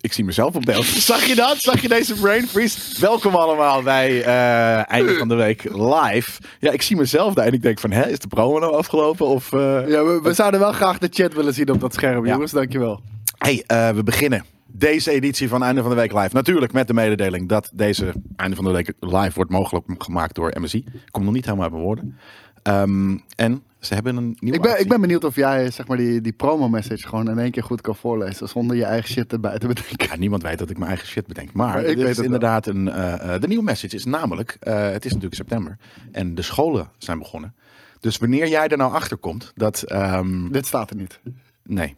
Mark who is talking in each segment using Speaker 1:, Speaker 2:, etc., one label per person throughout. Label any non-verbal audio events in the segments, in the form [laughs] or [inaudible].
Speaker 1: Ik zie mezelf op beeld. [laughs] Zag je dat? Zag je deze brain freeze? Welkom allemaal bij eh einde van de week live. Ja, ik zie mezelf daar en ik denk van, hè, is de promo nou afgelopen? Of, eh,
Speaker 2: Ja, we, we zouden wel graag de chat willen zien op dat scherm,
Speaker 1: Ja.
Speaker 2: jongens. Dankjewel.
Speaker 1: Hey, eh, we beginnen deze editie van Einde van de Week Live. Natuurlijk met de mededeling dat deze Einde van de Week Live wordt mogelijk gemaakt door MSI. Ik kom nog niet helemaal uit mijn woorden. Ehm, en ze hebben een nieuwe
Speaker 2: Ik ben,
Speaker 1: actie.
Speaker 2: ik ben benieuwd of jij zeg maar, die, die promo-message gewoon in één keer goed kan voorlezen. Zonder je eigen shit erbij te bedenken. [laughs]
Speaker 1: Ja, niemand weet dat ik mijn eigen shit bedenk. Maar,
Speaker 2: Maar ik
Speaker 1: dit
Speaker 2: weet
Speaker 1: is
Speaker 2: het
Speaker 1: inderdaad een. eh, eh, de nieuwe message is namelijk: eh, het is natuurlijk september en de scholen zijn begonnen. Dus wanneer jij er nou achter komt dat. ehm,
Speaker 2: Dit staat er niet.
Speaker 1: nee.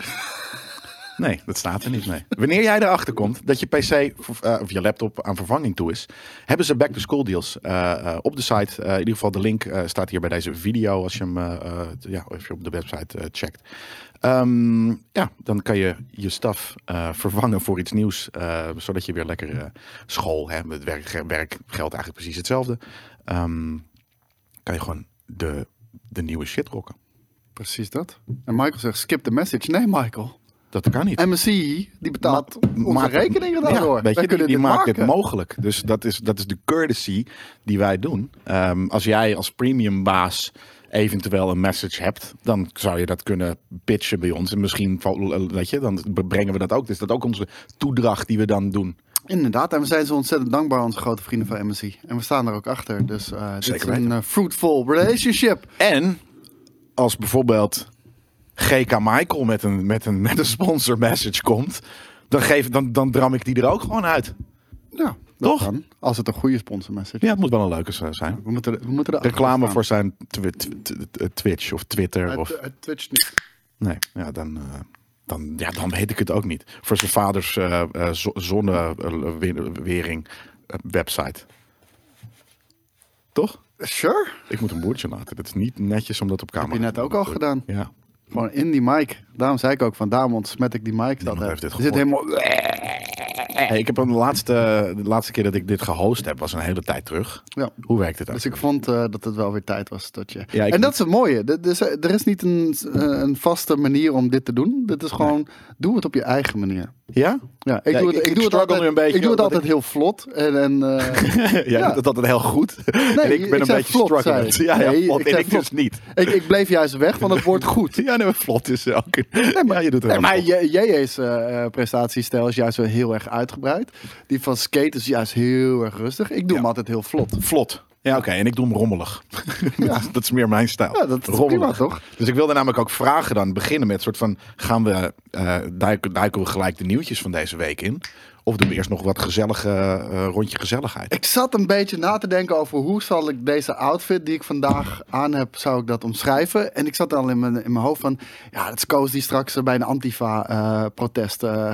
Speaker 1: Nee, dat staat er niet. Nee. Wanneer jij erachter komt dat je PC of, eh, of je laptop aan vervanging toe is, hebben ze back-to-school deals eh, eh, op de site. Eh, in ieder geval, de link eh, staat hier bij deze video als je hem eh, eh, ja, als je op de website eh, checkt. Ehm, ja, dan kan je je staf eh, vervangen voor iets nieuws, eh, zodat je weer lekker eh, school, hè, met werk, werk geldt eigenlijk precies hetzelfde. Ehm, kan je gewoon de, de nieuwe shit rocken.
Speaker 2: Precies dat. En Michael zegt, skip de message. Nee, Michael.
Speaker 1: Dat kan niet.
Speaker 2: MSI, die betaalt onze
Speaker 1: maakt-
Speaker 2: rekeningen
Speaker 1: Ja,
Speaker 2: daardoor.
Speaker 1: weet
Speaker 2: Wij
Speaker 1: je, die,
Speaker 2: kunnen
Speaker 1: die
Speaker 2: dit
Speaker 1: maakt
Speaker 2: maken.
Speaker 1: het mogelijk. Dus dat is, dat is de courtesy die wij doen. Ehm, als jij als premium baas eventueel een message hebt, dan zou je dat kunnen pitchen bij ons. En misschien, val- weet je, dan brengen we dat ook. Dus dat is ook onze toedracht die we dan doen.
Speaker 2: Inderdaad, en we zijn zo ontzettend dankbaar aan onze grote vrienden van MSI. En we staan er ook achter. Dus eh dit
Speaker 1: Zeker
Speaker 2: is een eh, fruitful relationship.
Speaker 1: En als bijvoorbeeld GK Michael met een, met een, met een sponsor message komt, dan, geef, dan, dan dram ik die er ook gewoon uit.
Speaker 2: Ja, dat
Speaker 1: Toch?
Speaker 2: kan. Als het een goede sponsor message
Speaker 1: Ja, het moet wel een leuke z- zijn.
Speaker 2: We moeten, er- we moeten er achter
Speaker 1: Reclame
Speaker 2: staan.
Speaker 1: voor zijn twi- twi- twi- twi- Twitch of Twitter
Speaker 2: Uit-
Speaker 1: of
Speaker 2: uit Twitch niet.
Speaker 1: Nee, ja, dan, eh, dan, ja, dan weet ik het ook niet. Voor zijn vaders eh eh, zo- zonnewering eh, website. Toch?
Speaker 2: Sure.
Speaker 1: Ik moet een boertje laten. Dat is niet netjes om dat op camera
Speaker 2: Heb je net
Speaker 1: te doen,
Speaker 2: ook al
Speaker 1: natuurlijk.
Speaker 2: gedaan.
Speaker 1: Ja.
Speaker 2: Gewoon in die mic. Daarom zei ik ook van, daarom ontsmet ik die mic. Dat
Speaker 1: Niemand
Speaker 2: hè.
Speaker 1: heeft dit
Speaker 2: Er zit helemaal...
Speaker 1: Hey, ik heb hem de laatste, de laatste keer dat ik dit gehost heb, was een hele tijd terug.
Speaker 2: Ja.
Speaker 1: Hoe werkt het
Speaker 2: Dus
Speaker 1: eigenlijk?
Speaker 2: ik vond eh, dat het wel weer tijd was dat je...
Speaker 1: Ja, ik-
Speaker 2: en dat is het mooie. Er- Er is, er is niet een, eh, een vaste manier om dit te doen. Dit is gewoon, doe het op je eigen manier.
Speaker 1: Ja? [laughs]
Speaker 2: Ja, ik,
Speaker 1: Ja,
Speaker 2: doe
Speaker 1: ik-
Speaker 2: het,
Speaker 1: ik
Speaker 2: ik, doe het
Speaker 1: struggle
Speaker 2: altijd,
Speaker 1: nu een beetje,
Speaker 2: ik doe het
Speaker 1: omdat
Speaker 2: altijd heel vlot. En, en,
Speaker 1: [laughs]
Speaker 2: eh,
Speaker 1: Jij doet het altijd heel goed. [laughs] en ik
Speaker 2: ik
Speaker 1: ben een
Speaker 2: zei
Speaker 1: beetje
Speaker 2: vlot, zei
Speaker 1: strugglend. [laughs]
Speaker 2: ik.
Speaker 1: Ja, ja,
Speaker 2: Nee,
Speaker 1: vlot.
Speaker 2: ik
Speaker 1: en
Speaker 2: zei
Speaker 1: ik dus
Speaker 2: vlot.
Speaker 1: niet.
Speaker 2: ik, ik bleef juist weg van het woord goed.
Speaker 1: Ja, nee, maar vlot is ook. Nee, maar je doet het
Speaker 2: Nee,
Speaker 1: heel
Speaker 2: maar
Speaker 1: goed.
Speaker 2: J- JJ's eh, eh, prestatiestijl is juist wel heel erg uitgebreid. Die van skate is juist heel erg rustig. Ik doe hem altijd heel vlot.
Speaker 1: Vlot. Ja, oké. En ik doe hem
Speaker 2: [laughs]
Speaker 1: rommelig. dat, is, dat is meer mijn stijl.
Speaker 2: Ja, dat is prima, toch?
Speaker 1: Dus ik wilde namelijk ook vragen dan beginnen met soort van... Gaan we, eh, duiken, duiken we gelijk de nieuwtjes van deze week in? Of doen we eerst nog wat gezellige eh, rondje gezelligheid?
Speaker 2: Ik zat een beetje na te denken over hoe zal ik deze outfit die ik vandaag aan heb, zou ik dat omschrijven? En ik zat al in mijn, in mijn hoofd van, ja, dat is Koos die straks eh, bij een eh, Antifa-protest eh,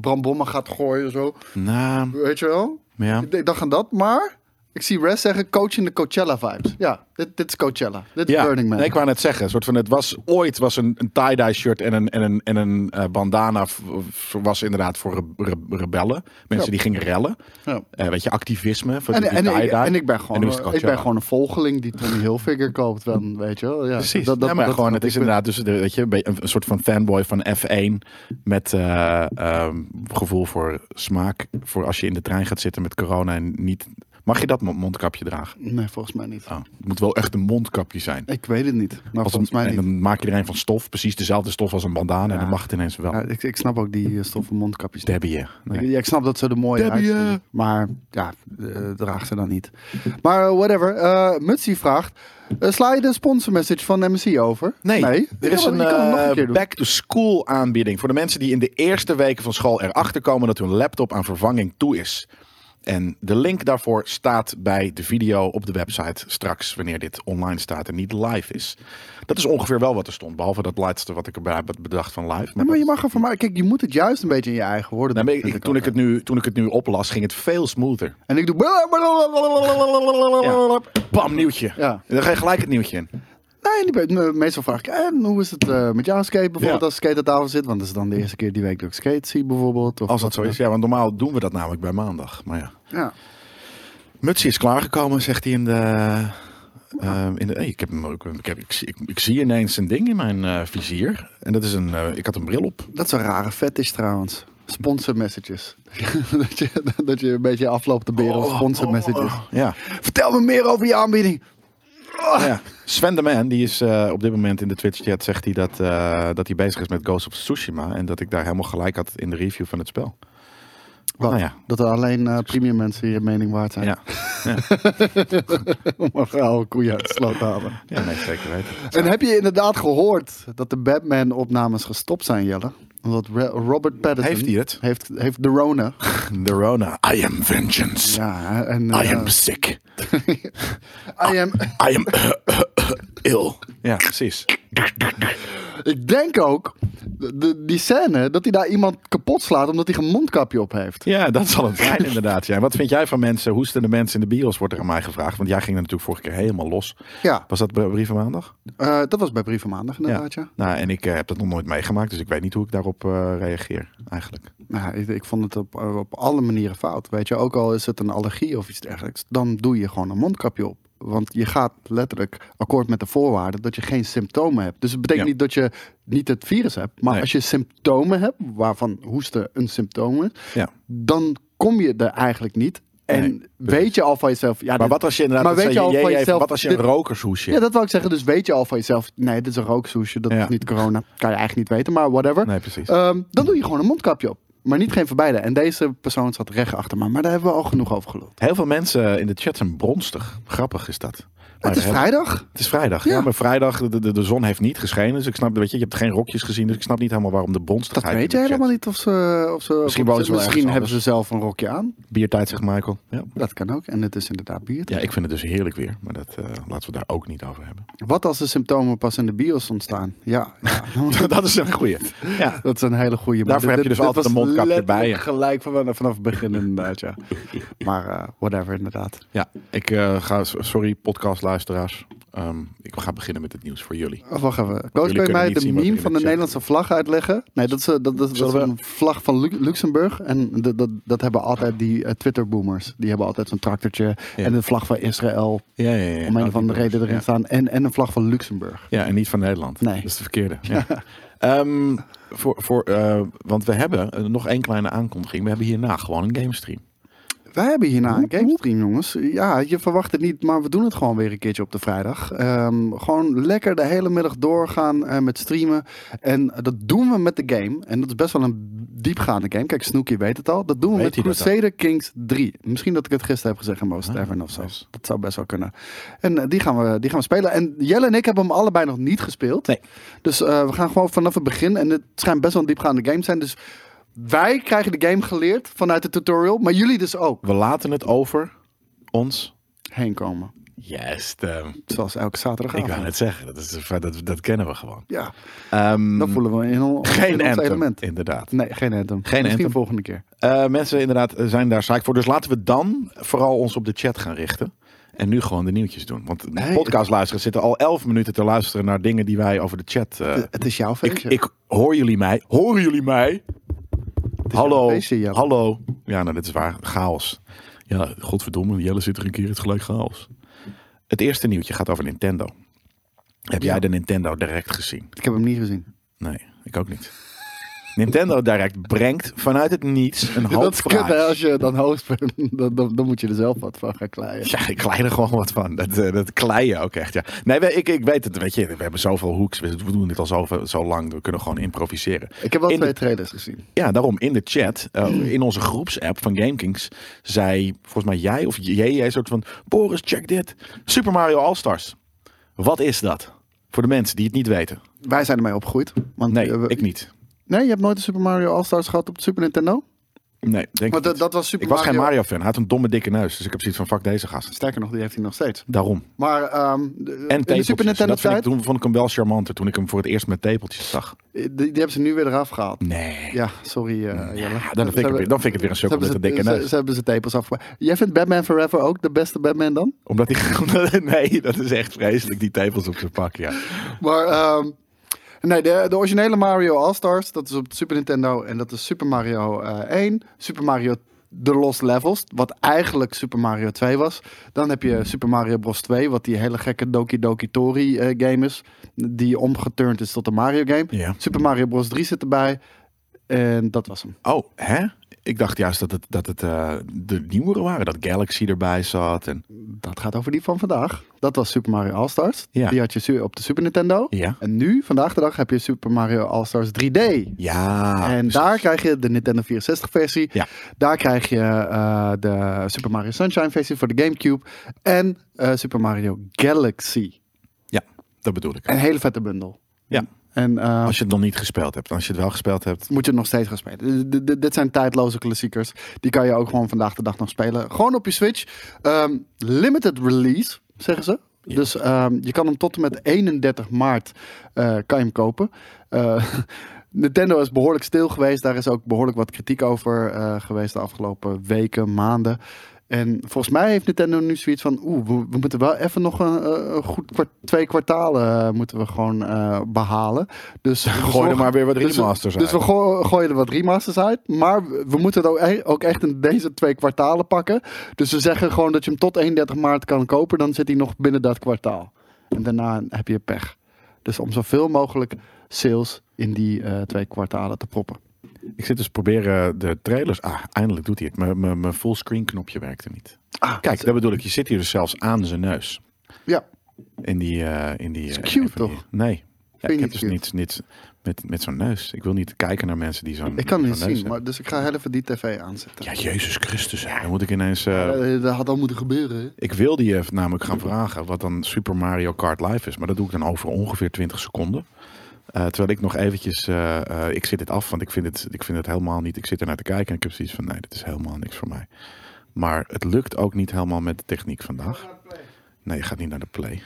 Speaker 2: brandbommen gaat gooien, zo.
Speaker 1: Nou,
Speaker 2: Weet je wel?
Speaker 1: ja.
Speaker 2: Ik- Ik dacht aan dat, maar ik zie Res zeggen coach in de Coachella vibes. Ja, dit, dit is Coachella. Dit is
Speaker 1: Ja,
Speaker 2: Burning Man.
Speaker 1: nee, ik wou net zeggen. een Soort van, het was ooit was een, een tie-dye shirt en een, en een, en een eh, bandana v- v- was inderdaad voor re- re- rebellen. Mensen
Speaker 2: Ja.
Speaker 1: die gingen rellen.
Speaker 2: Ja.
Speaker 1: Eh, weet je, activisme. Voor
Speaker 2: En,
Speaker 1: die, die
Speaker 2: en, ik,
Speaker 1: tie-dye.
Speaker 2: en ik ben
Speaker 1: En
Speaker 2: gewoon,
Speaker 1: nu is het
Speaker 2: ik ben
Speaker 1: Coachella.
Speaker 2: gewoon een volgeling die Tommy Hilfiger koopt. Dan, weet je wel. Ja,
Speaker 1: Precies. Dat, maar gewoon, het is
Speaker 2: ik ben-
Speaker 1: inderdaad dus, de- weet je, een beetje een, een soort van fanboy van F1 met eh, ehm, gevoel voor smaak voor als je in de trein gaat zitten met corona en niet. Mag je dat mo- mondkapje dragen?
Speaker 2: Nee, volgens mij niet.
Speaker 1: Oh, het moet wel echt een mondkapje zijn.
Speaker 2: Ik weet het niet,
Speaker 1: Als
Speaker 2: maar
Speaker 1: een-
Speaker 2: volgens mij
Speaker 1: en
Speaker 2: niet.
Speaker 1: dan maak je er een van stof, precies dezelfde stof als een bandana, en
Speaker 2: Ja.
Speaker 1: dan mag het ineens wel.
Speaker 2: Ja, ik, ik snap ook die eh, stoffen mondkapjes. niet.
Speaker 1: Debbie. Nee.
Speaker 2: Ik- Ja, ik snap dat ze er mooi
Speaker 1: Debbie,
Speaker 2: uitzien.
Speaker 1: eh.
Speaker 2: Maar ja, eh, draag ze dan niet. Maar eh, whatever. Eh Mutsi vraagt, eh, sla je de sponsor message van MSI over?
Speaker 1: Nee,
Speaker 2: Je
Speaker 1: er is
Speaker 2: kan-
Speaker 1: een,
Speaker 2: je kan hem nog keer
Speaker 1: eh,
Speaker 2: doen.
Speaker 1: back-to-school aanbieding voor de mensen die in de eerste weken van school erachter komen dat hun laptop aan vervanging toe is. En de link daarvoor staat bij de video op de website straks, wanneer dit online staat en niet live is. Dat is ongeveer wel wat er stond, behalve dat laatste wat ik erbij had bedacht van live.
Speaker 2: Nee, maar je
Speaker 1: dat-
Speaker 2: mag er van maken. Kijk, je moet het juist een beetje in je eigen woorden
Speaker 1: Nee,
Speaker 2: doen,
Speaker 1: maar ik-
Speaker 2: vind
Speaker 1: ik- toen, ik
Speaker 2: altijd.
Speaker 1: het nu, toen ik het nu oplas, ging het veel smoother.
Speaker 2: En ik doe...
Speaker 1: Bam, nieuwtje.
Speaker 2: Ja.
Speaker 1: En dan ga je gelijk het nieuwtje in.
Speaker 2: Nee, niet bij- me- meestal vraag ik, en hoe is het eh, met jouw skate bijvoorbeeld
Speaker 1: Ja.
Speaker 2: als skate aan tafel zit? Want dat is dan de eerste keer die week dat ik skate zie bijvoorbeeld. Of
Speaker 1: Als dat zo
Speaker 2: wat
Speaker 1: is. Ja, want normaal doen we dat namelijk bij maandag. Maar ja.
Speaker 2: dan ook. Ja.
Speaker 1: Mutsie is klaargekomen, zegt hij in de. eh, in de hey, ik, heb hem ook, ik, heb, ik, zie- ik, ik zie ineens een ding in mijn eh, vizier. En dat is een. eh, ik had een bril op.
Speaker 2: Dat is een rare fetish trouwens. Sponsor messages. [laughs] dat, je, dat je een beetje afloopt te beren op
Speaker 1: oh.
Speaker 2: sponsor messages.
Speaker 1: Ja.
Speaker 2: Vertel me meer over je aanbieding.
Speaker 1: ja. Sven de Man, die is eh, op dit moment in de Twitch-chat, zegt hij dat, eh, dat hij bezig is met Ghost of Tsushima. En dat ik daar helemaal gelijk had in de review van het spel.
Speaker 2: Wat?
Speaker 1: Nou ja.
Speaker 2: Dat er alleen eh, premium mensen hier mening waard zijn.
Speaker 1: Ja,
Speaker 2: [laughs] Om een oude koeien uit de sloot te halen.
Speaker 1: ja nee, zeker weten.
Speaker 2: En heb je inderdaad gehoord dat de Batman-opnames gestopt zijn, Jelle? Omdat Re- Robert Pattinson...
Speaker 1: Heeft hij het?
Speaker 2: Heeft, heeft de Rona.
Speaker 1: The Rona. I am vengeance.
Speaker 2: Ja, en... eh,
Speaker 1: I am sick.
Speaker 2: I am-
Speaker 1: I am eh, ill. Ja, precies.
Speaker 2: Ik denk ook, de, de- die scène, dat hij daar iemand kapot slaat omdat hij een mondkapje op heeft.
Speaker 1: [laughs] Ja, dat zal het zijn inderdaad. Ja. En Wat vind jij van mensen, hoestende mensen in de bios, wordt er aan mij gevraagd. Want jij ging er natuurlijk vorige keer helemaal los.
Speaker 2: Ja,
Speaker 1: Was dat bij Brieven Maandag?
Speaker 2: eh, dat was bij Brieven Maandag inderdaad, ja.
Speaker 1: Nou, en ik eh, heb dat nog nooit meegemaakt, dus ik weet niet hoe ik daarop eh, reageer eigenlijk.
Speaker 2: Nou, ik, ik vond het op, op alle manieren fout. Weet je, ook al is het een allergie of iets dergelijks, dan doe je gewoon een mondkapje op. Want je gaat letterlijk akkoord met de voorwaarden dat je geen symptomen hebt. Dus het betekent
Speaker 1: Ja.
Speaker 2: niet dat je niet het virus hebt. Maar
Speaker 1: Nee.
Speaker 2: als je symptomen hebt, waarvan hoesten een symptoom is,
Speaker 1: Ja.
Speaker 2: dan kom je er eigenlijk niet. En
Speaker 1: Nee,
Speaker 2: weet je al van jezelf. Ja,
Speaker 1: Maar
Speaker 2: dit-
Speaker 1: wat als je inderdaad,
Speaker 2: Maar
Speaker 1: dat
Speaker 2: weet
Speaker 1: zei
Speaker 2: je al
Speaker 1: JJ
Speaker 2: van
Speaker 1: even,
Speaker 2: jezelf,
Speaker 1: wat als je
Speaker 2: dit-
Speaker 1: een rokershoesje
Speaker 2: Ja, dat wou ik zeggen. Dus weet je al van jezelf. Nee, dit is een rooksoesje. Dat
Speaker 1: Ja.
Speaker 2: is niet corona. Kan je eigenlijk niet weten, maar whatever.
Speaker 1: Nee, precies.
Speaker 2: Ehm, dan doe je gewoon een mondkapje op. Maar niet geen verbeiden. En deze persoon zat recht achter me. Maar daar hebben we al genoeg over geluld.
Speaker 1: Heel veel mensen eh, in de chat zijn bronstig. Grappig is dat. Maar
Speaker 2: het is
Speaker 1: heel-
Speaker 2: vrijdag.
Speaker 1: het is vrijdag. Ja.
Speaker 2: Ja.
Speaker 1: maar vrijdag, de, de, de zon heeft niet geschenen. Dus ik snap, weet je, je hebt geen rokjes gezien. Dus ik snap niet helemaal waarom de
Speaker 2: Dat
Speaker 1: bronstigheid...
Speaker 2: weet je helemaal niet of ze... Of ze
Speaker 1: Misschien
Speaker 2: of
Speaker 1: wonen ze wel
Speaker 2: misschien
Speaker 1: ergens
Speaker 2: hebben ze zelf een rokje aan.
Speaker 1: Biertijd, zegt Michael. Ja.
Speaker 2: Dat kan ook. En het is inderdaad bier.
Speaker 1: ja, ik vind het dus heerlijk weer. Maar dat eh, laten we daar ook niet over hebben.
Speaker 2: Wat als de symptomen pas in de bios ontstaan? Ja,
Speaker 1: [laughs]
Speaker 2: ja. [laughs]
Speaker 1: dat is een goeie. Ja.
Speaker 2: dat is een hele goede.
Speaker 1: Daarvoor heb je dus altijd een mondkapje bij je.
Speaker 2: Gelijk van, vanaf het begin inderdaad, ja. Maar eh, whatever inderdaad.
Speaker 1: Ja, ik eh, ga, sorry podcastluisteraars. Ehm, ik ga beginnen met het nieuws voor jullie.
Speaker 2: Oh, wacht even. Koos,
Speaker 1: jullie
Speaker 2: kun je
Speaker 1: kunnen
Speaker 2: mij
Speaker 1: niet
Speaker 2: de
Speaker 1: zien wat
Speaker 2: meme
Speaker 1: er in
Speaker 2: van
Speaker 1: de chat
Speaker 2: de Nederlandse vlag uitleggen? Nee, dat is, eh, dat, dat, dat is
Speaker 1: Zullen we-
Speaker 2: een vlag van Lu- Luxemburg. En dat, dat, dat hebben altijd die eh, Twitter-boomers. Die hebben altijd zo'n tractortje.
Speaker 1: Ja.
Speaker 2: En een vlag van Israël.
Speaker 1: Ja, ja, ja.
Speaker 2: Om een of andere reden erin
Speaker 1: Ja.
Speaker 2: staan. En, en een vlag van Luxemburg.
Speaker 1: Ja, en niet van Nederland.
Speaker 2: Nee.
Speaker 1: Dat is de verkeerde. Ja.
Speaker 2: [laughs]
Speaker 1: Ehm, voor, voor, eh, want we hebben eh, nog één kleine aankondiging. We hebben hierna gewoon een gamestream.
Speaker 2: Wij hebben hierna een
Speaker 1: Woep,
Speaker 2: gamestream, jongens. Ja, je verwacht het niet, maar we doen het gewoon weer een keertje op de vrijdag. Ehm, gewoon lekker de hele middag doorgaan eh, met streamen. En dat doen we met de game. En dat is best wel een diepgaande game. Kijk, Snoekie weet het al. Dat doen we
Speaker 1: Weet
Speaker 2: met
Speaker 1: hij dat dan?
Speaker 2: Crusader Kings 3. Misschien dat ik het gisteren heb gezegd in Most
Speaker 1: Ah,
Speaker 2: Tavern of zo.
Speaker 1: nice.
Speaker 2: Dat zou best wel kunnen. En eh, die, gaan we, die gaan we spelen. En Jelle en ik hebben hem allebei nog niet gespeeld.
Speaker 1: Nee.
Speaker 2: Dus eh, we gaan gewoon vanaf het begin. En het schijnt best wel een diepgaande game te zijn. Dus wij krijgen de game geleerd vanuit de tutorial. Maar jullie dus ook
Speaker 1: We laten het over ons.
Speaker 2: heen komen.
Speaker 1: Yes,
Speaker 2: Zoals elke
Speaker 1: ik
Speaker 2: zaterdagavond.
Speaker 1: wou net zeggen. Dat, is, dat, dat kennen we gewoon.
Speaker 2: Ja,
Speaker 1: Ehm,
Speaker 2: dan voelen we in on- in
Speaker 1: geen
Speaker 2: ons
Speaker 1: anthem,
Speaker 2: element.
Speaker 1: inderdaad.
Speaker 2: Nee, geen anthem.
Speaker 1: Geen
Speaker 2: Misschien
Speaker 1: anthem.
Speaker 2: volgende keer.
Speaker 1: Eh, mensen inderdaad eh, zijn daar saai voor. Dus laten we dan vooral ons op de chat gaan richten. En nu gewoon de nieuwtjes doen. Want
Speaker 2: Nee,
Speaker 1: podcastluisteraars zitten al elf minuten te luisteren naar dingen die wij over de chat... eh,
Speaker 2: Het is jouw
Speaker 1: ik,
Speaker 2: feestje.
Speaker 1: ik hoor jullie mij. Horen jullie mij?
Speaker 2: is
Speaker 1: Hallo.
Speaker 2: jouw feestje, Jelle.
Speaker 1: Hallo. Ja, nou, dit is waar. Chaos. Ja, godverdomme. Jelle zit er een keer het gelijk chaos. Het eerste nieuwtje gaat over Nintendo. Heb
Speaker 2: Ja.
Speaker 1: jij de Nintendo Direct gezien?
Speaker 2: Ik heb hem niet gezien.
Speaker 1: Nee, ik ook niet. Nintendo Direct brengt vanuit het niets een
Speaker 2: [laughs] dat
Speaker 1: hoop
Speaker 2: is kut, hè,
Speaker 1: vragen.
Speaker 2: als je dan host
Speaker 1: [laughs]
Speaker 2: bent. Dan, dan, dan moet je er zelf wat van gaan klaaien.
Speaker 1: Ja, ik klei er gewoon wat van. Dat, eh, dat kleien ook echt, ja. Nee, we- ik, ik weet het. Weet je, we hebben zoveel hoeks. We doen dit al zo, zo lang. We kunnen gewoon improviseren.
Speaker 2: Ik heb wel
Speaker 1: In de-
Speaker 2: twee trailers gezien.
Speaker 1: Ja, daarom in de chat, eh, in onze groepsapp van GameKings, zei volgens mij jij of jij een soort van: Boris, check dit. Super Mario All-Stars. Wat is dat? Voor de mensen die het niet weten.
Speaker 2: Wij zijn ermee opgegroeid. Want
Speaker 1: Nee,
Speaker 2: eh, we-
Speaker 1: ik niet.
Speaker 2: nee, je hebt nooit de Super Mario All-Stars gehad op de Super Nintendo?
Speaker 1: Nee, denk
Speaker 2: Want
Speaker 1: ik,
Speaker 2: dat,
Speaker 1: niet.
Speaker 2: dat was Super
Speaker 1: ik was geen
Speaker 2: Mario-
Speaker 1: Mario-fan. Hij had een domme dikke neus. Dus ik heb zoiets van: fuck deze gast.
Speaker 2: Sterker nog, die heeft hij nog steeds.
Speaker 1: Daarom.
Speaker 2: Maar ehm, de-
Speaker 1: En
Speaker 2: in de
Speaker 1: tepeltjes.
Speaker 2: Super
Speaker 1: En
Speaker 2: Nintendo
Speaker 1: dat vind ik,
Speaker 2: tijd,
Speaker 1: toen vond ik hem wel charmanter toen ik hem voor het eerst met tepeltjes zag.
Speaker 2: die, die hebben ze nu weer eraf gehaald.
Speaker 1: Nee.
Speaker 2: Ja, sorry eh
Speaker 1: Mm. Ja,
Speaker 2: Jelle.
Speaker 1: dan, vind ik
Speaker 2: Ze
Speaker 1: het weer,
Speaker 2: hebben-
Speaker 1: dan vind ik het weer een
Speaker 2: Ze
Speaker 1: sukkel
Speaker 2: hebben,
Speaker 1: met
Speaker 2: ze,
Speaker 1: een dikke
Speaker 2: ze,
Speaker 1: neus.
Speaker 2: ze hebben ze tepels afgepakt. Jij vindt Batman Forever ook de beste Batman dan?
Speaker 1: [laughs] Omdat hij. Nee, dat is echt vreselijk, die tepels op zijn pak. Ja.
Speaker 2: Maar ehm, nee, de, de originele Mario All-Stars, dat is op de Super Nintendo. En dat is Super Mario eh, 1, Super Mario The Lost Levels, wat eigenlijk Super Mario 2 was. Dan heb je Super Mario Bros. 2, wat die hele gekke Doki Doki Tori eh, game is. Die omgeturnd is tot een Mario game.
Speaker 1: Ja.
Speaker 2: Super Mario Bros. 3 zit erbij. En dat was hem.
Speaker 1: Oh, hè? Ik dacht juist dat het, dat het eh, de nieuwere waren. Dat Galaxy erbij zat. En...
Speaker 2: Dat gaat over die van vandaag. Dat was Super Mario All-Stars.
Speaker 1: Ja.
Speaker 2: Die had je su- op de Super Nintendo.
Speaker 1: Ja.
Speaker 2: En nu, vandaag de dag, heb je Super Mario All-Stars 3D.
Speaker 1: Ja.
Speaker 2: en
Speaker 1: precies.
Speaker 2: daar krijg je de Nintendo 64 versie.
Speaker 1: Ja.
Speaker 2: Daar krijg je eh, de Super Mario Sunshine versie voor de Gamecube. En eh, Super Mario Galaxy.
Speaker 1: Ja, dat bedoel ik.
Speaker 2: Een hele vette bundel.
Speaker 1: Ja.
Speaker 2: En eh,
Speaker 1: Als je het nog niet gespeeld hebt. Als je het wel gespeeld hebt.
Speaker 2: moet je het nog steeds gaan spelen. D- d- dit zijn tijdloze klassiekers. Die kan je ook gewoon vandaag de dag nog spelen. Gewoon op je Switch. Ehm, limited release, zeggen ze. Dus ehm, je kan hem tot en met 31 maart eh, kan je hem kopen. Eh, [laughs] Nintendo is behoorlijk stil geweest. Daar is ook behoorlijk wat kritiek over eh, geweest de afgelopen weken, maanden. En volgens mij heeft Nintendo nu zoiets van... Oeh, we, we moeten wel even nog een, eh, een goed kwart- twee kwartalen eh, moeten we gewoon eh, behalen. Dus
Speaker 1: Gooi er maar weer wat
Speaker 2: dus we-
Speaker 1: remasters
Speaker 2: Dus we
Speaker 1: uit.
Speaker 2: goo- gooien er wat remasters uit. Maar we we moeten het ook, e- ook echt in deze twee kwartalen pakken. Dus we zeggen gewoon dat je hem tot 31 maart kan kopen. Dan zit hij nog binnen dat kwartaal. En daarna heb je pech. Dus om zoveel mogelijk sales in die eh, twee kwartalen te proppen.
Speaker 1: Ik zit dus te proberen de trailers. Ah, eindelijk doet hij het. Mijn- Mijn mijn fullscreen knopje werkte niet.
Speaker 2: Ah,
Speaker 1: Kijk, dat bedoel ik. Je zit hier dus zelfs aan zijn neus.
Speaker 2: Ja,
Speaker 1: In die. eh, in die eh,
Speaker 2: Is cute,
Speaker 1: een van die-
Speaker 2: toch?
Speaker 1: nee. Ja,
Speaker 2: je
Speaker 1: ik heb
Speaker 2: niet
Speaker 1: dus
Speaker 2: cute?
Speaker 1: niets, niets met, met zo'n neus. Ik wil niet kijken naar mensen die zo'n.
Speaker 2: ik kan
Speaker 1: zo'n
Speaker 2: het niet
Speaker 1: neus
Speaker 2: zien.
Speaker 1: hebben.
Speaker 2: Maar, dus ik ga heel even die tv aanzetten.
Speaker 1: Ja, Jezus Christus. hè. Dan moet ik ineens. eh,
Speaker 2: Eh, dat had al moeten gebeuren. hè?
Speaker 1: ik wilde je namelijk gaan vragen wat dan Super Mario Kart Live is. Maar dat doe ik dan over ongeveer 20 seconden. Eh, terwijl ik nog eventjes... eh, eh, ik zit dit af, want ik vind het, ik vind het helemaal niet... Ik zit er naar te kijken en ik heb zoiets van... Nee, dit is helemaal niks voor mij. Maar het lukt ook niet helemaal met de techniek vandaag. Nee, je gaat niet naar de play.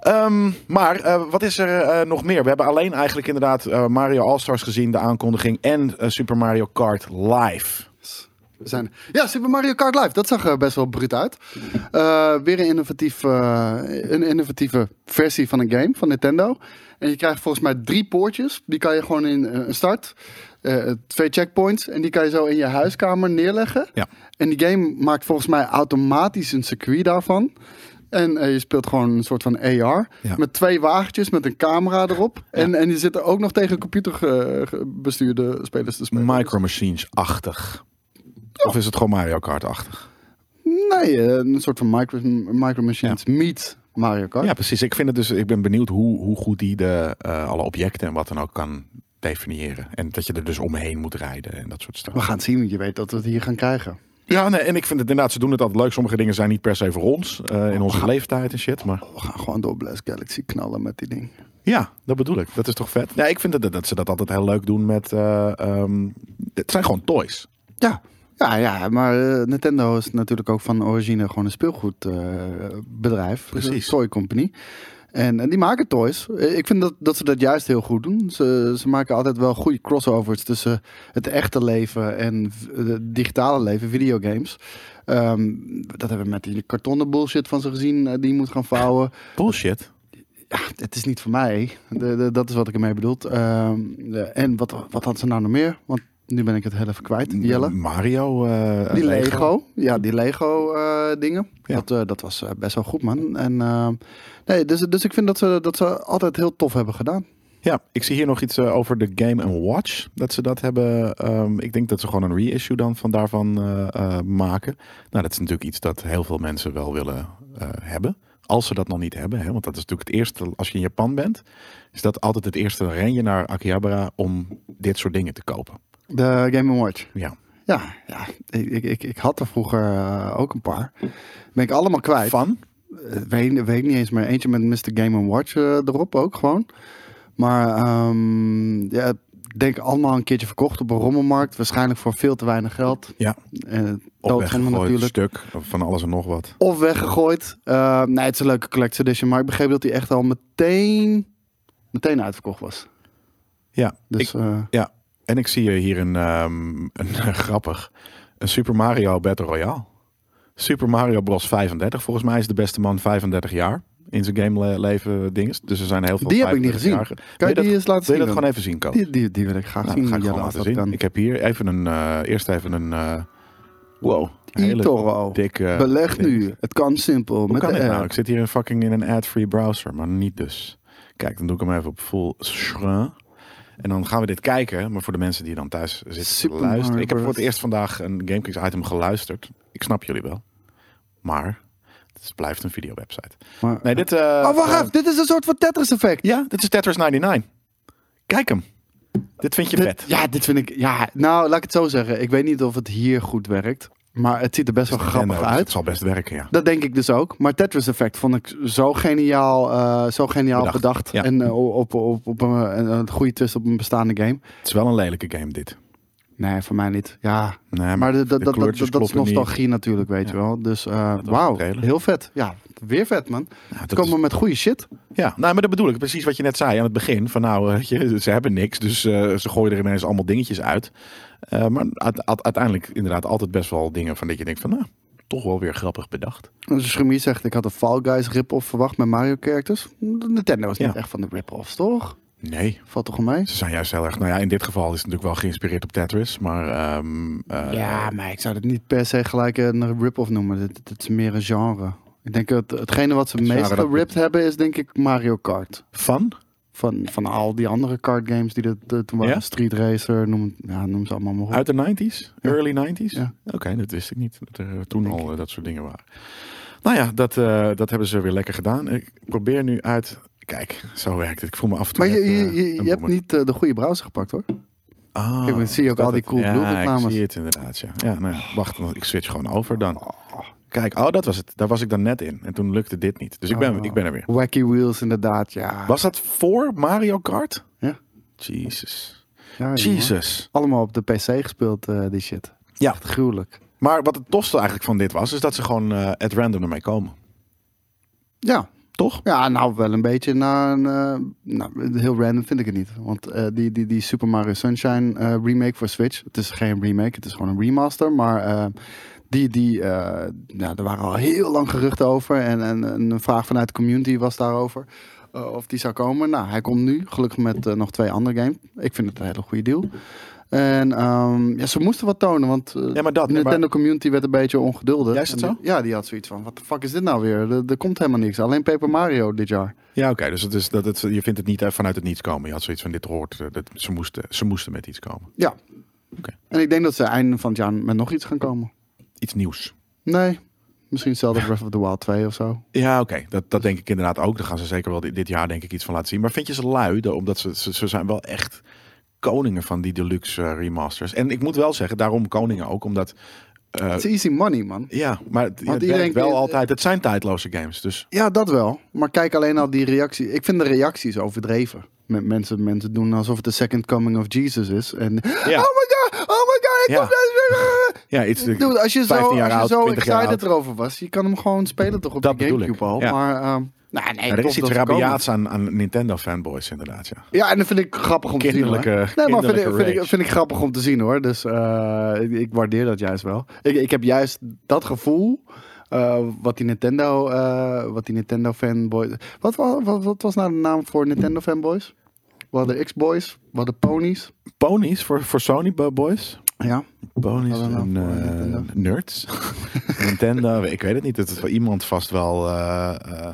Speaker 1: Ehm, maar eh, wat is er eh, nog meer? We hebben alleen eigenlijk inderdaad eh, Mario All-Stars gezien, de aankondiging. En eh, Super Mario Kart Live.
Speaker 2: We zijn... Ja, Super Mario Kart Live. Dat zag er best wel bruut uit. Eh, weer een, innovatief, eh, een innovatieve versie van een game van Nintendo. En je krijgt volgens mij drie poortjes. Die kan je gewoon in eh, een start. eh, twee checkpoints. En die kan je zo in je huiskamer neerleggen.
Speaker 1: Ja.
Speaker 2: En die game maakt volgens mij automatisch een circuit daarvan. En eh, je speelt gewoon een soort van AR.
Speaker 1: Ja.
Speaker 2: Met twee wagentjes met een camera erop. En, en die zitten ook nog tegen computerbestuurde spelers te spelen.
Speaker 1: Micro Machines-achtig. Of is het gewoon Mario Kart-achtig?
Speaker 2: Nee, eh, een soort van micro, micro machines meet Mario Kart.
Speaker 1: Oh, Ja, precies. Ik, vind het dus, ik ben benieuwd hoe, hoe goed die de, eh, alle objecten en wat dan ook kan definiëren. En dat je er dus omheen moet rijden en dat soort
Speaker 2: We
Speaker 1: stuff.
Speaker 2: gaan het zien, want je weet dat we het hier gaan krijgen.
Speaker 1: Ja, nee, en ik vind het inderdaad, ze doen het altijd leuk. Sommige dingen zijn niet per se voor ons, eh, in onze
Speaker 2: Ga-
Speaker 1: leeftijd en shit. Maar
Speaker 2: We gaan gewoon door Blast Galaxy knallen met die ding.
Speaker 1: ja, dat bedoel ik. Dat is toch vet? Ja, ik vind dat, dat ze dat altijd heel leuk doen met... eh, ehm, het zijn gewoon toys.
Speaker 2: Ja, ja, ja maar eh, Nintendo is natuurlijk ook van origine gewoon een speelgoedbedrijf.
Speaker 1: Precies.
Speaker 2: Een toy company. En, en die maken toys. Eh, Ik vind dat, dat ze dat juist heel goed doen. Ze, ze maken altijd wel goede crossovers tussen het echte leven en v- het digitale leven, videogames. Ehm, dat hebben we met die kartonnen bullshit van ze gezien, eh, die je moet gaan vouwen.
Speaker 1: Bullshit.
Speaker 2: Ja, het is niet voor mij. De, de- dat is wat ik ermee bedoel. Ehm, de- en wat, wat had ze nou nog meer? Want nu ben ik het heel even kwijt. Jelle?
Speaker 1: Mario. eh,
Speaker 2: Die Lego. Ja, die Lego eh, dingen.
Speaker 1: Ja.
Speaker 2: Dat, eh, dat was eh, best wel goed, man. En, ehm, nee, dus, dus ik vind dat ze, dat ze altijd heel tof hebben gedaan.
Speaker 1: Ja, ik zie hier nog iets eh, over de Game Watch. Dat ze dat hebben. ehm, ik denk dat ze gewoon een reissue dan van daarvan eh, eh, maken. Nou, dat is natuurlijk iets dat heel veel mensen wel willen eh, hebben. Als ze dat nog niet hebben. Hè? Want dat is natuurlijk het eerste. Als je in Japan bent, is dat altijd het eerste. Dan ren je naar Akihabara om dit soort dingen te kopen.
Speaker 2: De Game Watch.
Speaker 1: Ja,
Speaker 2: Ja, ja. Ik, ik, ik, ik had er vroeger eh, ook een paar. Ben ik allemaal kwijt.
Speaker 1: van.
Speaker 2: Eh, weet, weet niet eens meer. Eentje met Mr. Game Watch eh, erop ook gewoon. Maar ehm, ja, ik denk allemaal een keertje verkocht op een rommelmarkt. Waarschijnlijk voor veel te weinig geld. Eh,
Speaker 1: Ja,
Speaker 2: En
Speaker 1: op
Speaker 2: doodgenomen
Speaker 1: weggegooid
Speaker 2: natuurlijk.
Speaker 1: stuk. Van alles en nog wat.
Speaker 2: Of weggegooid. Eh, nee, het is een leuke collector edition. Maar ik begreep dat hij echt al meteen, meteen uitverkocht was.
Speaker 1: Ja,
Speaker 2: Dus eh,
Speaker 1: Ja, en ik zie hier een, ehm, een [laughs] grappig, een Super Mario Battle Royale. Super Mario Bros 35, volgens mij is de beste man 35 jaar in zijn gameleven leven dinges. Dus er zijn heel veel
Speaker 2: die heb ik niet gezien.
Speaker 1: 35-jarigen.
Speaker 2: Kan je
Speaker 1: Wil
Speaker 2: die
Speaker 1: dat,
Speaker 2: eens laten
Speaker 1: wil je dat
Speaker 2: zien? dan?
Speaker 1: gewoon even zien, Koop?
Speaker 2: die, die, die wil ik graag
Speaker 1: Nou,
Speaker 2: zien.
Speaker 1: dat ga ik
Speaker 2: Jelle,
Speaker 1: gewoon laten
Speaker 2: als dat
Speaker 1: zien.
Speaker 2: kan.
Speaker 1: Ik heb hier even een, eh, eerst even een, eh, wow, een hele
Speaker 2: eToro.
Speaker 1: dikke...
Speaker 2: Beleg
Speaker 1: ding.
Speaker 2: nu. Het kan simpel.
Speaker 1: eh, Hoe
Speaker 2: met
Speaker 1: kan
Speaker 2: de
Speaker 1: dit nou?
Speaker 2: app.
Speaker 1: Ik zit hier in fucking in een ad-free browser, maar niet dus. Kijk, dan doe ik hem even op full screen. En dan gaan we dit kijken. Maar voor de mensen die dan thuis zitten te
Speaker 2: Super
Speaker 1: luisteren. Ik heb voor het
Speaker 2: Marbles.
Speaker 1: eerst vandaag een GameKings item geluisterd. Ik snap jullie wel. Maar het blijft een videowebsite.
Speaker 2: Maar,
Speaker 1: Nee, dit... eh,
Speaker 2: oh, wacht
Speaker 1: eh,
Speaker 2: even. Dit is een soort van Tetris effect.
Speaker 1: Ja, dit is Tetris 99. Kijk hem. Dit vind je
Speaker 2: Dit-
Speaker 1: vet.
Speaker 2: ja, dit vind ik... Ja, nou, laat ik het zo zeggen. Ik weet niet of het hier goed werkt. Maar het ziet er best wel grappig
Speaker 1: Nintendo, dus Het
Speaker 2: uit.
Speaker 1: zal best werken, ja.
Speaker 2: Dat denk ik dus ook. Maar Tetris Effect vond ik zo geniaal, eh, zo geniaal bedacht.
Speaker 1: Bedacht, ja.
Speaker 2: En eh, op, op, op een, een, een goede twist op een bestaande game.
Speaker 1: Het is wel een lelijke game, dit.
Speaker 2: Nee, voor mij niet. Ja,
Speaker 1: Nee, maar,
Speaker 2: maar de- dat-
Speaker 1: de
Speaker 2: dat- dat,
Speaker 1: kleurtjes
Speaker 2: dat, dat is
Speaker 1: kloppen niet.
Speaker 2: nostalgie natuurlijk, weet je wel. Dus eh,
Speaker 1: was
Speaker 2: wauw,
Speaker 1: de trailer.
Speaker 2: heel vet. Ja, weer vet man.
Speaker 1: Ja,
Speaker 2: Ze
Speaker 1: dat
Speaker 2: komen met goede shit.
Speaker 1: Ja, nou, maar dat bedoel ik. Precies wat je net zei aan het begin. Van nou, eh, [laughs] je, ze hebben niks, dus eh, ze gooien er ineens allemaal dingetjes uit. Eh, maar uit- uit- uiteindelijk inderdaad altijd best wel dingen van dat je denkt van nou, toch wel weer grappig bedacht.
Speaker 2: Dus Remy zegt, ik had een Fall Guys rip-off verwacht met Mario characters. Nintendo is niet
Speaker 1: Ja.
Speaker 2: echt van de rip-offs, toch?
Speaker 1: Nee,
Speaker 2: Valt toch mee?
Speaker 1: ze zijn juist heel erg... Nou ja, in dit geval is het natuurlijk wel geïnspireerd op Tetris, maar... ehm, eh,
Speaker 2: ja, maar ik zou het niet per se gelijk een rip-off noemen. Dit, dit is meer een genre. Ik denk dat hetgene wat ze het meest
Speaker 1: genre dat-
Speaker 2: geript hebben is denk ik Mario Kart.
Speaker 1: Van?
Speaker 2: Van, van al die andere kart games die dat eh, toen waren.
Speaker 1: Ja?
Speaker 2: Street Racer, noem, ja, noem ze allemaal maar op.
Speaker 1: Uit de 90s?
Speaker 2: Ja.
Speaker 1: Early 90s?
Speaker 2: Ja.
Speaker 1: Oké, dat wist ik niet. Dat er toen
Speaker 2: Denk
Speaker 1: al eh, dat soort dingen waren. Nou ja, dat, eh, dat hebben ze weer lekker gedaan. Ik probeer nu uit. Kijk, zo werkt het. Ik voel me af en toe.
Speaker 2: Maar je,
Speaker 1: net, eh,
Speaker 2: je, je,
Speaker 1: een
Speaker 2: je hebt
Speaker 1: boomer.
Speaker 2: niet eh, de goede browser gepakt hoor.
Speaker 1: Ah,
Speaker 2: Kijk, dan zie je ook
Speaker 1: is dat
Speaker 2: al die
Speaker 1: het?
Speaker 2: cool Ah.
Speaker 1: ja,
Speaker 2: bloemenreclames.
Speaker 1: ik zie het inderdaad, ja. ja nou, ja, wacht, want ik switch gewoon over dan. Kijk, oh, dat was het. Daar was ik dan net in. En toen lukte dit niet. Dus ik ben,
Speaker 2: Oh.
Speaker 1: ik ben er weer.
Speaker 2: Wacky Wheels inderdaad, ja.
Speaker 1: Was dat voor Mario Kart?
Speaker 2: Ja.
Speaker 1: Jesus.
Speaker 2: Ja, jongen.
Speaker 1: Jesus.
Speaker 2: Allemaal op de PC gespeeld, eh, die shit.
Speaker 1: Ja.
Speaker 2: Echt gruwelijk.
Speaker 1: Maar wat het tofste eigenlijk van dit was, is dat ze gewoon eh at random ermee komen.
Speaker 2: Ja.
Speaker 1: Toch?
Speaker 2: ja, nou wel een beetje naar een... eh, nou, heel random vind ik het niet. Want eh, die, die, die Super Mario Sunshine eh, remake voor Switch... Het is geen remake, het is gewoon een remaster. Maar eh, die, die, eh, nou, er waren al heel lang geruchten over. En, en een vraag vanuit de community was daarover. eh, of die zou komen. Nou, hij komt nu. Gelukkig met eh, nog twee andere games. Ik vind het een hele goede deal. En ehm, ja, ze moesten wat tonen, want eh,
Speaker 1: Ja, maar dat.
Speaker 2: De
Speaker 1: nee, maar-
Speaker 2: Nintendo community werd een beetje ongeduldig.
Speaker 1: Ja, is dat
Speaker 2: En die- Ja, die had zoiets van, wat de fuck is dit nou weer? Er, er komt helemaal niks. Alleen Paper Mario dit jaar.
Speaker 1: Ja, oké. dus het is, dat het, je vindt het niet eh, vanuit het niets komen. Je had zoiets van dit hoort. eh, Dat, ze, moesten, ze moesten met iets komen.
Speaker 2: Ja.
Speaker 1: Oké.
Speaker 2: En ik denk dat ze einde van het jaar met nog iets gaan komen.
Speaker 1: Iets nieuws.
Speaker 2: Nee,
Speaker 1: [laughs]
Speaker 2: misschien Zelda Breath of the Wild 2 of zo.
Speaker 1: Ja, oké. Dat, dat denk ik inderdaad ook. Daar gaan ze zeker wel dit, dit jaar denk ik iets van laten zien. Maar vind je ze lui? De- Omdat ze, ze, ze zijn wel echt koningen van die deluxe eh, remasters. En ik moet wel zeggen, daarom koningen ook. Omdat, eh,
Speaker 2: Het is easy money, man.
Speaker 1: ja, maar het, het
Speaker 2: iedereen-
Speaker 1: werkt wel altijd. Het zijn tijdloze games. Dus
Speaker 2: Ja, dat wel. Maar kijk alleen al die reactie. Ik vind de reacties overdreven. Met mensen, mensen doen alsof het de second coming of Jesus is. En
Speaker 1: Ja.
Speaker 2: oh my god, oh my god, ik
Speaker 1: Ja.
Speaker 2: kom daar.
Speaker 1: ja, iets,
Speaker 2: Dude, als je zo,
Speaker 1: 15 jaar
Speaker 2: als je
Speaker 1: oud,
Speaker 2: zo
Speaker 1: 20 jaar
Speaker 2: excited erover was, je kan hem gewoon spelen toch op
Speaker 1: Dat
Speaker 2: de
Speaker 1: bedoel ik,
Speaker 2: Gamecube al.
Speaker 1: ja.
Speaker 2: Maar ehm, nou, nee,
Speaker 1: Ja, er is
Speaker 2: tof
Speaker 1: iets
Speaker 2: dat ze komen.
Speaker 1: rabiaats aan, aan Nintendo fanboys inderdaad. Ja.
Speaker 2: Ja, en dat vind ik grappig om te zien. hoor.
Speaker 1: Kinderlijke-
Speaker 2: Nee, maar vind ik,
Speaker 1: kinderlijke
Speaker 2: vind, ik,
Speaker 1: rage.
Speaker 2: vind ik grappig om te zien hoor. Dus eh, ik, ik waardeer dat juist wel. Ik, ik heb juist dat gevoel. eh, wat die Nintendo, eh, wat die Nintendo fanboy. Wat, wa- wat, wat was nou de naam voor Nintendo fanboys? We hadden X-Boys, we hadden ponies.
Speaker 1: Ponies voor, voor Sony bo- boys.
Speaker 2: Ja.
Speaker 1: Ponies
Speaker 2: Hadden we
Speaker 1: en
Speaker 2: nou voor
Speaker 1: eh,
Speaker 2: Nintendo?
Speaker 1: nerds.
Speaker 2: [laughs]
Speaker 1: Nintendo, ik weet het niet. Het is wel iemand vast wel. eh, eh,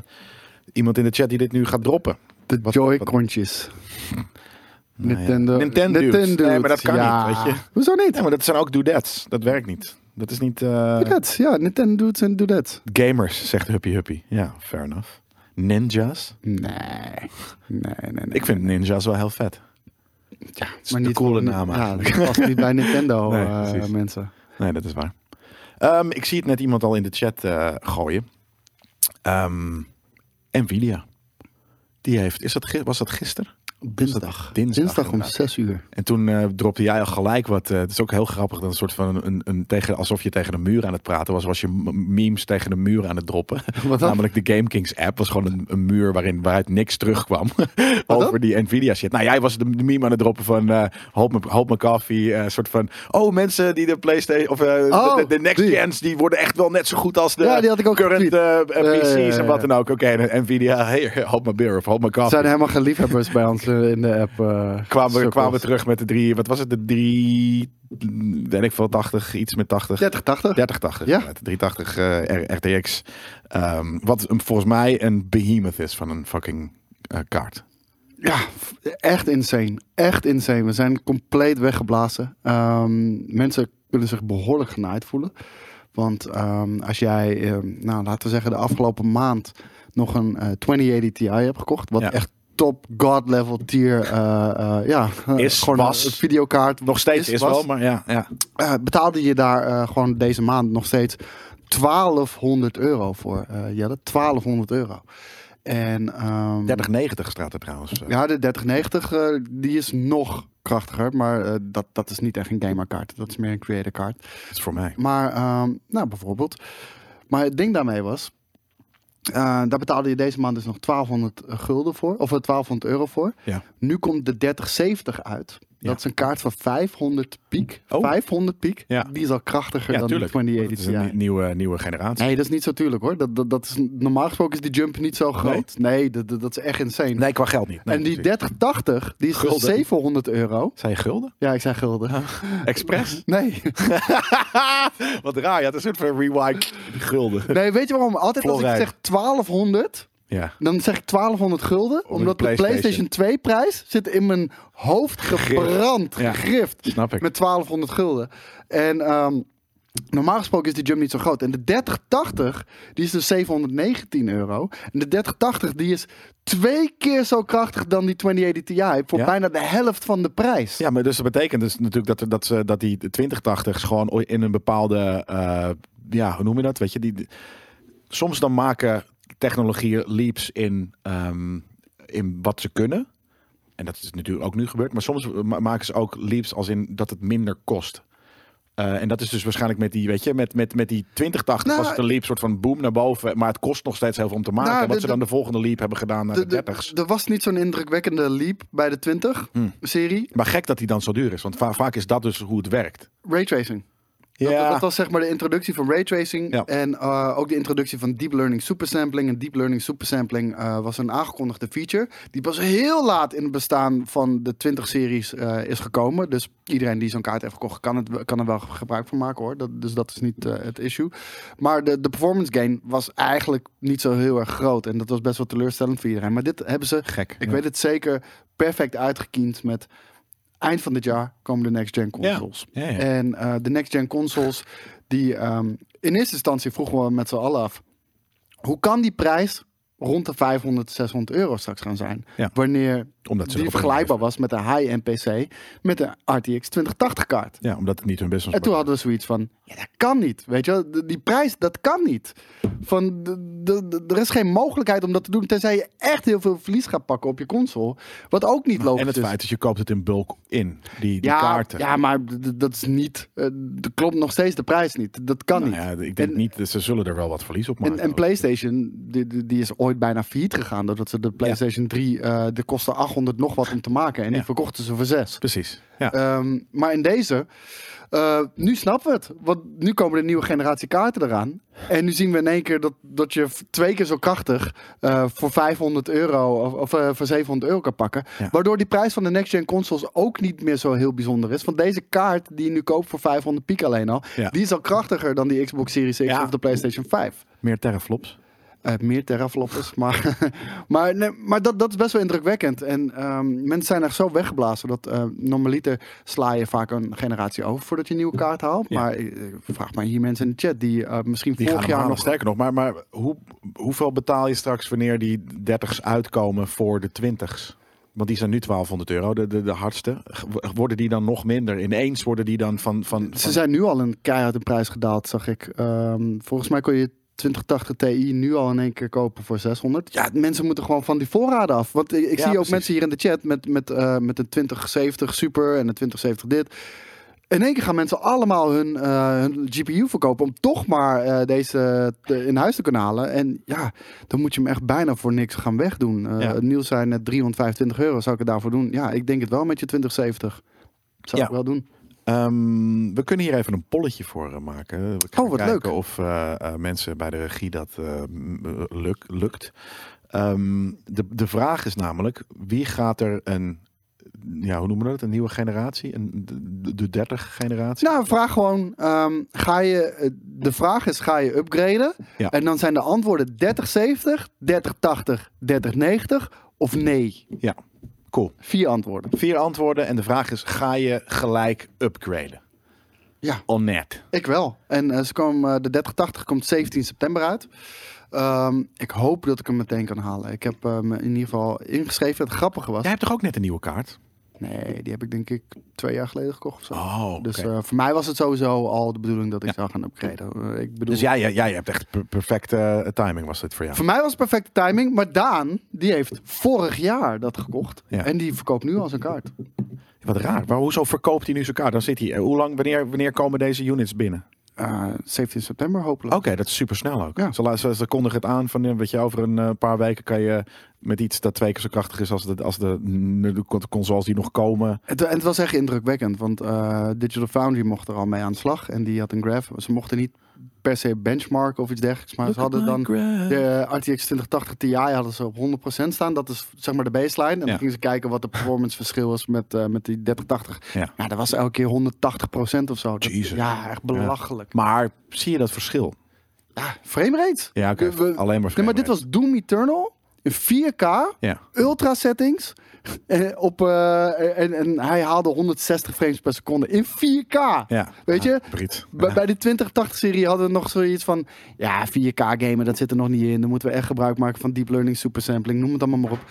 Speaker 1: iemand in de chat die dit nu gaat droppen.
Speaker 2: De
Speaker 1: Wat-
Speaker 2: Joy-Contjes.
Speaker 1: Nou ja.
Speaker 2: Nintendo.
Speaker 1: Nintendo.
Speaker 2: Nintendo's,
Speaker 1: Nee, maar dat kan
Speaker 2: ja.
Speaker 1: niet, weet je.
Speaker 2: Hoezo niet?
Speaker 1: Nee, maar dat zijn ook doodads. Dat werkt niet. Dat is niet. eh,
Speaker 2: Dudettes, ja, Nintendo's en Dudettes.
Speaker 1: gamers, zegt Huppy Huppy. Ja, fair enough. Ninjas.
Speaker 2: Nee. Nee, nee, nee.
Speaker 1: Ik vind ninjas wel heel vet.
Speaker 2: Ja,
Speaker 1: een coole naam
Speaker 2: Ja, dat
Speaker 1: eigenlijk.
Speaker 2: past niet bij
Speaker 1: [laughs]
Speaker 2: Nintendo,
Speaker 1: Nee,
Speaker 2: eh,
Speaker 1: precies.
Speaker 2: mensen.
Speaker 1: Nee, dat is waar. Ehm, ik zie het net iemand al in de chat eh, gooien. Ehm, Nvidia. Die heeft. Is dat, gi- was dat gisteren?
Speaker 2: Dinsdag.
Speaker 1: Dinsdag,
Speaker 2: Dinsdag om
Speaker 1: inderdaad.
Speaker 2: 6 uur.
Speaker 1: En toen eh, dropte jij al gelijk wat. eh, het is ook heel grappig. Dat een soort van een, een tegen, alsof je tegen de muur aan het praten was. Was je m- memes tegen de muur aan het droppen.
Speaker 2: [laughs] Wat dan?
Speaker 1: Namelijk de GameKings app was gewoon een, een muur waarin, waaruit niks terugkwam. [laughs]
Speaker 2: dan?
Speaker 1: over die Nvidia shit. Nou, jij was de, de meme aan het droppen van. eh hoop me, hoop me koffie. eh, soort van. Oh, mensen die de PlayStation. Of eh,
Speaker 2: Oh,
Speaker 1: de, de- de next
Speaker 2: die.
Speaker 1: gens. Die worden echt wel net zo goed als de.
Speaker 2: Ja, die had ik ook
Speaker 1: current
Speaker 2: getweet.
Speaker 1: eh, eh,
Speaker 2: Ja,
Speaker 1: PC's
Speaker 2: ja, ja,
Speaker 1: en wat
Speaker 2: ja.
Speaker 1: dan ook. Oké, en Nvidia. [laughs] Hey, hoop me beer of hoop me
Speaker 2: Er
Speaker 1: koffie
Speaker 2: zijn helemaal geen liefhebbers bij ons eh, in de app. eh,
Speaker 1: eh, kwamen, we-
Speaker 2: cirkels.
Speaker 1: kwamen we terug met de drie, wat was het, de drie, weet ik veel, 80, iets met 80.
Speaker 2: 30, 80.
Speaker 1: 3080,
Speaker 2: Ja.
Speaker 1: ja. 380 eh, R- RTX. Ehm, wat een, volgens mij een behemoth is van een fucking eh, kaart.
Speaker 2: Ja, echt insane. Echt insane. We zijn compleet weggeblazen. Ehm, mensen kunnen zich behoorlijk genaaid voelen. Want ehm, als jij, ehm, nou, laten we zeggen, de afgelopen maand nog een eh, 2080 Ti hebt gekocht, wat
Speaker 1: Ja.
Speaker 2: echt top god level tier eh, eh, ja,
Speaker 1: [laughs] Is,
Speaker 2: gewoon
Speaker 1: was.
Speaker 2: een videokaart
Speaker 1: Nog steeds is,
Speaker 2: was,
Speaker 1: wel, maar ja. ja.
Speaker 2: eh, betaalde je daar eh, gewoon deze maand nog steeds 1200 euro voor, eh Jelle. 1200 euro. En, ehm,
Speaker 1: 3090 staat er trouwens. eh.
Speaker 2: ja, de 3090 eh, die is nog krachtiger, maar eh, dat, dat is niet echt een gamerkaart. Dat is meer een creatorkaart.
Speaker 1: Dat is voor mij.
Speaker 2: Maar, ehm, nou bijvoorbeeld. Maar het ding daarmee was, eh, daar betaalde je deze maand dus nog 1200 gulden voor, of eh, 1200 euro voor.
Speaker 1: Ja.
Speaker 2: Nu komt de 3070 uit.
Speaker 1: Ja.
Speaker 2: Dat is een kaart van 500 piek.
Speaker 1: Oh.
Speaker 2: 500 piek,
Speaker 1: Ja.
Speaker 2: die is al krachtiger
Speaker 1: Ja,
Speaker 2: dan
Speaker 1: tuurlijk.
Speaker 2: de
Speaker 1: Dat is
Speaker 2: 2080
Speaker 1: een
Speaker 2: Ti.
Speaker 1: nie- nieuwe, nieuwe generatie.
Speaker 2: Nee, dat is niet zo tuurlijk hoor. Dat, dat, dat is, normaal gesproken is die jump niet zo groot. Nee, dat, dat, dat is echt insane.
Speaker 1: Nee, qua geld niet. Nee,
Speaker 2: en die
Speaker 1: natuurlijk.
Speaker 2: 3080, die is dus
Speaker 1: Gulden.
Speaker 2: 700 euro.
Speaker 1: Zijn je gulden?
Speaker 2: Ja, ik zei gulden.
Speaker 1: Express?
Speaker 2: [laughs] Nee.
Speaker 1: [laughs] Wat raar, ja. Het is een soort van rewind. Gulden.
Speaker 2: nee, weet je waarom? Altijd als ik
Speaker 1: Florijn.
Speaker 2: zeg 1200,
Speaker 1: Ja.
Speaker 2: dan zeg ik 1200 gulden. Omdat de
Speaker 1: PlayStation.
Speaker 2: PlayStation 2 prijs zit in mijn hoofd gebrand,
Speaker 1: Ja.
Speaker 2: gegrift.
Speaker 1: Snap ik.
Speaker 2: Met 1200 gulden. En ehm, normaal gesproken is die jump niet zo groot. En de 3080, die is dus 719 euro. En de 3080, die is twee keer zo krachtig dan die 2080 Ti. Voor
Speaker 1: Ja.
Speaker 2: bijna de helft van de prijs.
Speaker 1: Ja, maar dus dat betekent dus natuurlijk dat, er- dat, ze, dat die 2080's gewoon ooit in een bepaalde, eh, ja, hoe noem je dat? Weet je, die, die- soms dan maken technologieën leaps in, ehm, in wat ze kunnen. En dat is natuurlijk ook nu gebeurd. Maar soms ma- maken ze ook leaps als in dat het minder kost. Eh, en dat is dus waarschijnlijk met die, weet je, met, met, met die 2080
Speaker 2: Nou,
Speaker 1: was het een leap soort van boom naar boven. Maar het kost nog steeds heel veel om te maken.
Speaker 2: Nou,
Speaker 1: wat
Speaker 2: de-
Speaker 1: ze dan de volgende leap hebben gedaan naar de,
Speaker 2: De- de-
Speaker 1: 30's.
Speaker 2: Er was niet zo'n indrukwekkende leap bij de 20-serie.
Speaker 1: Maar gek dat die dan zo duur is. Want va- vaak is dat dus hoe het werkt.
Speaker 2: Raytracing. Dat, dat was zeg maar de introductie van raytracing.
Speaker 1: Ja.
Speaker 2: En eh, ook de introductie van deep learning supersampling. En deep learning supersampling eh was een aangekondigde feature. Die pas heel laat in het bestaan van de 20-series eh, is gekomen. Dus iedereen die zo'n kaart heeft gekocht kan, het, kan er wel gebruik van maken hoor. Dat, dus dat is niet eh, het issue. Maar de, de performance gain was eigenlijk niet zo heel erg groot. En dat was best wel teleurstellend voor iedereen. Maar dit hebben ze
Speaker 1: Gek.
Speaker 2: Ik
Speaker 1: ja.
Speaker 2: weet het zeker. Perfect uitgekiend met eind van dit jaar komen de next gen consoles.
Speaker 1: Ja, ja, ja.
Speaker 2: En eh, de next gen consoles die ehm, in eerste instantie vroegen we met z'n allen af. Hoe kan die prijs rond de 500, 600 euro straks gaan zijn?
Speaker 1: Ja.
Speaker 2: Wanneer
Speaker 1: Omdat ze
Speaker 2: die
Speaker 1: erop
Speaker 2: vergelijkbaar was met een high-end PC met een RTX 2080 kaart.
Speaker 1: Ja, omdat het niet hun business
Speaker 2: En toen
Speaker 1: was.
Speaker 2: hadden we zoiets van, ja, dat kan niet. Weet je, wel? De- die prijs, dat kan niet. Van, de- de- de- er is geen mogelijkheid om dat te doen, tenzij je echt heel veel verlies gaat pakken op je console. Wat ook niet logisch
Speaker 1: En het
Speaker 2: is.
Speaker 1: feit dat je koopt het in bulk in. Die, die
Speaker 2: ja,
Speaker 1: kaarten.
Speaker 2: ja, maar d- d- dat is niet, eh, d- klopt nog steeds de prijs niet. Dat kan
Speaker 1: Nou
Speaker 2: niet.
Speaker 1: ja, ik denk
Speaker 2: En-
Speaker 1: niet dat ze zullen er wel wat verlies op maken.
Speaker 2: En, en PlayStation, die, die- die is ooit bijna failliet gegaan. Doordat ze de PlayStation 3, eh de kostte 800 nog wat om te maken. En die
Speaker 1: Ja.
Speaker 2: verkochten ze voor 6.
Speaker 1: Precies. Ja.
Speaker 2: Ehm, maar in deze, eh, nu snappen we het. Want nu komen de nieuwe generatie kaarten eraan. En nu zien we in één keer dat, dat je v- twee keer zo krachtig eh, voor 500 euro of, of eh, voor 700 euro kan pakken.
Speaker 1: Ja.
Speaker 2: Waardoor die prijs van de next-gen consoles ook niet meer zo heel bijzonder is. Want deze kaart die je nu koopt voor 500 piek alleen al,
Speaker 1: Ja.
Speaker 2: die is al krachtiger dan die Xbox Series X
Speaker 1: Ja.
Speaker 2: of de PlayStation 5.
Speaker 1: Meer terraflops.
Speaker 2: Eh, meer terrafloppers. [laughs] Maar, maar, nee, maar dat, dat is best wel indrukwekkend. En ehm, mensen zijn echt zo weggeblazen dat eh, normaliter sla je vaak een generatie over voordat je een nieuwe kaart haalt.
Speaker 1: Ja.
Speaker 2: Maar eh, vraag maar hier mensen in de chat die eh, misschien
Speaker 1: Die
Speaker 2: vorig
Speaker 1: gaan
Speaker 2: jaar
Speaker 1: nog
Speaker 2: nog.
Speaker 1: sterker nog. Maar, maar hoe, hoeveel betaal je straks wanneer die 30's uitkomen voor de 20's? Want die zijn nu 1200 euro, de, de, de hardste. G- Worden die dan nog minder? Ineens worden die dan van... van,
Speaker 2: Ze
Speaker 1: van-
Speaker 2: zijn nu al een keihard in prijs gedaald, zag ik. Ehm, volgens mij kon je 2080 Ti nu al in één keer kopen voor 600. Ja, mensen moeten gewoon van die voorraden af. Want ik, ik zie ook
Speaker 1: precies.
Speaker 2: mensen hier in de chat met, met, eh, met een 2070 Super en een 2070 dit. In één keer gaan mensen allemaal hun, eh, hun GPU verkopen om toch maar eh, deze te- in huis te kunnen halen. En ja, dan moet je hem echt bijna voor niks gaan wegdoen. Eh
Speaker 1: Ja.
Speaker 2: Het nieuws zijn net 325 euro, zou ik het daarvoor doen? Ja, ik denk het wel met je 2070. Zou
Speaker 1: Ja.
Speaker 2: ik wel doen.
Speaker 1: Ehm, we kunnen hier even een polletje voor eh, maken. We kunnen
Speaker 2: Oh, wat
Speaker 1: kijken
Speaker 2: leuk.
Speaker 1: of eh, eh, mensen bij de regie dat eh, m- eh, luk- lukt. Ehm, de, de vraag is namelijk, wie gaat er een, ja, hoe noemen we dat, een nieuwe generatie? Een, de, de 30 generatie?
Speaker 2: Nou, vraag gewoon, ehm, ga je, eh, de vraag is, ga je upgraden?
Speaker 1: Ja.
Speaker 2: En dan zijn de antwoorden 3070, 3080, 3090 of nee.
Speaker 1: Ja,
Speaker 2: Nou.
Speaker 1: Cool.
Speaker 2: Vier antwoorden.
Speaker 1: Vier antwoorden en de vraag is, ga je gelijk upgraden?
Speaker 2: Ja.
Speaker 1: On net.
Speaker 2: Ik wel. En eh, ze kwam, eh, de 3080 komt 17 september uit. Ehm, ik hoop dat ik hem meteen kan halen. Ik heb eh, me in ieder geval ingeschreven. Het grappige was.
Speaker 1: Jij hebt toch ook net een nieuwe kaart?
Speaker 2: Nee, die heb ik denk ik twee jaar geleden gekocht of zo.
Speaker 1: Oh, oké.
Speaker 2: Dus
Speaker 1: Dus,
Speaker 2: eh, voor mij was het sowieso al de bedoeling dat ik zou gaan upgraden. Eh, ik bedoel,
Speaker 1: jij, jij, jij hebt echt per- perfecte eh, timing was dit voor jou.
Speaker 2: Voor mij was het perfecte timing. Maar Daan, die heeft vorig jaar dat gekocht.
Speaker 1: Ja.
Speaker 2: En die verkoopt nu al zijn kaart.
Speaker 1: Wat raar. Maar hoezo verkoopt hij nu zijn kaart? Dan zit hij. eh, Hoe lang, wanneer, wanneer komen deze units binnen?
Speaker 2: Eh, 17 september hopelijk.
Speaker 1: Oké, dat is super snel ook.
Speaker 2: Ja.
Speaker 1: Ze, la- ze, ze kondigen het aan van eh, weet je, over een eh, paar weken kan je met iets dat twee keer zo krachtig is als de, als de, de consoles die nog komen.
Speaker 2: Het, en het was echt indrukwekkend, want eh, Digital Foundry mocht er al mee aan de slag. En die had een graph. Ze mochten niet per se benchmark of iets dergelijks, maar ze hadden dan de RTX 2080 Ti hadden ze op 100% staan. Dat is zeg maar de baseline. En
Speaker 1: Ja.
Speaker 2: dan gingen ze kijken wat de performance verschil was met, eh, met die 3080.
Speaker 1: Ja.
Speaker 2: Nou, dat was elke keer 180% of zo. Dat-
Speaker 1: Jezus.
Speaker 2: Ja, echt belachelijk.
Speaker 1: Maar zie je dat verschil?
Speaker 2: Ja, frame rate.
Speaker 1: Ja, oké.
Speaker 2: We- we-
Speaker 1: Alleen maar.
Speaker 2: Nee, maar
Speaker 1: framerate.
Speaker 2: dit was Doom Eternal in 4K
Speaker 1: Ja.
Speaker 2: ultra settings. eh, Op, eh, en, en hij haalde 160 frames per seconde in 4K.
Speaker 1: Ja.
Speaker 2: Weet
Speaker 1: Ja,
Speaker 2: je?
Speaker 1: Brit.
Speaker 2: Bij, bij die 2080-serie hadden we nog zoiets van... Ja, 4K-gamen, dat zit er nog niet in. Dan moeten we echt gebruik maken van deep learning, supersampling. Noem het allemaal maar op.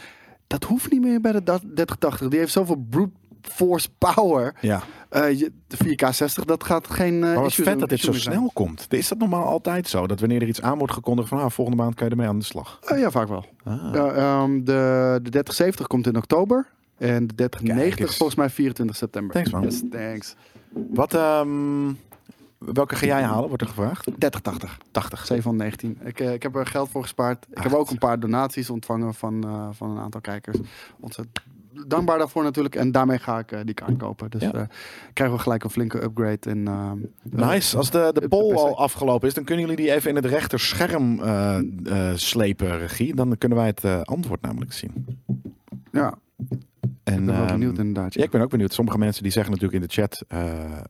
Speaker 2: Dat hoeft niet meer bij de da- 3080. Die heeft zoveel brute force power.
Speaker 1: Ja.
Speaker 2: Eh, je- de 4K60, dat gaat geen... eh,
Speaker 1: Maar wat
Speaker 2: issue-
Speaker 1: vet dat dit zo
Speaker 2: issue meer zijn.
Speaker 1: snel komt. Is dat normaal altijd zo? Dat wanneer er iets aan wordt gekondigd van ah, volgende maand kan je ermee aan de slag.
Speaker 2: Eh, ja, vaak wel.
Speaker 1: Ah.
Speaker 2: Ja, ehm, de, de 3070 komt in oktober. En de 3090
Speaker 1: eens.
Speaker 2: volgens mij 24 september.
Speaker 1: Thanks, man.
Speaker 2: Yes, thanks.
Speaker 1: Wat, ehm, welke ga jij halen, wordt er gevraagd?
Speaker 2: 3080.
Speaker 1: 80.
Speaker 2: 719. Ik, eh, ik heb er geld voor gespaard. Ik heb ook een paar donaties ontvangen van, eh, van een aantal kijkers. Ontzettend dankbaar daarvoor natuurlijk. En daarmee ga ik eh, die kaart kopen. Dus
Speaker 1: Ja.
Speaker 2: eh, krijgen we gelijk een flinke upgrade. En, ehm,
Speaker 1: Nice. Als de, de poll
Speaker 2: per se.
Speaker 1: al afgelopen is, dan kunnen jullie die even in het rechter scherm eh, eh, slepen, regie. Dan kunnen wij het eh, antwoord namelijk zien.
Speaker 2: ja,
Speaker 1: En,
Speaker 2: ik ben wel
Speaker 1: ehm,
Speaker 2: benieuwd inderdaad.
Speaker 1: Ja, ik ben ook benieuwd. Sommige mensen die zeggen natuurlijk in de chat, eh,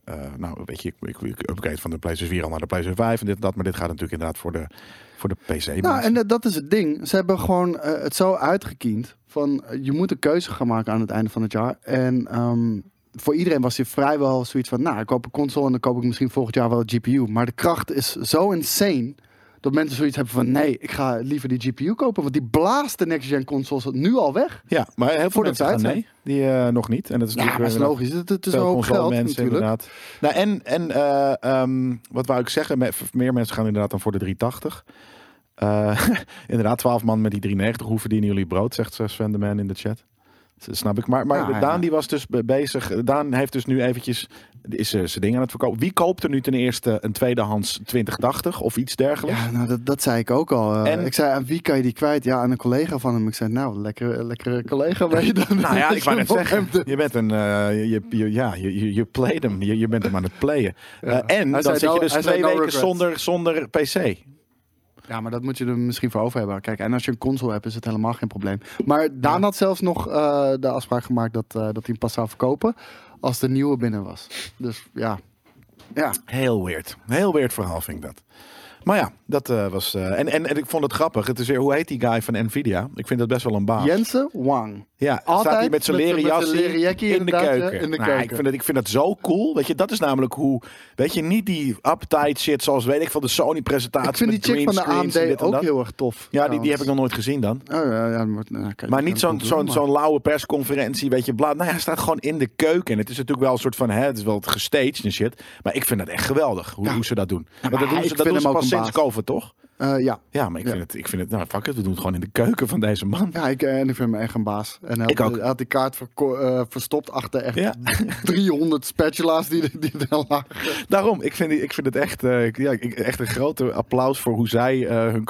Speaker 1: eh, nou weet je, ik, ik, ik upgrade van de PlayStation 4 al naar de PlayStation 5 en dit en dat. Maar dit gaat natuurlijk inderdaad voor de, voor de E. PC.
Speaker 2: Nou,
Speaker 1: mensen.
Speaker 2: en dat, dat is het ding. Ze hebben gewoon eh, het zo uitgekiend van eh, je moet een keuze gaan maken aan het einde van het jaar. En ehm, voor iedereen was hier vrijwel zoiets van, nou, ik koop een console en dan koop ik misschien volgend jaar wel een GPU. Maar de kracht is zo insane dat mensen zoiets hebben van, nee, ik ga liever die GPU kopen, want die blaast de next-gen consoles nu al weg.
Speaker 1: ja, maar heel veel
Speaker 2: Voor de
Speaker 1: mensen gaan
Speaker 2: tijd,
Speaker 1: nee, die eh, nog niet. En dat is
Speaker 2: Ja,
Speaker 1: natuurlijk
Speaker 2: dat is
Speaker 1: weer-
Speaker 2: logisch. Het, het is een
Speaker 1: Veel
Speaker 2: hoop geld
Speaker 1: consolemensen
Speaker 2: natuurlijk.
Speaker 1: inderdaad. Nou, en en eh, ehm, wat wou ik zeggen, me- meer mensen gaan inderdaad dan voor de 380. Eh, [laughs] inderdaad, 12 man met die 390, hoe verdienen jullie brood, zegt Sven de Man in de chat. Dat snap ik. Maar, maar
Speaker 2: Ja, ja.
Speaker 1: Daan die was dus be- bezig. Daan heeft dus nu eventjes is, eh, zijn ding aan het verkopen. Wie koopt er nu ten eerste een tweedehands 2080 of iets dergelijks?
Speaker 2: Ja, nou, dat, dat zei ik ook al. Eh,
Speaker 1: En-
Speaker 2: ik zei, aan wie kan je die kwijt? Ja, aan een collega van hem. Ik zei, nou, lekkere, lekkere
Speaker 1: [laughs]
Speaker 2: collega ben je dan.
Speaker 1: Nou ja, ik wou [laughs] net
Speaker 2: Van
Speaker 1: zeggen,
Speaker 2: hem.
Speaker 1: je bent een, eh, je, je, ja, je, je, je played hem, je, je bent hem aan het playen. Eh, en dan
Speaker 2: zei
Speaker 1: zit je
Speaker 2: no-
Speaker 1: dus
Speaker 2: hij zei
Speaker 1: twee
Speaker 2: no
Speaker 1: weken
Speaker 2: regrets.
Speaker 1: zonder, zonder PC.
Speaker 2: Ja, maar dat moet je er misschien voor over hebben. Kijk, en als je een console hebt, is het helemaal geen probleem. Maar Daan had zelfs nog eh, de afspraak gemaakt dat, eh, dat hij hem pas zou verkopen als de nieuwe binnen was. Dus ja. Ja,
Speaker 1: Heel weird. Heel weird verhaal vind ik dat. Maar ja, dat eh, was... eh, en, en, en ik vond het grappig. Het is weer, hoe heet die guy van Nvidia? Ik vind dat best wel een baas.
Speaker 2: Jensen Wang.
Speaker 1: ja, staat
Speaker 2: altijd
Speaker 1: hij met zijn
Speaker 2: met-
Speaker 1: leren
Speaker 2: met zijn
Speaker 1: jasje
Speaker 2: leren jackie
Speaker 1: in de
Speaker 2: inderdaad, ja,
Speaker 1: keuken.
Speaker 2: in de
Speaker 1: Nou,
Speaker 2: keuken.
Speaker 1: ik, vind dat, ik vind dat zo cool. Weet je, dat is namelijk hoe... Weet je, niet die uptight shit zoals, weet ik, van de Sony-presentatie.
Speaker 2: Ik vind die
Speaker 1: met
Speaker 2: chick van de
Speaker 1: greenscreens en dit
Speaker 2: AMD
Speaker 1: en
Speaker 2: ook
Speaker 1: dat.
Speaker 2: heel erg tof.
Speaker 1: Ja, die, die heb ik nog nooit gezien dan.
Speaker 2: Oh, ja, ja, maar, nou, kijk,
Speaker 1: Maar
Speaker 2: ik
Speaker 1: niet
Speaker 2: kan
Speaker 1: zo'n
Speaker 2: het
Speaker 1: zo'n
Speaker 2: doen,
Speaker 1: zo'n lauwe persconferentie, weet je, bla. Nou ja, hij staat gewoon in de keuken. En het is natuurlijk wel een soort van, hè, het is wel gestaged en shit. Maar ik vind dat echt geweldig, hoe,
Speaker 2: Ja.
Speaker 1: hoe ze dat doen. Want dat
Speaker 2: maar
Speaker 1: doen
Speaker 2: ik
Speaker 1: ze, dat
Speaker 2: vind
Speaker 1: doen ze
Speaker 2: hem ook
Speaker 1: pas
Speaker 2: een
Speaker 1: sinds
Speaker 2: baas.
Speaker 1: COVID, toch?
Speaker 2: maar- eh, ja.
Speaker 1: Ja, maar ik,
Speaker 2: Ja.
Speaker 1: Vind het, ik vind het, nou fuck it, we doen het gewoon in de keuken van deze man. [laughs]
Speaker 2: Ja, ik, eh, en ik vind hem echt een baas. En hij
Speaker 1: Ik
Speaker 2: had,
Speaker 1: ook.
Speaker 2: hij had die kaart verko- eh, verstopt achter echt [laughs]
Speaker 1: Ja.
Speaker 2: 300 spatula's die, die er lagen.
Speaker 1: Daarom, ik vind, die- ik vind het echt, eh, ik- ja, ik- echt een grote applaus voor hoe zij eh, ehm, hun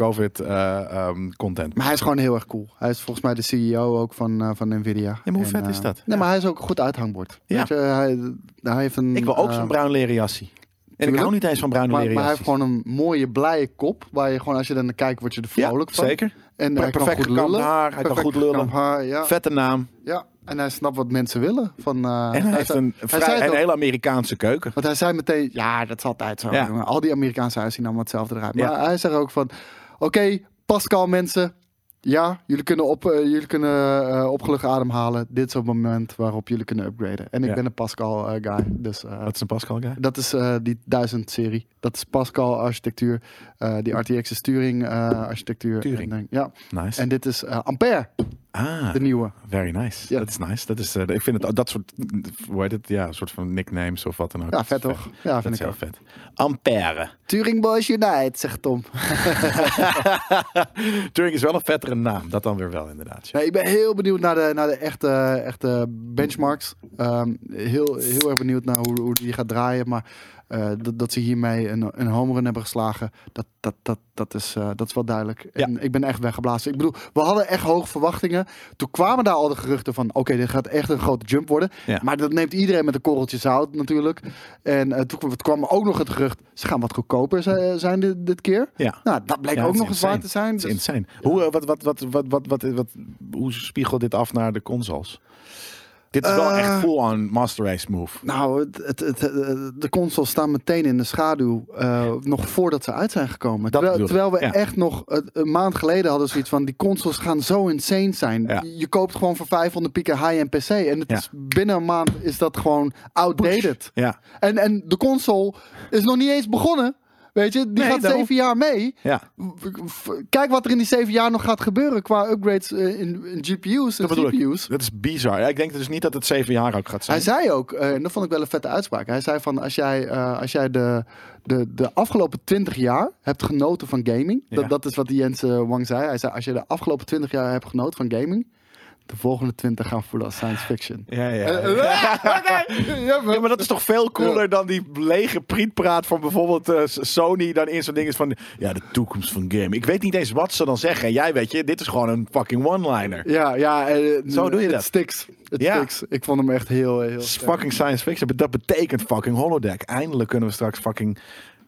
Speaker 1: COVID-content
Speaker 2: Maar hij is gewoon heel erg cool. Hij is volgens mij de CEO ook van, eh, van Nvidia. Ja,
Speaker 1: maar hoe vet is dat?
Speaker 2: Nee, maar hij is ook een goed uithangbord.
Speaker 1: Ja.
Speaker 2: Weet je, hij, hij heeft een,
Speaker 1: Ik wil ook
Speaker 2: eh,
Speaker 1: zo'n bruin leren jassie. En ik
Speaker 2: tuurlijk.
Speaker 1: hou niet eens van bruine
Speaker 2: maar,
Speaker 1: leren
Speaker 2: maar hij heeft
Speaker 1: jassies.
Speaker 2: gewoon een mooie, blije kop. Waar je gewoon, als je dan naar kijkt, word je er vrolijk
Speaker 1: ja,
Speaker 2: van.
Speaker 1: zeker.
Speaker 2: En
Speaker 1: Per-
Speaker 2: hij kan
Speaker 1: perfect
Speaker 2: goed
Speaker 1: gekamd
Speaker 2: lullen.
Speaker 1: haar, hij kan
Speaker 2: Perfect
Speaker 1: goed lullen.
Speaker 2: gekamd Haar, ja.
Speaker 1: Vette naam.
Speaker 2: ja. En hij snapt wat mensen willen. Van, eh,
Speaker 1: En hij heeft
Speaker 2: zei-
Speaker 1: een,
Speaker 2: hij
Speaker 1: vrij-
Speaker 2: zei het
Speaker 1: een
Speaker 2: ook.
Speaker 1: hele Amerikaanse keuken.
Speaker 2: Want hij zei meteen, ja, dat is altijd zo.
Speaker 1: Ja.
Speaker 2: jongen. Al die Amerikaanse huizen zien allemaal hetzelfde eruit. Maar
Speaker 1: Ja.
Speaker 2: hij zei ook van, oké, Pascal mensen, Ja, jullie kunnen, op, eh, jullie kunnen eh, opgelucht ademhalen. Dit is het moment waarop jullie kunnen upgraden. En ik
Speaker 1: Ja.
Speaker 2: ben een Pascal eh, guy. Dus eh,
Speaker 1: Dat is een Pascal guy.
Speaker 2: dat is eh, die 1000 serie. Dat is Pascal architectuur. eh, die RTX is Turing eh, architectuur.
Speaker 1: Turing.
Speaker 2: En, eh, ja.
Speaker 1: Nice.
Speaker 2: en dit is eh, Ampère,
Speaker 1: ah,
Speaker 2: de nieuwe.
Speaker 1: very nice.
Speaker 2: Ja.
Speaker 1: Dat is nice. Dat is, eh, ik vind het, dat soort, hoe heet het? Ja, soort van nicknames of wat dan ook.
Speaker 2: Ja,
Speaker 1: Dat is
Speaker 2: vet toch? Ja,
Speaker 1: Dat
Speaker 2: vind
Speaker 1: is
Speaker 2: ik
Speaker 1: heel
Speaker 2: ook.
Speaker 1: vet. Ampère. [laughs]
Speaker 2: Turing Boys Unite, zegt Tom.
Speaker 1: Turing is wel een vettere naam. Dat dan weer wel, inderdaad. Ja.
Speaker 2: Nee, ik ben heel benieuwd naar de, naar de echte, echte benchmarks. Ehm, heel, heel erg benieuwd naar hoe, hoe die gaat draaien. Maar eh, dat, dat ze hiermee een, een homerun hebben geslagen, dat, dat, dat, dat, is, eh, dat is wel duidelijk.
Speaker 1: Ja.
Speaker 2: En ik ben echt weggeblazen. Ik bedoel, we hadden echt hoge verwachtingen. Toen kwamen daar al de geruchten van, oké, dit gaat echt een grote jump worden.
Speaker 1: Ja.
Speaker 2: Maar dat neemt iedereen met een korreltje zout natuurlijk. En eh, toen kwam- kwam ook nog het gerucht, ze gaan wat goedkoper zi- zijn dit, dit keer.
Speaker 1: Ja.
Speaker 2: Nou, dat bleek
Speaker 1: Ja,
Speaker 2: ook
Speaker 1: het is
Speaker 2: nog eens waar te zijn.
Speaker 1: Het is
Speaker 2: Dus-
Speaker 1: insane. Hoe, eh, wat, wat, wat, wat, wat, wat, wat, hoe spiegelt dit af naar de consoles? Dit is wel
Speaker 2: Eh,
Speaker 1: echt full-on Master Race move.
Speaker 2: Nou, het, het, het, eh, de consoles staan meteen in de schaduw. eh, nog voordat ze uit zijn gekomen. terwijl,
Speaker 1: bedoel ik,
Speaker 2: terwijl we
Speaker 1: ja.
Speaker 2: echt nog eh, een maand geleden hadden zoiets van: die consoles gaan zo insane zijn.
Speaker 1: Ja.
Speaker 2: Je, je koopt gewoon voor 500 pieken high-end PC. En het
Speaker 1: Ja.
Speaker 2: is, binnen een maand is dat gewoon outdated.
Speaker 1: Ja,
Speaker 2: En, en de console is nog niet eens begonnen. Weet je, die
Speaker 1: Nee,
Speaker 2: gaat
Speaker 1: daarom.
Speaker 2: zeven jaar mee.
Speaker 1: ja.
Speaker 2: Kijk wat er in die zeven jaar nog gaat gebeuren qua upgrades eh, in, in GPU's en
Speaker 1: Dat bedoel
Speaker 2: CPU's.
Speaker 1: ik. Dat is bizar. Ja, ik denk dus niet dat het zeven jaar ook gaat zijn.
Speaker 2: Hij zei ook, eh, en dat vond ik wel een vette uitspraak. Hij zei van als jij, eh, als jij de, de, de afgelopen 20 jaar hebt genoten van gaming.
Speaker 1: Ja.
Speaker 2: Dat, dat is wat die Jens eh, Wang zei. Hij zei als je de afgelopen 20 jaar hebt genoten van gaming. De volgende 20 gaan voelen als science fiction. Eh,
Speaker 1: Ja, ja. [laughs]
Speaker 2: Ja, maar-
Speaker 1: Ja, maar dat is toch veel cooler dan die lege prietpraat van bijvoorbeeld eh, S- Sony. Dan in zo'n ding is van, ja, de toekomst van game. Ik weet niet eens wat ze dan zeggen. En jij weet je, dit is gewoon een fucking one-liner.
Speaker 2: Ja, ja. eh,
Speaker 1: Zo doe je
Speaker 2: het
Speaker 1: dat.
Speaker 2: Sticks. Het
Speaker 1: Ja.
Speaker 2: sticks. Ik vond hem echt heel, heel.
Speaker 1: Het is
Speaker 2: sterk.
Speaker 1: fucking science fiction. maar Dat betekent fucking holodeck. Eindelijk kunnen we straks fucking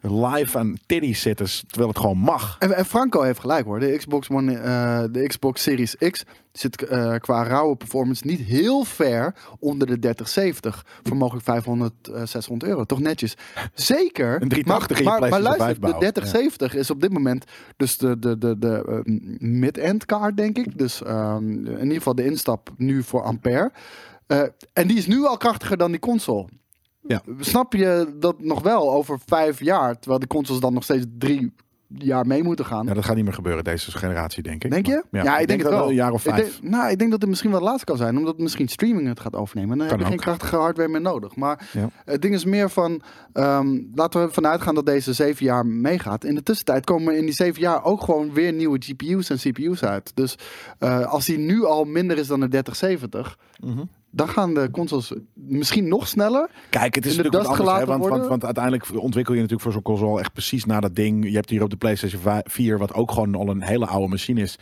Speaker 1: live aan titty zitten. Terwijl het gewoon mag.
Speaker 2: En, en Franco heeft gelijk hoor. De Xbox, One, eh, de Xbox Series X zit eh, qua rauwe performance niet heel ver onder de 3070. Voor mogelijk 500, eh, 600 euro. Toch netjes. Zeker.
Speaker 1: Een 380 in je
Speaker 2: maar, maar, maar
Speaker 1: PlayStation
Speaker 2: luister,
Speaker 1: 5
Speaker 2: de
Speaker 1: bouwen.
Speaker 2: 3070 is op dit moment dus de, de, de, de eh, mid-end kaart denk ik. Dus ehm, in ieder geval de instap nu voor Ampère. Eh, en die is nu al krachtiger dan die console.
Speaker 1: Ja.
Speaker 2: Snap je dat nog wel over vijf jaar, terwijl de consoles dan nog steeds drie jaar mee moeten gaan?
Speaker 1: Nou, dat gaat niet meer gebeuren deze generatie, denk ik.
Speaker 2: Denk je?
Speaker 1: Maar,
Speaker 2: ik, denk, het
Speaker 1: dat
Speaker 2: wel.
Speaker 1: Een jaar of
Speaker 2: Ik
Speaker 1: vijf.
Speaker 2: denk- nou, ik denk dat het misschien wel het laatste kan zijn, omdat misschien streaming het gaat overnemen. En dan
Speaker 1: Kan
Speaker 2: heb je geen
Speaker 1: ook.
Speaker 2: krachtige hardware meer nodig. Maar
Speaker 1: Ja.
Speaker 2: het ding is meer van, ehm, laten we ervan uitgaan dat deze zeven jaar meegaat. In de tussentijd komen in die zeven jaar ook gewoon weer nieuwe GPU's en CPU's uit. Dus eh, als die nu al minder is dan de 3070,
Speaker 1: Mhm.
Speaker 2: dan gaan de consoles misschien nog sneller.
Speaker 1: Kijk, het is
Speaker 2: in de
Speaker 1: natuurlijk wat
Speaker 2: dust
Speaker 1: anders, hè,
Speaker 2: gelaten
Speaker 1: want, want,
Speaker 2: worden.
Speaker 1: want uiteindelijk ontwikkel je natuurlijk voor zo'n console echt precies naar dat ding. Je hebt hier op de PlayStation 5 4, wat ook gewoon al een hele oude machine is,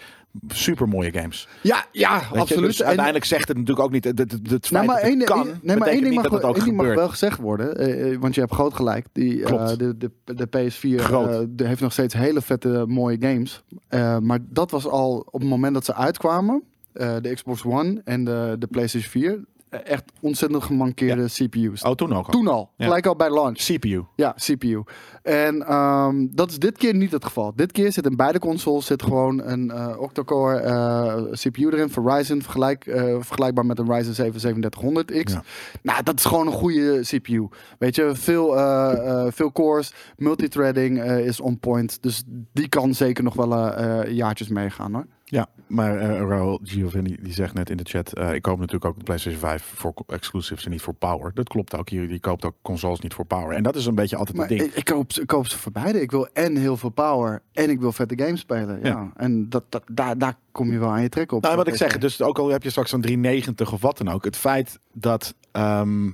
Speaker 1: super mooie games. Weet
Speaker 2: Ja, ja,
Speaker 1: je,
Speaker 2: absoluut.
Speaker 1: dus
Speaker 2: En-
Speaker 1: uiteindelijk zegt het natuurlijk ook niet, het, het, het feit
Speaker 2: Nee, Nou, maar
Speaker 1: dat het
Speaker 2: één,
Speaker 1: kan,
Speaker 2: één- nee, maar één
Speaker 1: betekent
Speaker 2: ding,
Speaker 1: niet
Speaker 2: mag,
Speaker 1: dat het
Speaker 2: wel-
Speaker 1: ook
Speaker 2: één ding mag
Speaker 1: gebeurt.
Speaker 2: wel gezegd worden. eh, eh, want je hebt groot gelijk. Die, eh,
Speaker 1: Klopt.
Speaker 2: de, de, de PS4
Speaker 1: Groot.
Speaker 2: eh, de heeft nog steeds hele vette mooie games. Eh, maar dat was al op het moment dat ze uitkwamen. eh, de Xbox One en de, de PlayStation 4. eh, Echt ontzettend gemankeerde CPU's.
Speaker 1: Oh, toen ook al.
Speaker 2: Toen al.
Speaker 1: Ja.
Speaker 2: Gelijk al bij launch.
Speaker 1: CPU.
Speaker 2: Ja, CPU. En ehm, dat is dit keer niet het geval. Dit keer zit in beide consoles zit gewoon een eh, octa-core eh, CPU erin. Verizon, vergelijk, eh, vergelijkbaar met een Ryzen 7 3700X.
Speaker 1: Ja.
Speaker 2: Nou, dat is gewoon een goede CPU. Weet je, veel, eh, eh, veel cores, multithreading eh, is on point. Dus die kan zeker nog wel eh, eh, jaartjes meegaan hoor.
Speaker 1: Ja, maar eh Raul Giovanni die zegt net in de chat, eh, ik koop natuurlijk ook de PlayStation 5 voor co- exclusives en niet voor power. Dat klopt ook, je, je koopt ook consoles niet voor power. En dat is een beetje altijd
Speaker 2: Maar
Speaker 1: het ding.
Speaker 2: ik, ik, koop, ze- ik koop ze voor beide. Ik wil en heel veel power en ik wil vette games spelen. Ja.
Speaker 1: Ja.
Speaker 2: En dat, dat, daar, daar kom je wel aan je trek op.
Speaker 1: Nou, wat ik zeg, dus ook al heb je straks een 390 of wat dan ook, het feit dat ehm,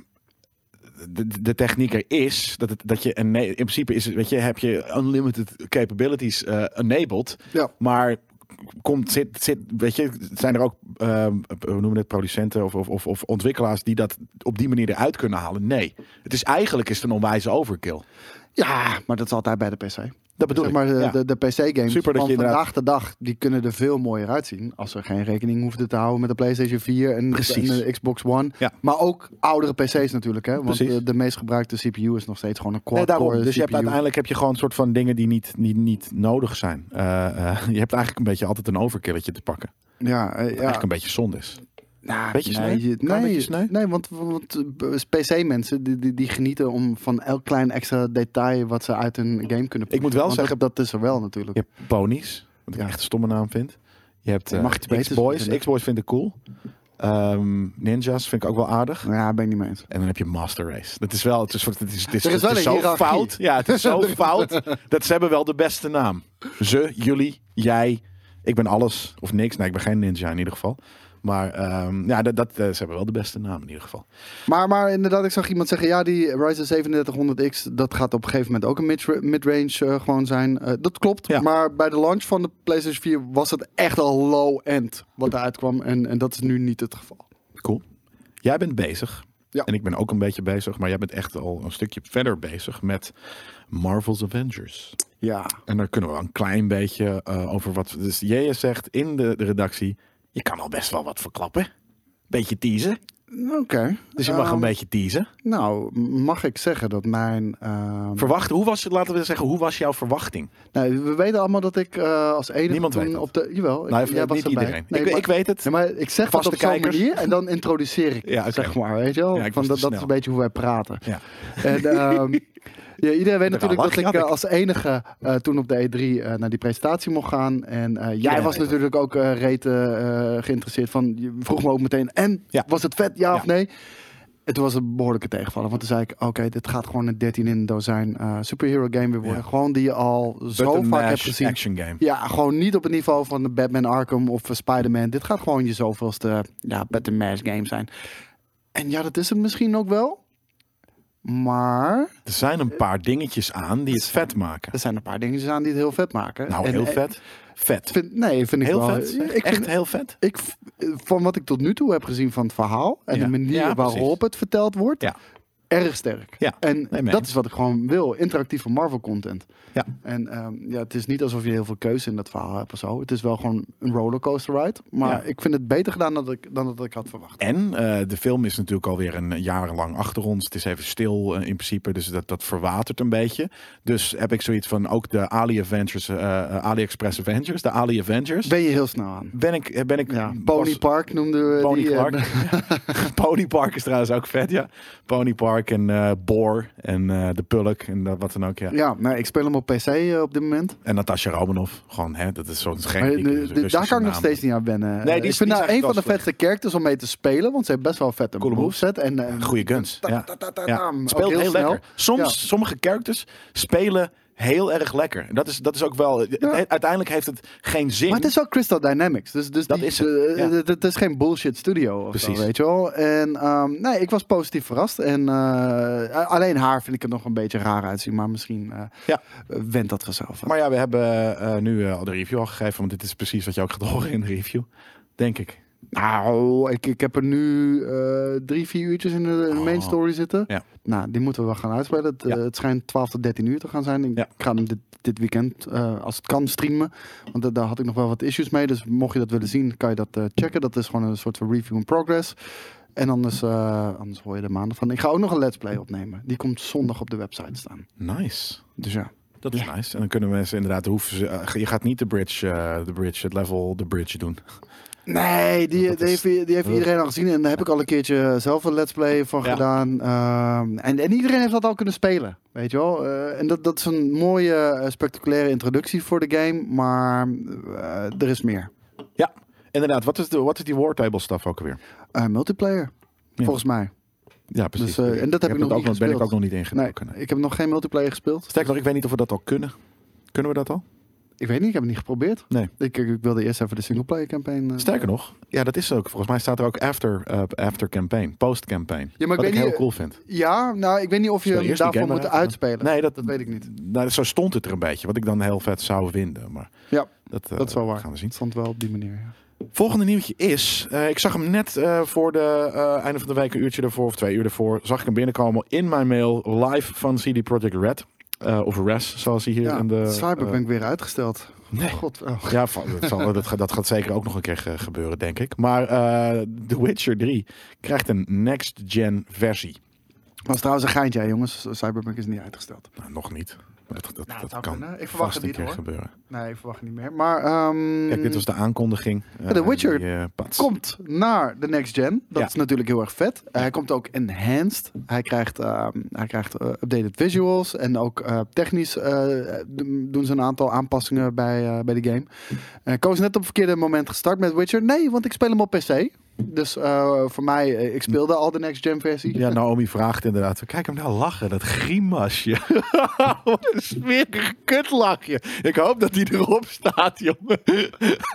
Speaker 1: de, de techniek er is, dat, het, dat je een, ne- in principe is, het- weet je, heb je unlimited capabilities eh, enabled,
Speaker 2: Ja.
Speaker 1: maar komt zit zit weet je zijn er ook ehm hoe noemen we het producenten of, of, of, of ontwikkelaars die dat op die manier eruit kunnen halen nee het is eigenlijk is het een onwijze overkill
Speaker 2: Ja, maar dat is altijd bij de PC.
Speaker 1: Dat bedoel
Speaker 2: Zeg
Speaker 1: ik.
Speaker 2: maar de,
Speaker 1: ja.
Speaker 2: de, de PC-games
Speaker 1: Super
Speaker 2: van
Speaker 1: dat je inderdaad-
Speaker 2: vandaag de dag, die kunnen er veel mooier uitzien. Als ze geen rekening hoefden te houden met de PlayStation 4 en,
Speaker 1: Precies.
Speaker 2: en de Xbox One.
Speaker 1: Ja.
Speaker 2: Maar ook oudere PC's natuurlijk, hè? Want eh,
Speaker 1: Precies.
Speaker 2: de, de meest gebruikte CPU is nog steeds gewoon een
Speaker 1: Nee,
Speaker 2: quad-core
Speaker 1: daarom. Dus je hebt
Speaker 2: CPU.
Speaker 1: uiteindelijk heb je gewoon een soort van dingen die niet, niet, niet nodig zijn. Eh, eh, [laughs] je hebt eigenlijk een beetje altijd een overkilletje te pakken. Wat
Speaker 2: Ja, eh, ja.
Speaker 1: eigenlijk een beetje zonde is.
Speaker 2: Nou,
Speaker 1: beetje
Speaker 2: nee,
Speaker 1: sneu?
Speaker 2: je-
Speaker 1: Klein
Speaker 2: nee,
Speaker 1: beetje sneu?
Speaker 2: nee, want, want eh, PC-mensen die, die, die genieten om van elk klein extra detail wat ze uit hun game kunnen
Speaker 1: Ik moet wel
Speaker 2: Want
Speaker 1: zeggen,
Speaker 2: dat is er wel natuurlijk.
Speaker 1: je hebt ponies, wat ik
Speaker 2: Ja.
Speaker 1: echt een stomme naam vind. Je hebt eh
Speaker 2: Mag iets beters
Speaker 1: X-Boys.
Speaker 2: verzinnen.
Speaker 1: X-Boys vind ik cool. Ehm, ninjas vind ik ook wel aardig.
Speaker 2: Ja, ben ik niet mee eens.
Speaker 1: En dan heb je Master Race. Dat is wel, het is, het is, het is,
Speaker 2: Er is wel
Speaker 1: het is
Speaker 2: een
Speaker 1: zo
Speaker 2: hiërarchie.
Speaker 1: fout. Ja, het is [laughs] zo fout. Dat ze hebben wel de beste naam. Ze, jullie, jij. Ik ben alles of niks. Nee, ik ben geen ninja in ieder geval. Maar ehm, ja, dat, dat, eh, ze hebben wel de beste naam in ieder geval.
Speaker 2: Maar, maar inderdaad, ik zag iemand zeggen, ja, die Ryzen 3700X, dat gaat op een gegeven moment ook een mid- midrange eh, gewoon zijn. Eh, dat klopt,
Speaker 1: Ja.
Speaker 2: maar bij de launch van de PlayStation 4 was het echt al low-end wat eruit kwam. En, en dat is nu niet het geval.
Speaker 1: Cool. Jij bent bezig.
Speaker 2: Ja.
Speaker 1: En ik ben ook een beetje bezig. Maar jij bent echt al een stukje verder bezig met Marvel's Avengers.
Speaker 2: Ja.
Speaker 1: En daar kunnen we wel een klein beetje eh, over wat... Dus jij zegt in de, de redactie, je kan al best wel wat verklappen. Beetje teasen.
Speaker 2: Oké.
Speaker 1: Dus je mag
Speaker 2: Ehm,
Speaker 1: een beetje teasen.
Speaker 2: Nou, mag ik zeggen dat mijn... ehm,
Speaker 1: Verwacht, hoe was, laten we zeggen, hoe was jouw verwachting?
Speaker 2: nee, we weten allemaal dat ik eh, als enige
Speaker 1: Niemand
Speaker 2: toen
Speaker 1: weet dat.
Speaker 2: op de... Jawel, ik-
Speaker 1: Nou,
Speaker 2: jij
Speaker 1: even,
Speaker 2: was
Speaker 1: niet
Speaker 2: erbij.
Speaker 1: iedereen.
Speaker 2: Nee,
Speaker 1: ik,
Speaker 2: maar-
Speaker 1: ik weet het.
Speaker 2: Nee, maar ik zeg
Speaker 1: Vaste
Speaker 2: dat op zo'n
Speaker 1: kijkers.
Speaker 2: manier en dan introduceer
Speaker 1: [laughs]
Speaker 2: ik,
Speaker 1: Ja, oké.
Speaker 2: zeg maar, weet je wel?
Speaker 1: Ja, ik was
Speaker 2: Van
Speaker 1: te
Speaker 2: dat, dat
Speaker 1: snel.
Speaker 2: is een beetje hoe wij praten.
Speaker 1: Ja. [laughs]
Speaker 2: En, ehm, ja, iedereen weet natuurlijk dat
Speaker 1: lachje
Speaker 2: ik
Speaker 1: had
Speaker 2: eh,
Speaker 1: ik.
Speaker 2: als enige eh, toen op de E3 eh, naar die presentatie mocht gaan. En eh, jij
Speaker 1: Iedereen
Speaker 2: was
Speaker 1: weet
Speaker 2: natuurlijk ook eh reet eh, eh, geïnteresseerd van, je vroeg me ook meteen, en
Speaker 1: Ja.
Speaker 2: was het vet, ja, of
Speaker 1: Ja.
Speaker 2: nee? En toen was het een behoorlijke tegenvaller, want toen zei ik, oké, dit gaat gewoon een 13 in een dozijn eh, superhero game weer worden.
Speaker 1: Ja.
Speaker 2: Gewoon die je al
Speaker 1: Button
Speaker 2: zo vaak hebt
Speaker 1: mash
Speaker 2: gezien.
Speaker 1: action game.
Speaker 2: Ja, gewoon niet op het niveau van de Batman Arkham of eh, Spider-Man. Dit gaat gewoon je zoveelste ja, Batman Mash game zijn. En ja, dat is het misschien ook wel. Maar
Speaker 1: Er zijn een paar dingetjes aan die het vet maken.
Speaker 2: er zijn een paar dingetjes aan die het heel vet maken.
Speaker 1: Nou,
Speaker 2: En,
Speaker 1: heel
Speaker 2: eh,
Speaker 1: vet. Vet.
Speaker 2: Vind, nee, vind ik
Speaker 1: Heel
Speaker 2: wel.
Speaker 1: vet.
Speaker 2: Ik vind-
Speaker 1: Echt heel vet.
Speaker 2: ik, v- eh, van wat ik tot nu toe heb gezien van het verhaal en
Speaker 1: Ja.
Speaker 2: de manier
Speaker 1: Ja, precies.
Speaker 2: waarop het verteld wordt,
Speaker 1: Ja.
Speaker 2: erg sterk.
Speaker 1: Ja,
Speaker 2: En
Speaker 1: nee, mee
Speaker 2: dat
Speaker 1: eens.
Speaker 2: is wat ik gewoon wil, interactieve Marvel content.
Speaker 1: Ja.
Speaker 2: En ehm, ja, het is niet alsof je heel veel keuze in dat verhaal hebt of zo. Het is wel gewoon een rollercoaster ride. Maar
Speaker 1: Ja.
Speaker 2: ik vind het beter gedaan dan dat ik, dan dat ik had verwacht.
Speaker 1: En eh, de film is natuurlijk alweer een jarenlang achter ons. Het is even stil eh, in principe, dus dat, dat verwatert een beetje. Dus heb ik zoiets van ook de Ali Avengers, eh, eh, AliExpress Avengers, de Ali Avengers.
Speaker 2: Ben je heel snel aan.
Speaker 1: Ben ik, eh, ben ik
Speaker 2: Ja,
Speaker 1: was-
Speaker 2: Pony Park noemden we
Speaker 1: Pony
Speaker 2: die. eh,
Speaker 1: Park.
Speaker 2: En, [laughs]
Speaker 1: Pony Park is trouwens ook vet, ja. Pony Park en eh Boar en eh, de Pulk en dat, wat dan ook, ja.
Speaker 2: ja, nou, ik speel hem op PC eh, op dit moment.
Speaker 1: En Natasha Romanoff, gewoon, hè, dat is zo'n
Speaker 2: Maar,
Speaker 1: generiek.
Speaker 2: eh,
Speaker 1: Russische
Speaker 2: de- daar kan ik nog
Speaker 1: naam.
Speaker 2: steeds niet aan wennen.
Speaker 1: die
Speaker 2: Eh,
Speaker 1: is- die
Speaker 2: ik vind
Speaker 1: is
Speaker 2: nou
Speaker 1: echt
Speaker 2: een van de
Speaker 1: lastig.
Speaker 2: vetste characters om mee te spelen, want ze heeft best wel een vette
Speaker 1: Coole moves.
Speaker 2: moveset. En, eh,
Speaker 1: Goeie guns,
Speaker 2: ta-
Speaker 1: ja.
Speaker 2: ta- ta- ta-
Speaker 1: Ja,
Speaker 2: taam. Ook
Speaker 1: het speelt heel,
Speaker 2: snel.
Speaker 1: lekker. Soms, sommige characters spelen heel erg lekker. En Dat is, dat is ook wel, het- uiteindelijk heeft het geen zin.
Speaker 2: Maar het is wel Crystal Dynamics. Dus, dus
Speaker 1: Dat
Speaker 2: die-
Speaker 1: is het,
Speaker 2: eh,
Speaker 1: ja.
Speaker 2: het- het is geen bullshit studio of
Speaker 1: Precies.
Speaker 2: zo, weet je wel. En ehm, nee, ik was positief verrast. En eh, alleen haar vind ik het nog een beetje raar uitzien. Maar misschien eh
Speaker 1: Ja.
Speaker 2: went dat vanzelf.
Speaker 1: Maar ja, we hebben eh, nu eh, al de review al gegeven, want dit is precies wat je ook gaat horen in de review. Denk ik.
Speaker 2: Nou, ik, ik heb er nu eh, drie, vier uurtjes in de, in de main
Speaker 1: Oh.
Speaker 2: story zitten.
Speaker 1: Ja.
Speaker 2: Nou, die moeten we wel gaan uitspelen. Het, eh,
Speaker 1: Ja.
Speaker 2: het schijnt 12 tot 13 uur te gaan zijn. Ik
Speaker 1: Ja.
Speaker 2: ga hem dit, dit weekend, eh, als het kan, streamen. Want da- daar had ik nog wel wat issues mee. Dus mocht je dat willen zien, kan je dat eh, checken. Dat is gewoon een soort van review in progress. En anders, eh, anders hoor je er maandag van. Ik ga ook nog een let's play opnemen. Die komt zondag op de website staan.
Speaker 1: Nice.
Speaker 2: Dus ja.
Speaker 1: Dat is nice. En dan kunnen mensen inderdaad hoeven ze. eh, je gaat niet de bridge, eh, de bridge, het level, de bridge doen.
Speaker 2: Nee, die,
Speaker 1: Dat
Speaker 2: die,
Speaker 1: is-
Speaker 2: heeft, die heeft iedereen al gezien. En daar heb ik al een keertje eh, zelf een let's play van
Speaker 1: Ja.
Speaker 2: gedaan. Ehm, en, en iedereen heeft dat al kunnen spelen. Weet je wel? Eh, en dat, dat is een mooie, eh, spectaculaire introductie voor de game. Maar eh, er is meer.
Speaker 1: Ja, inderdaad. Wat is, de, wat is die war table stuff ook alweer?
Speaker 2: Eh, multiplayer,
Speaker 1: Ja.
Speaker 2: volgens mij.
Speaker 1: Ja, precies.
Speaker 2: Dus, eh, en dat heb ik nog
Speaker 1: het ook
Speaker 2: niet
Speaker 1: Ben ik
Speaker 2: gespeeld.
Speaker 1: ook nog niet
Speaker 2: Nee,
Speaker 1: ingedoken. Nee.
Speaker 2: ik heb nog geen multiplayer gespeeld.
Speaker 1: Sterker nog, ik weet niet of we dat al kunnen. Kunnen we dat al?
Speaker 2: Ik weet niet, ik heb het niet geprobeerd.
Speaker 1: Nee.
Speaker 2: Ik, ik, ik wilde eerst even de singleplayer campaign... eh,
Speaker 1: Sterker nog, ja, dat is ook. Volgens mij staat er ook after, eh, after campaign, post campaign.
Speaker 2: ik
Speaker 1: wat
Speaker 2: weet
Speaker 1: ik heel
Speaker 2: niet-
Speaker 1: cool vind.
Speaker 2: Ja, nou, ik weet niet of je
Speaker 1: Speel
Speaker 2: hem
Speaker 1: eerst die
Speaker 2: daarvoor
Speaker 1: game
Speaker 2: moet
Speaker 1: maar even.
Speaker 2: uitspelen.
Speaker 1: Nee, dat,
Speaker 2: dat weet ik niet.
Speaker 1: nou, zo stond het er een beetje. Wat ik dan heel vet zou vinden. Maar
Speaker 2: Ja,
Speaker 1: dat, eh,
Speaker 2: dat is wel waar.
Speaker 1: Gaan we zien.
Speaker 2: Het stond wel op die manier, ja.
Speaker 1: Volgende nieuwtje is, eh, ik zag hem net eh, voor de eh, einde van de week, een uurtje ervoor of twee uur ervoor, zag ik hem binnenkomen in mijn mail live van CD Projekt Red. Eh, of RES, zoals hij hier
Speaker 2: Ja,
Speaker 1: in de... eh,
Speaker 2: Cyberpunk weer uitgesteld.
Speaker 1: nee.
Speaker 2: God, oh.
Speaker 1: Ja, van- dat, zal- dat, gaat- dat gaat zeker ook nog een keer ge- gebeuren, denk ik. Maar eh, The Witcher 3 krijgt een next-gen versie.
Speaker 2: was trouwens een geintje, hè, jongens. Cyberpunk is niet uitgesteld.
Speaker 1: Nou, nog niet. Maar dat dat,
Speaker 2: Nou,
Speaker 1: dat
Speaker 2: zou
Speaker 1: kan
Speaker 2: kunnen. Ik verwacht
Speaker 1: vast
Speaker 2: het
Speaker 1: een
Speaker 2: niet,
Speaker 1: keer
Speaker 2: hoor. Mm.
Speaker 1: gebeuren.
Speaker 2: Nee, ik verwacht niet meer. Maar ehm,
Speaker 1: Kijk, dit was de aankondiging.
Speaker 2: The
Speaker 1: Eh,
Speaker 2: Witcher
Speaker 1: die, eh, pats.
Speaker 2: komt naar de next gen. Dat
Speaker 1: Ja.
Speaker 2: is natuurlijk heel erg vet. Eh, hij komt ook enhanced. Hij krijgt, ehm, hij krijgt eh, updated visuals. En ook eh, technisch eh, d- doen ze een aantal aanpassingen bij, eh, bij de game. Eh, ik was net op het verkeerde moment gestart met Witcher. Nee, want ik speel hem op PC. Dus eh, voor mij, eh, ik speelde al de next gen versie.
Speaker 1: Ja, Naomi vraagt inderdaad. Kijk hem nou lachen, dat grimasje. [laughs] Wat een smerig kutlachje. Ik hoop dat hij erop staat, jongen.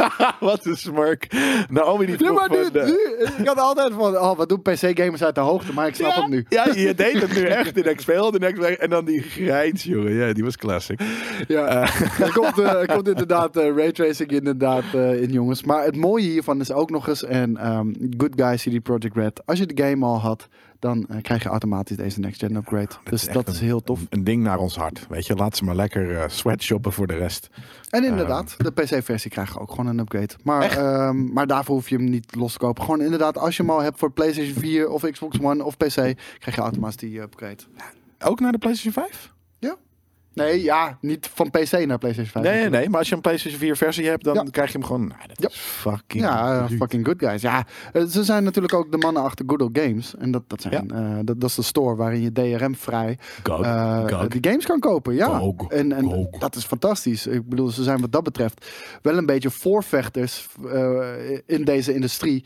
Speaker 1: [laughs] Wat een smurk. Naomi die
Speaker 2: Ja,
Speaker 1: vroeg
Speaker 2: maar nu,
Speaker 1: van, eh,
Speaker 2: nu, ik had altijd van, oh, wat doen PC-gamers uit de hoogte, maar ik snap
Speaker 1: ja,
Speaker 2: hem nu.
Speaker 1: [laughs] Ja, je deed het nu echt. En ik speelde en ik speelde- En dan die grijns, jongen. Ja, die was classic.
Speaker 2: Ja,
Speaker 1: Eh.
Speaker 2: [laughs] er, komt, eh, er komt inderdaad eh, raytracing inderdaad, eh, in, jongens. Maar het mooie hiervan is ook nog eens, en ehm, Good Guy CD Projekt Red, als je de game al had, dan eh, krijg je automatisch deze next-gen upgrade. dus
Speaker 1: echt
Speaker 2: dat
Speaker 1: een-
Speaker 2: is heel tof.
Speaker 1: Een ding naar ons hart. Weet je, laat ze maar lekker eh, sweatshoppen voor de rest.
Speaker 2: En inderdaad, de PC-versie krijg je ook gewoon een upgrade. Maar,
Speaker 1: Ehm. Echt?
Speaker 2: ehm, maar daarvoor hoef je hem niet los te kopen. Gewoon inderdaad, als je hem al hebt voor PlayStation 4 of Xbox One of PC, krijg je automatisch die upgrade.
Speaker 1: Ook naar de PlayStation 5?
Speaker 2: Ja. Nee, ja, niet van PC naar PlayStation 5.
Speaker 1: Nee, nee, maar als je een PlayStation 4 versie hebt, dan
Speaker 2: Ja.
Speaker 1: krijg je hem gewoon. Nou, dat
Speaker 2: Ja.
Speaker 1: is fucking.
Speaker 2: Ja, eh,
Speaker 1: bruut.
Speaker 2: fucking good guys. Ja, eh, ze zijn natuurlijk ook de mannen achter Good Old Games. En dat, dat, zijn, eh, dat, dat is de store waarin je DRM-vrij
Speaker 1: Gag, gag.
Speaker 2: Eh, die games kan kopen. Ja,
Speaker 1: Gog,
Speaker 2: en, en
Speaker 1: gog.
Speaker 2: dat is fantastisch. Ik bedoel, ze zijn wat dat betreft wel een beetje voorvechters eh, in deze industrie.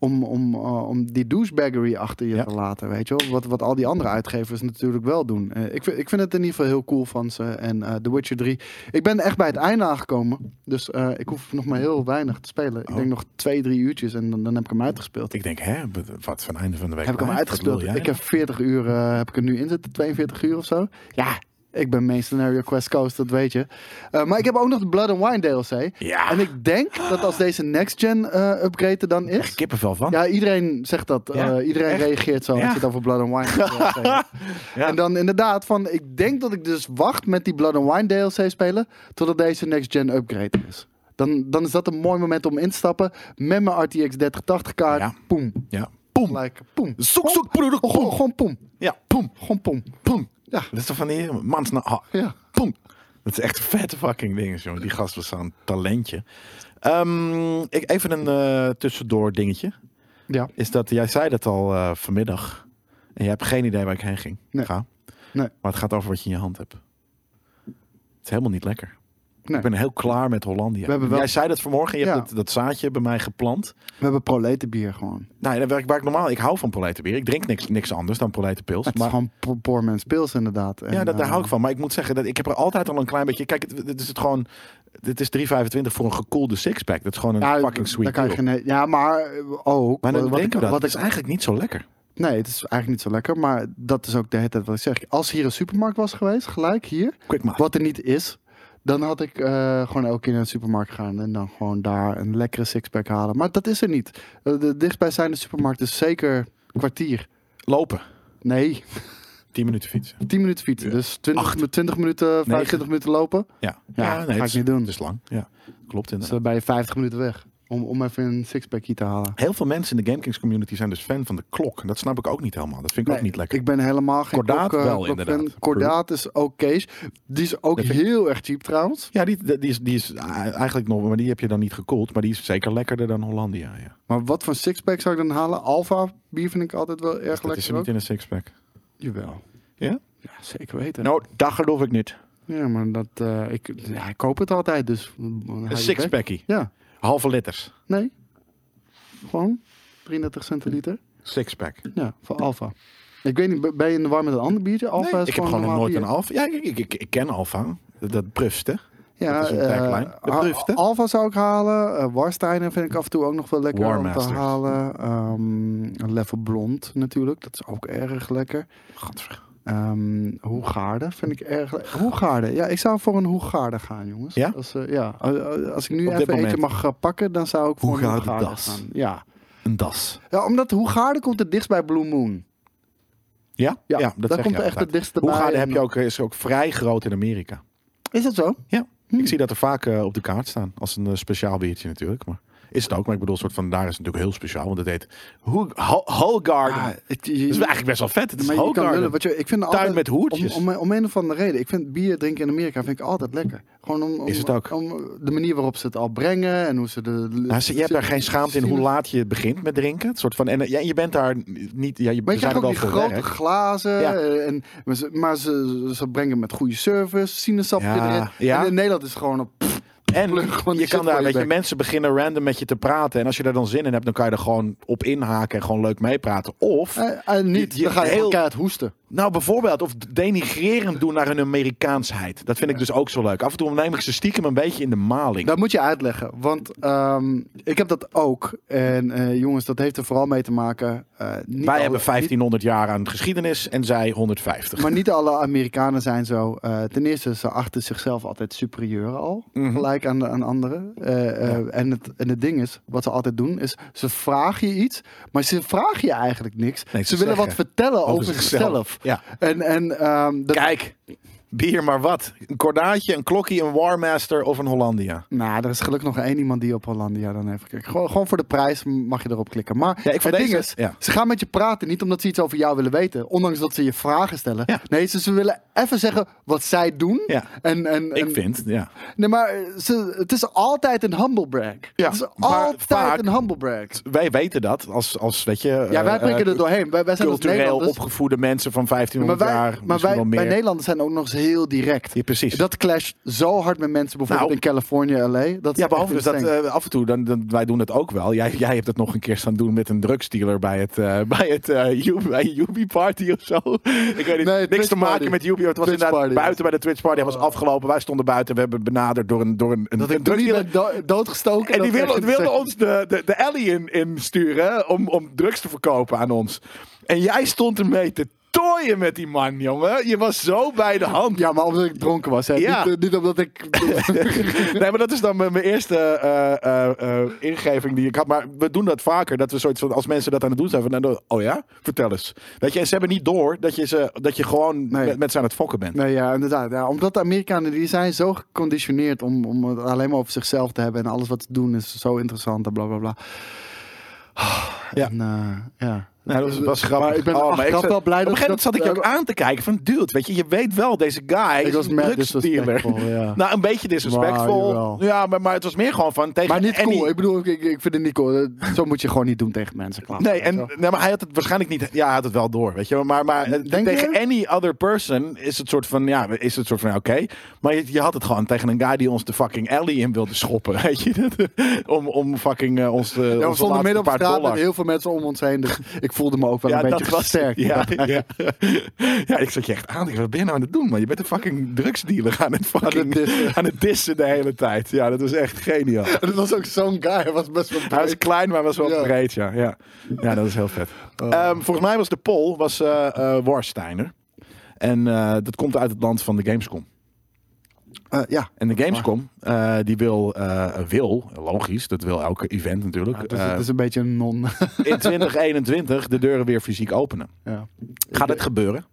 Speaker 2: Om, om, eh, om die douchebaggery achter je
Speaker 1: Ja.
Speaker 2: te laten, weet je wel. Wat, wat al die andere uitgevers natuurlijk wel doen. Eh, ik, vind, ik vind het in ieder geval heel cool van ze. En eh The Witcher 3. Ik ben echt bij het einde aangekomen. Dus eh, ik hoef nog maar heel weinig te spelen. Ik
Speaker 1: Oh.
Speaker 2: denk nog twee, drie uurtjes en dan, dan heb ik hem uitgespeeld.
Speaker 1: Ik denk, hè, wat van einde van de week.
Speaker 2: heb ik hem
Speaker 1: blijft? Wat
Speaker 2: uitgespeeld.
Speaker 1: wil jij?
Speaker 2: Ik heb 40 uur, eh, heb ik er nu in zitten, 42 uur of zo. Ja, ik ben main scenario Quest Coast, dat weet je. Eh, maar ik heb ook nog de Blood and Wine DLC.
Speaker 1: Ja.
Speaker 2: En ik denk dat als deze next gen eh, upgrade er dan
Speaker 1: Echt
Speaker 2: is...
Speaker 1: kippenvel van.
Speaker 2: Ja, iedereen zegt dat.
Speaker 1: Ja,
Speaker 2: Eh, iedereen
Speaker 1: echt?
Speaker 2: reageert zo
Speaker 1: Ja.
Speaker 2: als je het over Blood and Wine DLC
Speaker 1: [laughs] Ja.
Speaker 2: En dan inderdaad van, ik denk dat ik dus wacht met die Blood and Wine DLC spelen totdat deze next gen upgrade is. Dan, dan is dat een mooi moment om in te stappen met mijn RTX 3080 kaart.
Speaker 1: Ja.
Speaker 2: Poem.
Speaker 1: Ja. Oh, Poem.
Speaker 2: Like, poem.
Speaker 1: Zoek, zoek, broeder.
Speaker 2: Gewoon-
Speaker 1: Poem.
Speaker 2: Gewoon poem.
Speaker 1: Ja, poem.
Speaker 2: Gewoon poem.
Speaker 1: Poem.
Speaker 2: Ja.
Speaker 1: Dat is toch van die mans na. ha.
Speaker 2: Ja.
Speaker 1: Poem. Dat is echt vette fucking dingen, jongen. Die gast was zo'n talentje. Ehm, ik, even een eh, tussendoor dingetje.
Speaker 2: Ja.
Speaker 1: Is dat jij zei dat al eh, vanmiddag. En je hebt geen idee waar ik heen ging.
Speaker 2: Nee.
Speaker 1: Ga.
Speaker 2: Nee.
Speaker 1: Maar het gaat over wat je in je hand hebt. Het is helemaal niet lekker.
Speaker 2: Nee.
Speaker 1: Ik ben heel klaar met Hollandia.
Speaker 2: We hebben wel-
Speaker 1: Jij zei dat vanmorgen. Je
Speaker 2: Ja.
Speaker 1: hebt dat, dat zaadje bij mij geplant.
Speaker 2: We hebben proletenbier gewoon.
Speaker 1: Nou, ja, waar ik, waar ik normaal... Ik hou van proletenbier. Ik drink niks, niks anders dan proletenpils.
Speaker 2: Het is gewoon po- poor man's pils inderdaad. En,
Speaker 1: Ja, dat, daar
Speaker 2: eh,
Speaker 1: hou ik van. Maar ik moet zeggen, dat ik heb er altijd al een klein beetje... Kijk, het, het is het gewoon... Het is 3,25 voor een gekoelde sixpack. Dat is gewoon een
Speaker 2: ja,
Speaker 1: fucking
Speaker 2: daar
Speaker 1: sweet
Speaker 2: kan je
Speaker 1: deal.
Speaker 2: geen- Ja, maar eh, ook.
Speaker 1: Maar dan
Speaker 2: wat
Speaker 1: denken
Speaker 2: ik,
Speaker 1: we dat.
Speaker 2: wat
Speaker 1: het
Speaker 2: ik
Speaker 1: is eigenlijk niet zo lekker.
Speaker 2: Nee, het is eigenlijk niet zo lekker. Maar dat is ook de hele tijd wat ik zeg. Als hier een supermarkt was geweest, gelijk hier,
Speaker 1: Quick maar.
Speaker 2: wat er niet is, dan had ik eh, gewoon elke keer naar de supermarkt gaan en dan gewoon daar een lekkere sixpack halen. Maar dat is er niet. Eh, De dichtstbijzijnde supermarkt is zeker een kwartier.
Speaker 1: Lopen.
Speaker 2: Nee, [laughs]
Speaker 1: 10 minuten fietsen.
Speaker 2: 10 minuten fietsen.
Speaker 1: Ja.
Speaker 2: Dus 20,
Speaker 1: Acht.
Speaker 2: mi- 20 minuten, 25
Speaker 1: Negen.
Speaker 2: minuten lopen.
Speaker 1: Ja,
Speaker 2: Ja,
Speaker 1: nee,
Speaker 2: ga
Speaker 1: het
Speaker 2: ik
Speaker 1: is-
Speaker 2: niet doen.
Speaker 1: Het is lang. Ja, klopt
Speaker 2: Dus
Speaker 1: inderdaad.
Speaker 2: dan ben je 50 minuten weg. Om, om even een sixpackie te halen.
Speaker 1: Heel veel mensen in de GameKings community zijn dus fan van de klok. Dat snap ik ook niet helemaal. Dat vind ik ook
Speaker 2: Nee,
Speaker 1: niet lekker.
Speaker 2: Ik ben helemaal geen
Speaker 1: Kordaat
Speaker 2: klok, eh,
Speaker 1: wel,
Speaker 2: klokfan.
Speaker 1: inderdaad.
Speaker 2: Kordaat is oké. Die is ook
Speaker 1: Dat vind
Speaker 2: heel erg cheap trouwens.
Speaker 1: Ja, die, die, is, die is ah, eigenlijk nog, maar die heb je dan niet gekoeld. Maar die is zeker lekkerder dan Hollandia. Ja.
Speaker 2: Maar wat voor sixpack zou ik dan halen? Alpha bier vind ik altijd wel erg
Speaker 1: Dat
Speaker 2: lekker.
Speaker 1: is er niet in een sixpack.
Speaker 2: ook. Jawel.
Speaker 1: Ja?
Speaker 2: Ja, zeker weten.
Speaker 1: Nou, dat geloof ik niet.
Speaker 2: Ja, maar dat, eh, ik, ja, ik koop het altijd, dus...
Speaker 1: Een sixpackie.
Speaker 2: Ja,
Speaker 1: Halve liters.
Speaker 2: nee. Gewoon 33 centiliter.
Speaker 1: Sixpack.
Speaker 2: Ja, voor Alpha. Ik weet niet, ben je in de war met een ander biertje? Alpha
Speaker 1: Nee,
Speaker 2: is
Speaker 1: ik heb
Speaker 2: gewoon
Speaker 1: gewoon nog
Speaker 2: normaal
Speaker 1: nooit
Speaker 2: bier.
Speaker 1: een alfa. Ja, ik, ik, ik, ik ken alfa. Dat, dat brust, hè?
Speaker 2: Ja,
Speaker 1: Dat is een
Speaker 2: eh,
Speaker 1: tijdlijn. De
Speaker 2: Al-
Speaker 1: Prufte.
Speaker 2: Alfa zou ik halen. eh, Warsteiner vind ik af en toe ook nog wel lekker om te
Speaker 1: Warmasters.
Speaker 2: halen. Ehm Level Blond natuurlijk. Dat is ook erg lekker.
Speaker 1: Gadver.
Speaker 2: Ehm Hoegaarde vind ik erg lekker. Hoegaarde. Ja, ik zou voor een Hoegaarde gaan, jongens.
Speaker 1: Ja?
Speaker 2: Als, eh, ja. eh, Als ik nu
Speaker 1: Op dit
Speaker 2: even eentje
Speaker 1: moment.
Speaker 2: mag eh, pakken, dan zou ik voor een
Speaker 1: Hoegaarde
Speaker 2: Hoegaarde
Speaker 1: das.
Speaker 2: gaan. Ja.
Speaker 1: Een das.
Speaker 2: ja, omdat Hoegaarde komt het dichtst bij Blue Moon.
Speaker 1: Ja?
Speaker 2: Ja,
Speaker 1: dat
Speaker 2: daar
Speaker 1: zeg
Speaker 2: komt
Speaker 1: je
Speaker 2: echt het
Speaker 1: inderdaad.
Speaker 2: dichtste bij.
Speaker 1: Hoegade heb
Speaker 2: En-
Speaker 1: je ook, is ook vrij groot in Amerika.
Speaker 2: Is dat zo?
Speaker 1: Ja,
Speaker 2: Hm.
Speaker 1: ik zie dat er vaak eh, op de kaart staan. Als een eh, speciaal biertje natuurlijk. Maar is het ook. Maar ik bedoel, soort van daar is het natuurlijk heel speciaal. Want het heet Ho- Ho- Hoegaarden.
Speaker 2: Ah,
Speaker 1: dat
Speaker 2: het- je-
Speaker 1: is eigenlijk best wel vet. Het is
Speaker 2: maar je kan lullen
Speaker 1: Hoegaarden.
Speaker 2: wat je, ik vind
Speaker 1: Tuin
Speaker 2: altijd,
Speaker 1: met hoertjes.
Speaker 2: Om, om, om een of andere reden. Ik vind bier drinken in Amerika vind ik altijd lekker. Gewoon om, om,
Speaker 1: Is het ook?
Speaker 2: om de manier waarop ze het al brengen en hoe ze de.
Speaker 1: Nou, ze- je hebt daar geen schaamte in hoe
Speaker 2: Zien-
Speaker 1: laat je begint met drinken. Het soort van, en eh, ja, je bent daar niet... Ja, je,
Speaker 2: Maar
Speaker 1: we zijn
Speaker 2: je krijgt
Speaker 1: er
Speaker 2: ook
Speaker 1: wel
Speaker 2: die
Speaker 1: voor
Speaker 2: grote
Speaker 1: werk.
Speaker 2: glazen.
Speaker 1: Ja.
Speaker 2: eh, En, maar ze, maar ze, ze brengen met goede service, sinaasappje
Speaker 1: Ja,
Speaker 2: erin.
Speaker 1: ja.
Speaker 2: En in Nederland is het gewoon een... pff,
Speaker 1: En
Speaker 2: plug gewoon
Speaker 1: je
Speaker 2: die shit
Speaker 1: kan daar,
Speaker 2: voor je
Speaker 1: weet je,
Speaker 2: bek.
Speaker 1: mensen beginnen random met je te praten. En als je daar dan zin in hebt, dan kan je er gewoon op inhaken en gewoon leuk meepraten. Of,
Speaker 2: eh, eh, niet,
Speaker 1: Je- je-
Speaker 2: dan ga je
Speaker 1: heel-
Speaker 2: heel keihard hoesten.
Speaker 1: nou bijvoorbeeld, of denigrerend doen naar hun Amerikaansheid. Dat vind ik dus ook zo leuk. Af en toe neem ik ze stiekem een beetje in de maling.
Speaker 2: Dat moet je uitleggen, want ehm, ik heb dat ook. En eh, jongens, dat heeft er vooral mee te maken... eh, niet
Speaker 1: Wij
Speaker 2: alle-
Speaker 1: hebben
Speaker 2: niet-
Speaker 1: 1500 jaar aan geschiedenis en zij 150.
Speaker 2: maar niet alle Amerikanen zijn zo. eh, ten eerste, ze achten zichzelf altijd superieur al.
Speaker 1: Mhm.
Speaker 2: Gelijk aan, de- aan anderen. Eh, eh, en, het, en het ding is, wat ze altijd doen, is ze vragen je iets. Maar ze vragen je eigenlijk niks.
Speaker 1: Nee,
Speaker 2: ze
Speaker 1: ze
Speaker 2: willen wat
Speaker 1: zeggen
Speaker 2: vertellen over,
Speaker 1: over
Speaker 2: zichzelf.
Speaker 1: zichzelf. Ja.
Speaker 2: En, en ehm, dat,
Speaker 1: Kijk, bier maar wat. Een kordaatje, een klokkie, een Warmaster of een Hollandia.
Speaker 2: nou, er is gelukkig nog één iemand die op Hollandia dan heeft gekeken. Gewoon, gewoon voor de prijs mag je erop klikken. Maar
Speaker 1: Ja, ik
Speaker 2: het
Speaker 1: vond
Speaker 2: ding
Speaker 1: deze-
Speaker 2: is,
Speaker 1: ja.
Speaker 2: ze gaan met je praten niet omdat ze iets over jou willen weten. Ondanks dat ze je vragen stellen.
Speaker 1: Ja.
Speaker 2: Nee, ze, ze willen even zeggen wat zij doen.
Speaker 1: Ja.
Speaker 2: En, en,
Speaker 1: Ik
Speaker 2: en-
Speaker 1: vind, ja.
Speaker 2: Nee, maar eh, ze, het is altijd een humble brag.
Speaker 1: Ja,
Speaker 2: het is
Speaker 1: maar
Speaker 2: altijd
Speaker 1: vaak-
Speaker 2: een humble brag.
Speaker 1: Wij weten dat als, als weet je...
Speaker 2: Ja, wij
Speaker 1: eh,
Speaker 2: prikken
Speaker 1: eh,
Speaker 2: er doorheen. Wij, wij zijn als
Speaker 1: cultureel
Speaker 2: Nederlanders.
Speaker 1: opgevoede mensen van
Speaker 2: dus- Maar
Speaker 1: 1500
Speaker 2: wij,
Speaker 1: jaar.
Speaker 2: maar wij,
Speaker 1: wel meer.
Speaker 2: wij Nederlanders zijn ook nog eens heel direct.
Speaker 1: Ja, precies.
Speaker 2: Dat clasht zo hard met mensen bijvoorbeeld
Speaker 1: Nou.
Speaker 2: in Californië, LA. Dat is
Speaker 1: ja, behalve dus
Speaker 2: echt
Speaker 1: dat
Speaker 2: insane.
Speaker 1: eh, af en toe, dan, dan- wij doen het ook wel. Jij, jij hebt het nog een keer staan doen met een drugsdealer bij het, eh [laughs] bij het eh Yubi- bij Yubi Party of zo. Ik weet niet,
Speaker 2: Nee,
Speaker 1: niks
Speaker 2: Twitch
Speaker 1: te maken
Speaker 2: party.
Speaker 1: met Yubi. Het was
Speaker 2: Twitch
Speaker 1: inderdaad
Speaker 2: party. Oh.
Speaker 1: buiten bij de Twitch Party. Hij was afgelopen, wij stonden buiten. We hebben benaderd door een, door een, een,
Speaker 2: dat
Speaker 1: een
Speaker 2: ik toen niet
Speaker 1: drugsdealer.
Speaker 2: ben do- doodgestoken.
Speaker 1: En die
Speaker 2: dat
Speaker 1: wilde,
Speaker 2: echt insane.
Speaker 1: wilde ons de, de, de alley in, insturen om, om drugs te verkopen aan ons. En jij stond ermee te tooien met die man, jongen. Je was zo bij de hand.
Speaker 2: Ja, maar omdat ik dronken was. Hè.
Speaker 1: Ja.
Speaker 2: Niet, eh, niet omdat ik...
Speaker 1: [laughs] nee, maar dat is dan mijn mijn eerste eh, eh, eh, ingeving die ik had. Maar we doen dat vaker. Dat we zoiets van, als mensen dat aan het doen zijn, van, nou, dan- oh ja, vertel eens. Weet je, en ze hebben niet door dat je, ze, dat je gewoon
Speaker 2: Nee.
Speaker 1: met, met ze aan het fokken bent.
Speaker 2: nee, ja, inderdaad. Ja, omdat de Amerikanen die zijn zo geconditioneerd om, om het alleen maar over zichzelf te hebben. En alles wat ze doen is zo interessant en bla bla bla.
Speaker 1: Ja.
Speaker 2: En, eh, ja.
Speaker 1: Nou, dat was, was grappig.
Speaker 2: Maar ik ben
Speaker 1: Oh,
Speaker 2: achteraf
Speaker 1: zat-
Speaker 2: wel blij
Speaker 1: Op een
Speaker 2: dat
Speaker 1: gegeven moment zat ik je ook
Speaker 2: dat-
Speaker 1: aan te kijken van, dude, weet je, je weet wel, deze guy
Speaker 2: Ik
Speaker 1: is
Speaker 2: was
Speaker 1: een
Speaker 2: mad
Speaker 1: drugsdealer. [laughs]
Speaker 2: disrespectful, ja.
Speaker 1: Nou, een beetje
Speaker 2: Maar,
Speaker 1: disrespectvol.
Speaker 2: jawel.
Speaker 1: ja, maar, maar het was meer gewoon van tegen
Speaker 2: Maar niet
Speaker 1: Annie-
Speaker 2: cool. Ik bedoel, ik, ik vind het niet cool. Eh, Zo moet je gewoon niet doen tegen mensen. Klaar.
Speaker 1: Nee, en, nee, maar hij had het waarschijnlijk niet. Ja, hij had het wel door, weet je. wel. Maar, maar eh,
Speaker 2: Denk
Speaker 1: tegen
Speaker 2: je?
Speaker 1: any other person is het soort van, ja, is het soort van, ja, oké. Maar je, je had het gewoon tegen een guy die ons de fucking alley in wilde schoppen, [laughs] weet je. Dat, eh, om, om fucking eh, ons, eh, onze
Speaker 2: Ja, we stonden
Speaker 1: laatste
Speaker 2: midden op
Speaker 1: paar
Speaker 2: straat
Speaker 1: dollar.
Speaker 2: met heel veel mensen om ons heen. [laughs] Dus ik voelde me ook wel een beetje sterk. [laughs]
Speaker 1: Ja, ja. ja, ik zat je echt aan. Ik dacht, Wat ben je nou aan het doen, man? Je bent een fucking drugsdealer aan het fucking
Speaker 2: dissen.
Speaker 1: aan het dissen de hele tijd. Ja, dat was echt geniaal.
Speaker 2: Dat was ook zo'n guy. Hij was best wel
Speaker 1: Hij was
Speaker 2: breed.
Speaker 1: klein, maar was wel
Speaker 2: Ja.
Speaker 1: breed, ja. ja. Ja, dat is heel vet. Ehm, volgens mij was de poll was, eh, eh, Warsteiner. En eh, dat komt uit het land van de Gamescom.
Speaker 2: Eh, ja.
Speaker 1: En de Gamescom, eh, die wil, eh, wil, logisch, dat wil elke event natuurlijk,
Speaker 2: Dus
Speaker 1: eh,
Speaker 2: het is een beetje een non. [laughs]
Speaker 1: in 2021 de deuren weer fysiek openen.
Speaker 2: ja.
Speaker 1: Gaat dit gebeuren?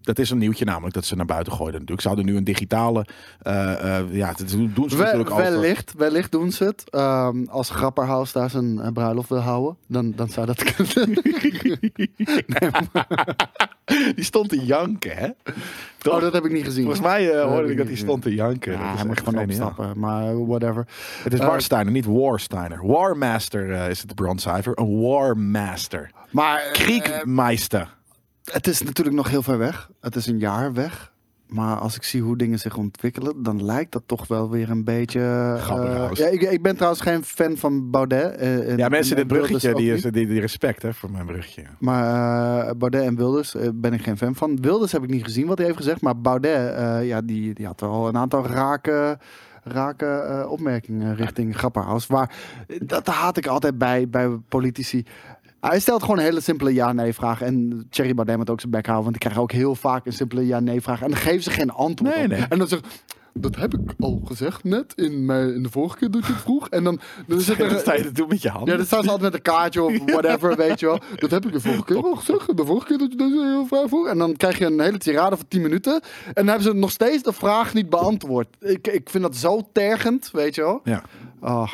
Speaker 1: Dat is een nieuwtje namelijk, dat ze naar buiten gooiden natuurlijk. Ze hadden nu een digitale, eh, eh, ja, dat doen ze natuurlijk
Speaker 2: Wel-
Speaker 1: over.
Speaker 2: wellicht, wellicht doen ze het. Ehm, als Grapperhaus daar zijn eh, bruiloft wil houden, dan, dan zou dat
Speaker 1: [laughs]
Speaker 2: [laughs] kunnen.
Speaker 1: Die stond te janken, hè? Toch?
Speaker 2: oh, dat heb ik niet gezien.
Speaker 1: Volgens mij eh,
Speaker 2: heb
Speaker 1: hoorde
Speaker 2: ik
Speaker 1: ik dat
Speaker 2: niet
Speaker 1: hij stond te janken.
Speaker 2: ja,
Speaker 1: dat
Speaker 2: hij moet
Speaker 1: echt
Speaker 2: gewoon
Speaker 1: geniaal.
Speaker 2: opstappen, maar whatever.
Speaker 1: Het is
Speaker 2: Eh,
Speaker 1: Warsteiner, niet Warsteiner. Warmaster eh, is het broncijfer. Een Warmaster.
Speaker 2: Maar eh,
Speaker 1: Kriegmeister.
Speaker 2: het is natuurlijk nog heel ver weg. Het is een jaar weg. Maar als ik zie hoe dingen zich ontwikkelen, dan lijkt dat toch wel weer een beetje. eh,
Speaker 1: Grapperhaus.
Speaker 2: ja, ik, ik ben trouwens geen fan van Baudet. eh, en-
Speaker 1: ja, mensen,
Speaker 2: en-
Speaker 1: dit
Speaker 2: en Wilders
Speaker 1: bruggetje,
Speaker 2: ook
Speaker 1: die,
Speaker 2: niet.
Speaker 1: is, die, die respect hè, voor mijn bruggetje.
Speaker 2: Maar eh, Baudet en Wilders eh, ben ik geen fan van. Wilders heb ik niet gezien wat hij heeft gezegd. Maar Baudet, eh, ja, die, die had al een aantal rake, rake eh, opmerkingen richting Grapperhaus. Maar dat haat ik altijd bij, bij politici. Hij stelt gewoon een hele simpele ja-nee-vraag. En Thierry Baudet moet ook zijn bek houden. Want die krijgen ook heel vaak een simpele ja-nee-vraag. En dan geven ze geen antwoord
Speaker 1: Nee,
Speaker 2: op.
Speaker 1: nee.
Speaker 2: En dan zegt... dat heb ik al gezegd net in, mijn, in de vorige keer dat je het vroeg. En dan, dan
Speaker 1: [laughs]
Speaker 2: zit
Speaker 1: Dat sta je
Speaker 2: er...
Speaker 1: te doen met je handen.
Speaker 2: Ja, dan staan ze altijd met een kaartje of whatever, [laughs] weet je wel. Dat heb ik de vorige keer al gezegd. De vorige keer dat je deze vraag vroeg. En dan krijg je een hele tirade van 10 minuten. En dan hebben ze nog steeds de vraag niet beantwoord. Ik, ik vind dat zo tergend, weet je wel.
Speaker 1: Ja.
Speaker 2: Ah,
Speaker 1: Maar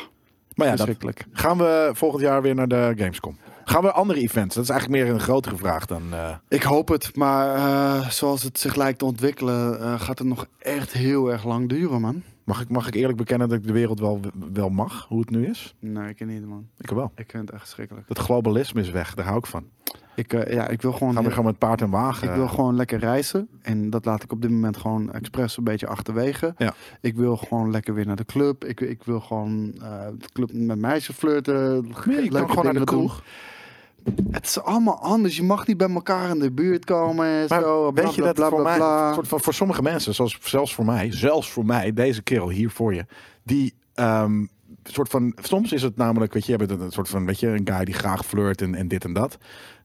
Speaker 1: ja, dat,
Speaker 2: verschrikkelijk.
Speaker 1: gaan we volgend jaar weer naar de Gamescom? Gaan we andere events? Dat is eigenlijk meer een grotere vraag dan... eh,
Speaker 2: Ik hoop het, maar eh, zoals het zich lijkt te ontwikkelen, eh, gaat het nog echt heel erg lang duren, man.
Speaker 1: mag, ik, mag ik eerlijk bekennen dat ik de wereld wel, wel mag, hoe het nu is?
Speaker 2: Nee, ik niet, man.
Speaker 1: Ik wel.
Speaker 2: Ik vind het echt verschrikkelijk.
Speaker 1: Dat globalisme is weg, daar hou ik van.
Speaker 2: Ik, eh, ja, ik wil gewoon...
Speaker 1: Gaan we gewoon met paard en wagen.
Speaker 2: Ik wil gewoon lekker reizen. En dat laat ik op dit moment gewoon expres een beetje achterwege.
Speaker 1: Ja.
Speaker 2: Ik wil gewoon lekker weer naar de club. Ik, ik wil gewoon eh, de club met meisjes flirten.
Speaker 1: Nee, je
Speaker 2: leuke
Speaker 1: kan gewoon naar de
Speaker 2: dingen doen.
Speaker 1: kroeg.
Speaker 2: Het is allemaal anders. Je mag niet bij elkaar in de buurt komen. En
Speaker 1: Maar
Speaker 2: eh, zo, bla,
Speaker 1: weet je
Speaker 2: bla,
Speaker 1: dat
Speaker 2: bla,
Speaker 1: voor,
Speaker 2: bla,
Speaker 1: mij,
Speaker 2: bla.
Speaker 1: Voor, voor, voor sommige mensen, zoals zelfs voor mij, zelfs voor mij, deze kerel hier voor je, die ehm, soort van, soms is het namelijk, weet je, je hebt een, een soort van, weet je, een guy die graag flirt en, en dit en dat.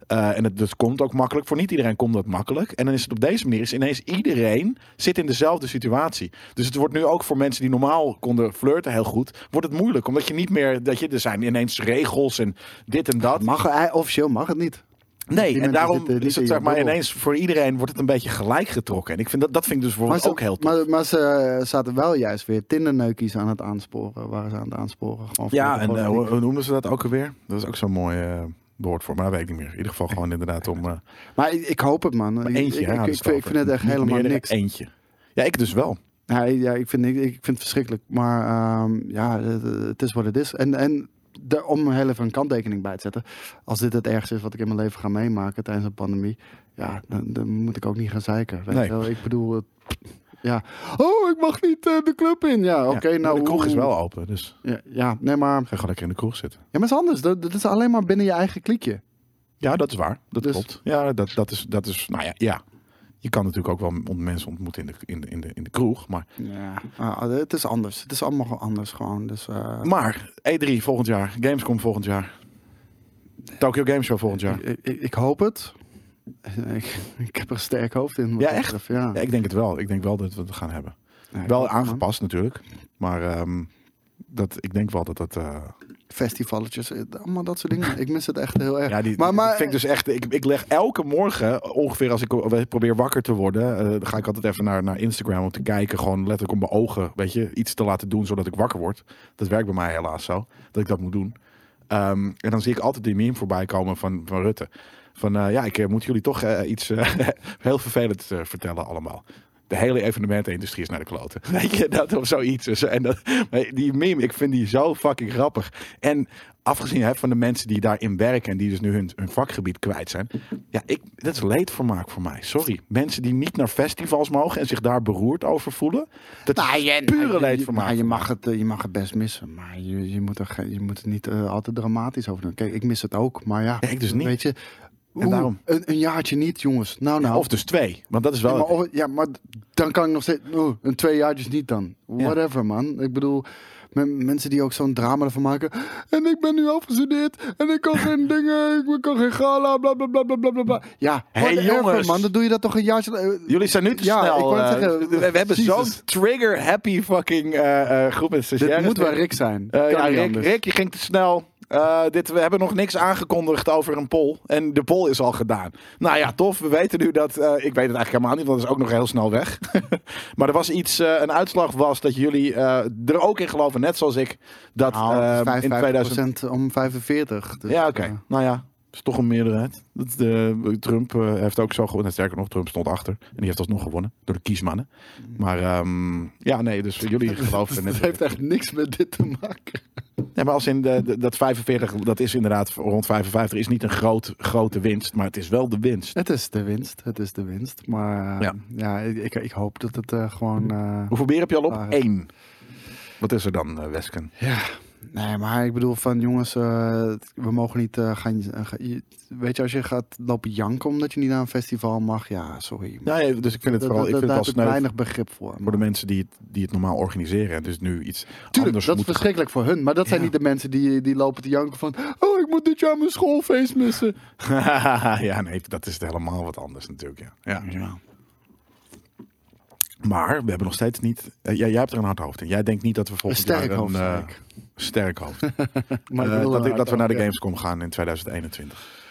Speaker 1: Eh, en het dus komt ook makkelijk. Voor niet iedereen komt dat makkelijk. En dan is het op deze manier, is ineens iedereen zit in dezelfde situatie. Dus het wordt nu ook voor mensen die normaal konden flirten heel goed, wordt het moeilijk. Omdat je niet meer, dat je, er zijn ineens regels en dit en dat.
Speaker 2: Mag, hij- officieel mag het niet.
Speaker 1: Nee,
Speaker 2: Die
Speaker 1: en
Speaker 2: mensen
Speaker 1: daarom
Speaker 2: zitten eh, niet
Speaker 1: is het
Speaker 2: in je
Speaker 1: zeg maar
Speaker 2: bubbel.
Speaker 1: ineens voor iedereen wordt het een beetje gelijk getrokken. En ik vind dat, dat vind ik dus bijvoorbeeld ook heel tof.
Speaker 2: Maar, maar ze eh, zaten wel juist weer tinderneukies aan het aansporen. Waren ze aan het aansporen. Gewoon voor
Speaker 1: ja,
Speaker 2: de
Speaker 1: en eh,
Speaker 2: politiek.
Speaker 1: hoe, hoe noemden ze dat ook alweer? Dat is ook zo'n mooi eh, woord voor, maar dat weet ik niet meer. In ieder geval gewoon inderdaad om eh,
Speaker 2: maar ik, ik hoop het, man. Ik-
Speaker 1: eentje.
Speaker 2: ik,
Speaker 1: hè,
Speaker 2: ik,
Speaker 1: hadden
Speaker 2: ik
Speaker 1: ze
Speaker 2: vind,
Speaker 1: het
Speaker 2: ik vind het
Speaker 1: over.
Speaker 2: echt
Speaker 1: eh, Niet
Speaker 2: helemaal
Speaker 1: meerdere,
Speaker 2: niks.
Speaker 1: Eentje. Ja, ik dus wel.
Speaker 2: Ja, ja ik, vind, ik, ik vind het verschrikkelijk. Maar ehm, ja, het- het is wat het is. En, en de, om er heel even een kanttekening bij te zetten. Als dit het ergste is wat ik in mijn leven ga meemaken tijdens een pandemie. Ja, dan, dan moet ik ook niet gaan zeiken. Weet
Speaker 1: Nee.
Speaker 2: je wel? Ik bedoel, het- ja. Oh, ik mag niet eh, de club in. Ja, oké.
Speaker 1: Ja,
Speaker 2: nou,
Speaker 1: de kroeg
Speaker 2: hoe-
Speaker 1: is wel open, dus ga
Speaker 2: Ja, ja, nee, maar, ja,
Speaker 1: gewoon lekker in de kroeg zitten.
Speaker 2: maar het is anders. Dat, dat is alleen maar binnen je eigen kliekje.
Speaker 1: Ja, dat is waar. Dat
Speaker 2: Dus-
Speaker 1: klopt. Ja, dat, dat, is, dat is, nou ja, ja. Je kan natuurlijk ook wel ont- mensen ontmoeten in de, in de, in de, in de kroeg, maar...
Speaker 2: Ja. Ah, het is anders. Het is allemaal gewoon anders gewoon. Dus, eh,
Speaker 1: Maar E3 volgend jaar, Gamescom volgend jaar. Tokyo Game Show volgend jaar.
Speaker 2: ik, ik, ik hoop het. [laughs] Ik, ik heb er een sterk hoofd in. wat
Speaker 1: Ja,
Speaker 2: dat
Speaker 1: echt?
Speaker 2: betreft, Ja.
Speaker 1: Ja, ik denk het wel. Ik denk wel dat we het gaan hebben.
Speaker 2: Ja, ik
Speaker 1: Wel
Speaker 2: hoop het, man.
Speaker 1: aangepast natuurlijk. Maar ehm, dat, ik denk wel dat dat... eh,
Speaker 2: festivaletjes, eh, allemaal dat soort [laughs] dingen. Ik mis het echt heel erg.
Speaker 1: ja, die,
Speaker 2: maar, maar,
Speaker 1: dat vind ik dus echt... Ik, ik leg elke morgen, ongeveer als ik probeer wakker te worden... eh, dan ga ik altijd even naar, naar Instagram om te kijken. Gewoon letterlijk om mijn ogen, weet je, iets te laten doen zodat ik wakker word. Dat werkt bij mij helaas zo, dat ik dat moet doen. Ehm, en dan zie ik altijd die meme voorbij komen van, van Rutte. Van eh, ja, ik eh, moet jullie toch eh, iets eh, [laughs] heel vervelends eh, vertellen allemaal. De hele evenementenindustrie is naar de kloten. [laughs] Weet je, dat of zoiets. Dus, En dat, maar die meme, ik vind die zo fucking grappig. En afgezien hè, van de mensen die daarin werken en die dus nu hun, hun vakgebied kwijt zijn. Ja, ik, dat is leedvermaak voor mij. Sorry. Mensen die niet naar festivals mogen en zich daar beroerd over voelen. Dat
Speaker 2: Nou,
Speaker 1: is
Speaker 2: je-
Speaker 1: pure
Speaker 2: je-
Speaker 1: leedvermaak.
Speaker 2: maar je,
Speaker 1: voor
Speaker 2: mag het, eh, je mag het best missen, maar je, je, moet, er, geen- je moet het niet eh, altijd dramatisch over doen. Kijk, ik mis het ook, maar ja.
Speaker 1: Ja, ik dus niet.
Speaker 2: Weet je,
Speaker 1: En
Speaker 2: oeh,
Speaker 1: daarom?
Speaker 2: Een, een jaartje niet, jongens. Nou,
Speaker 1: mij.
Speaker 2: nou.
Speaker 1: Of dus twee. Want dat is
Speaker 2: ja,
Speaker 1: wel...
Speaker 2: maar, of- ja, maar dan kan ik nog steeds... oeh, een twee jaartjes niet dan.
Speaker 1: Ja.
Speaker 2: Whatever, man. Ik bedoel, men- mensen die ook zo'n drama ervan maken. En ik ben nu afgestudeerd en ik kan
Speaker 1: [laughs]
Speaker 2: geen dingen, ik kan geen gala, bla bla bla bla bla bla, bla. Ja,
Speaker 1: Hey,
Speaker 2: whatever,
Speaker 1: jongens.
Speaker 2: man. Dan doe je dat toch een jaartje... eh,
Speaker 1: Jullie zijn nu te
Speaker 2: Ja,
Speaker 1: snel.
Speaker 2: ik wou net
Speaker 1: eh,
Speaker 2: zeggen,
Speaker 1: we, we hebben
Speaker 2: Jezus.
Speaker 1: zo'n trigger-happy fucking eh, eh, groep met
Speaker 2: Dit
Speaker 1: stagiaires.
Speaker 2: moet wel Rick zijn.
Speaker 1: Eh,
Speaker 2: Kan
Speaker 1: ja,
Speaker 2: niet
Speaker 1: Rick,
Speaker 2: anders.
Speaker 1: Rick, je ging te snel. Eh, dit, we hebben nog niks aangekondigd over een poll. En de poll is al gedaan. Nou ja, tof. We weten nu dat... eh, ik weet het eigenlijk helemaal niet, want dat is ook nog heel snel weg. [laughs] maar er was iets... eh, een uitslag was dat jullie eh, er ook in geloven, net zoals ik, dat
Speaker 2: Nou,
Speaker 1: eh,
Speaker 2: het is
Speaker 1: in 2000...
Speaker 2: 55% om 45. Dus,
Speaker 1: Ja, oké.
Speaker 2: eh, [laughs]
Speaker 1: Nou ja, is toch een meerderheid. Dat, eh, Trump eh, heeft ook zo gewonnen. Sterker nog, Trump stond achter. En die heeft alsnog gewonnen. Door de kiesmannen. Maar ehm, ja, nee, dus [laughs] jullie geloven er
Speaker 2: dat
Speaker 1: net.
Speaker 2: heeft echt niks met dit te maken.
Speaker 1: Nee, maar als in de, de- dat 45, dat is inderdaad rond 55, is niet een groot, grote winst. Maar het is wel de winst.
Speaker 2: Het is de winst, het is de winst. Maar eh,
Speaker 1: Ja. Mm.
Speaker 2: ja, ik, ik, ik hoop dat het eh, gewoon... eh,
Speaker 1: Hoeveel bier heb je al op?
Speaker 2: Ah, ja.
Speaker 1: Eén. Wat is er dan, eh, Wesken?
Speaker 2: ja, nee, maar ik bedoel van jongens, eh, we mogen niet eh, gaan... eh, ga- je- weet je, als je gaat lopen janken omdat je niet naar een festival mag, ja, sorry.
Speaker 1: Nou ja, dus ik vind het
Speaker 2: Dat-
Speaker 1: vooral,
Speaker 2: dat-
Speaker 1: ik vind het
Speaker 2: daar
Speaker 1: al
Speaker 2: heb ik
Speaker 1: sneu
Speaker 2: weinig begrip voor.
Speaker 1: voor de mensen die het, die het normaal organiseren. En dus nu iets
Speaker 2: Tuurlijk,
Speaker 1: anders
Speaker 2: dat is
Speaker 1: moeten
Speaker 2: verschrikkelijk voor hun. Maar dat zijn
Speaker 1: Ja.
Speaker 2: niet de mensen die, die lopen te janken van... Oh, ik moet dit jaar mijn schoolfeest
Speaker 1: [laughs]
Speaker 2: missen.
Speaker 1: ja, nee, dat is helemaal wat anders natuurlijk. Ja. Ja. Maar we hebben nog steeds niet. eh, jij, jij hebt er een hard hoofd in. Jij denkt niet dat we
Speaker 2: Een
Speaker 1: volgend
Speaker 2: sterk
Speaker 1: jaar
Speaker 2: hoofd,
Speaker 1: eh,
Speaker 2: zei ik.
Speaker 1: sterk hoofd.
Speaker 2: [laughs] Maar ik
Speaker 1: Eh,
Speaker 2: wil
Speaker 1: dat,
Speaker 2: een
Speaker 1: dat we
Speaker 2: hard
Speaker 1: naar de
Speaker 2: hoofd,
Speaker 1: Gamescom gaan in 2021.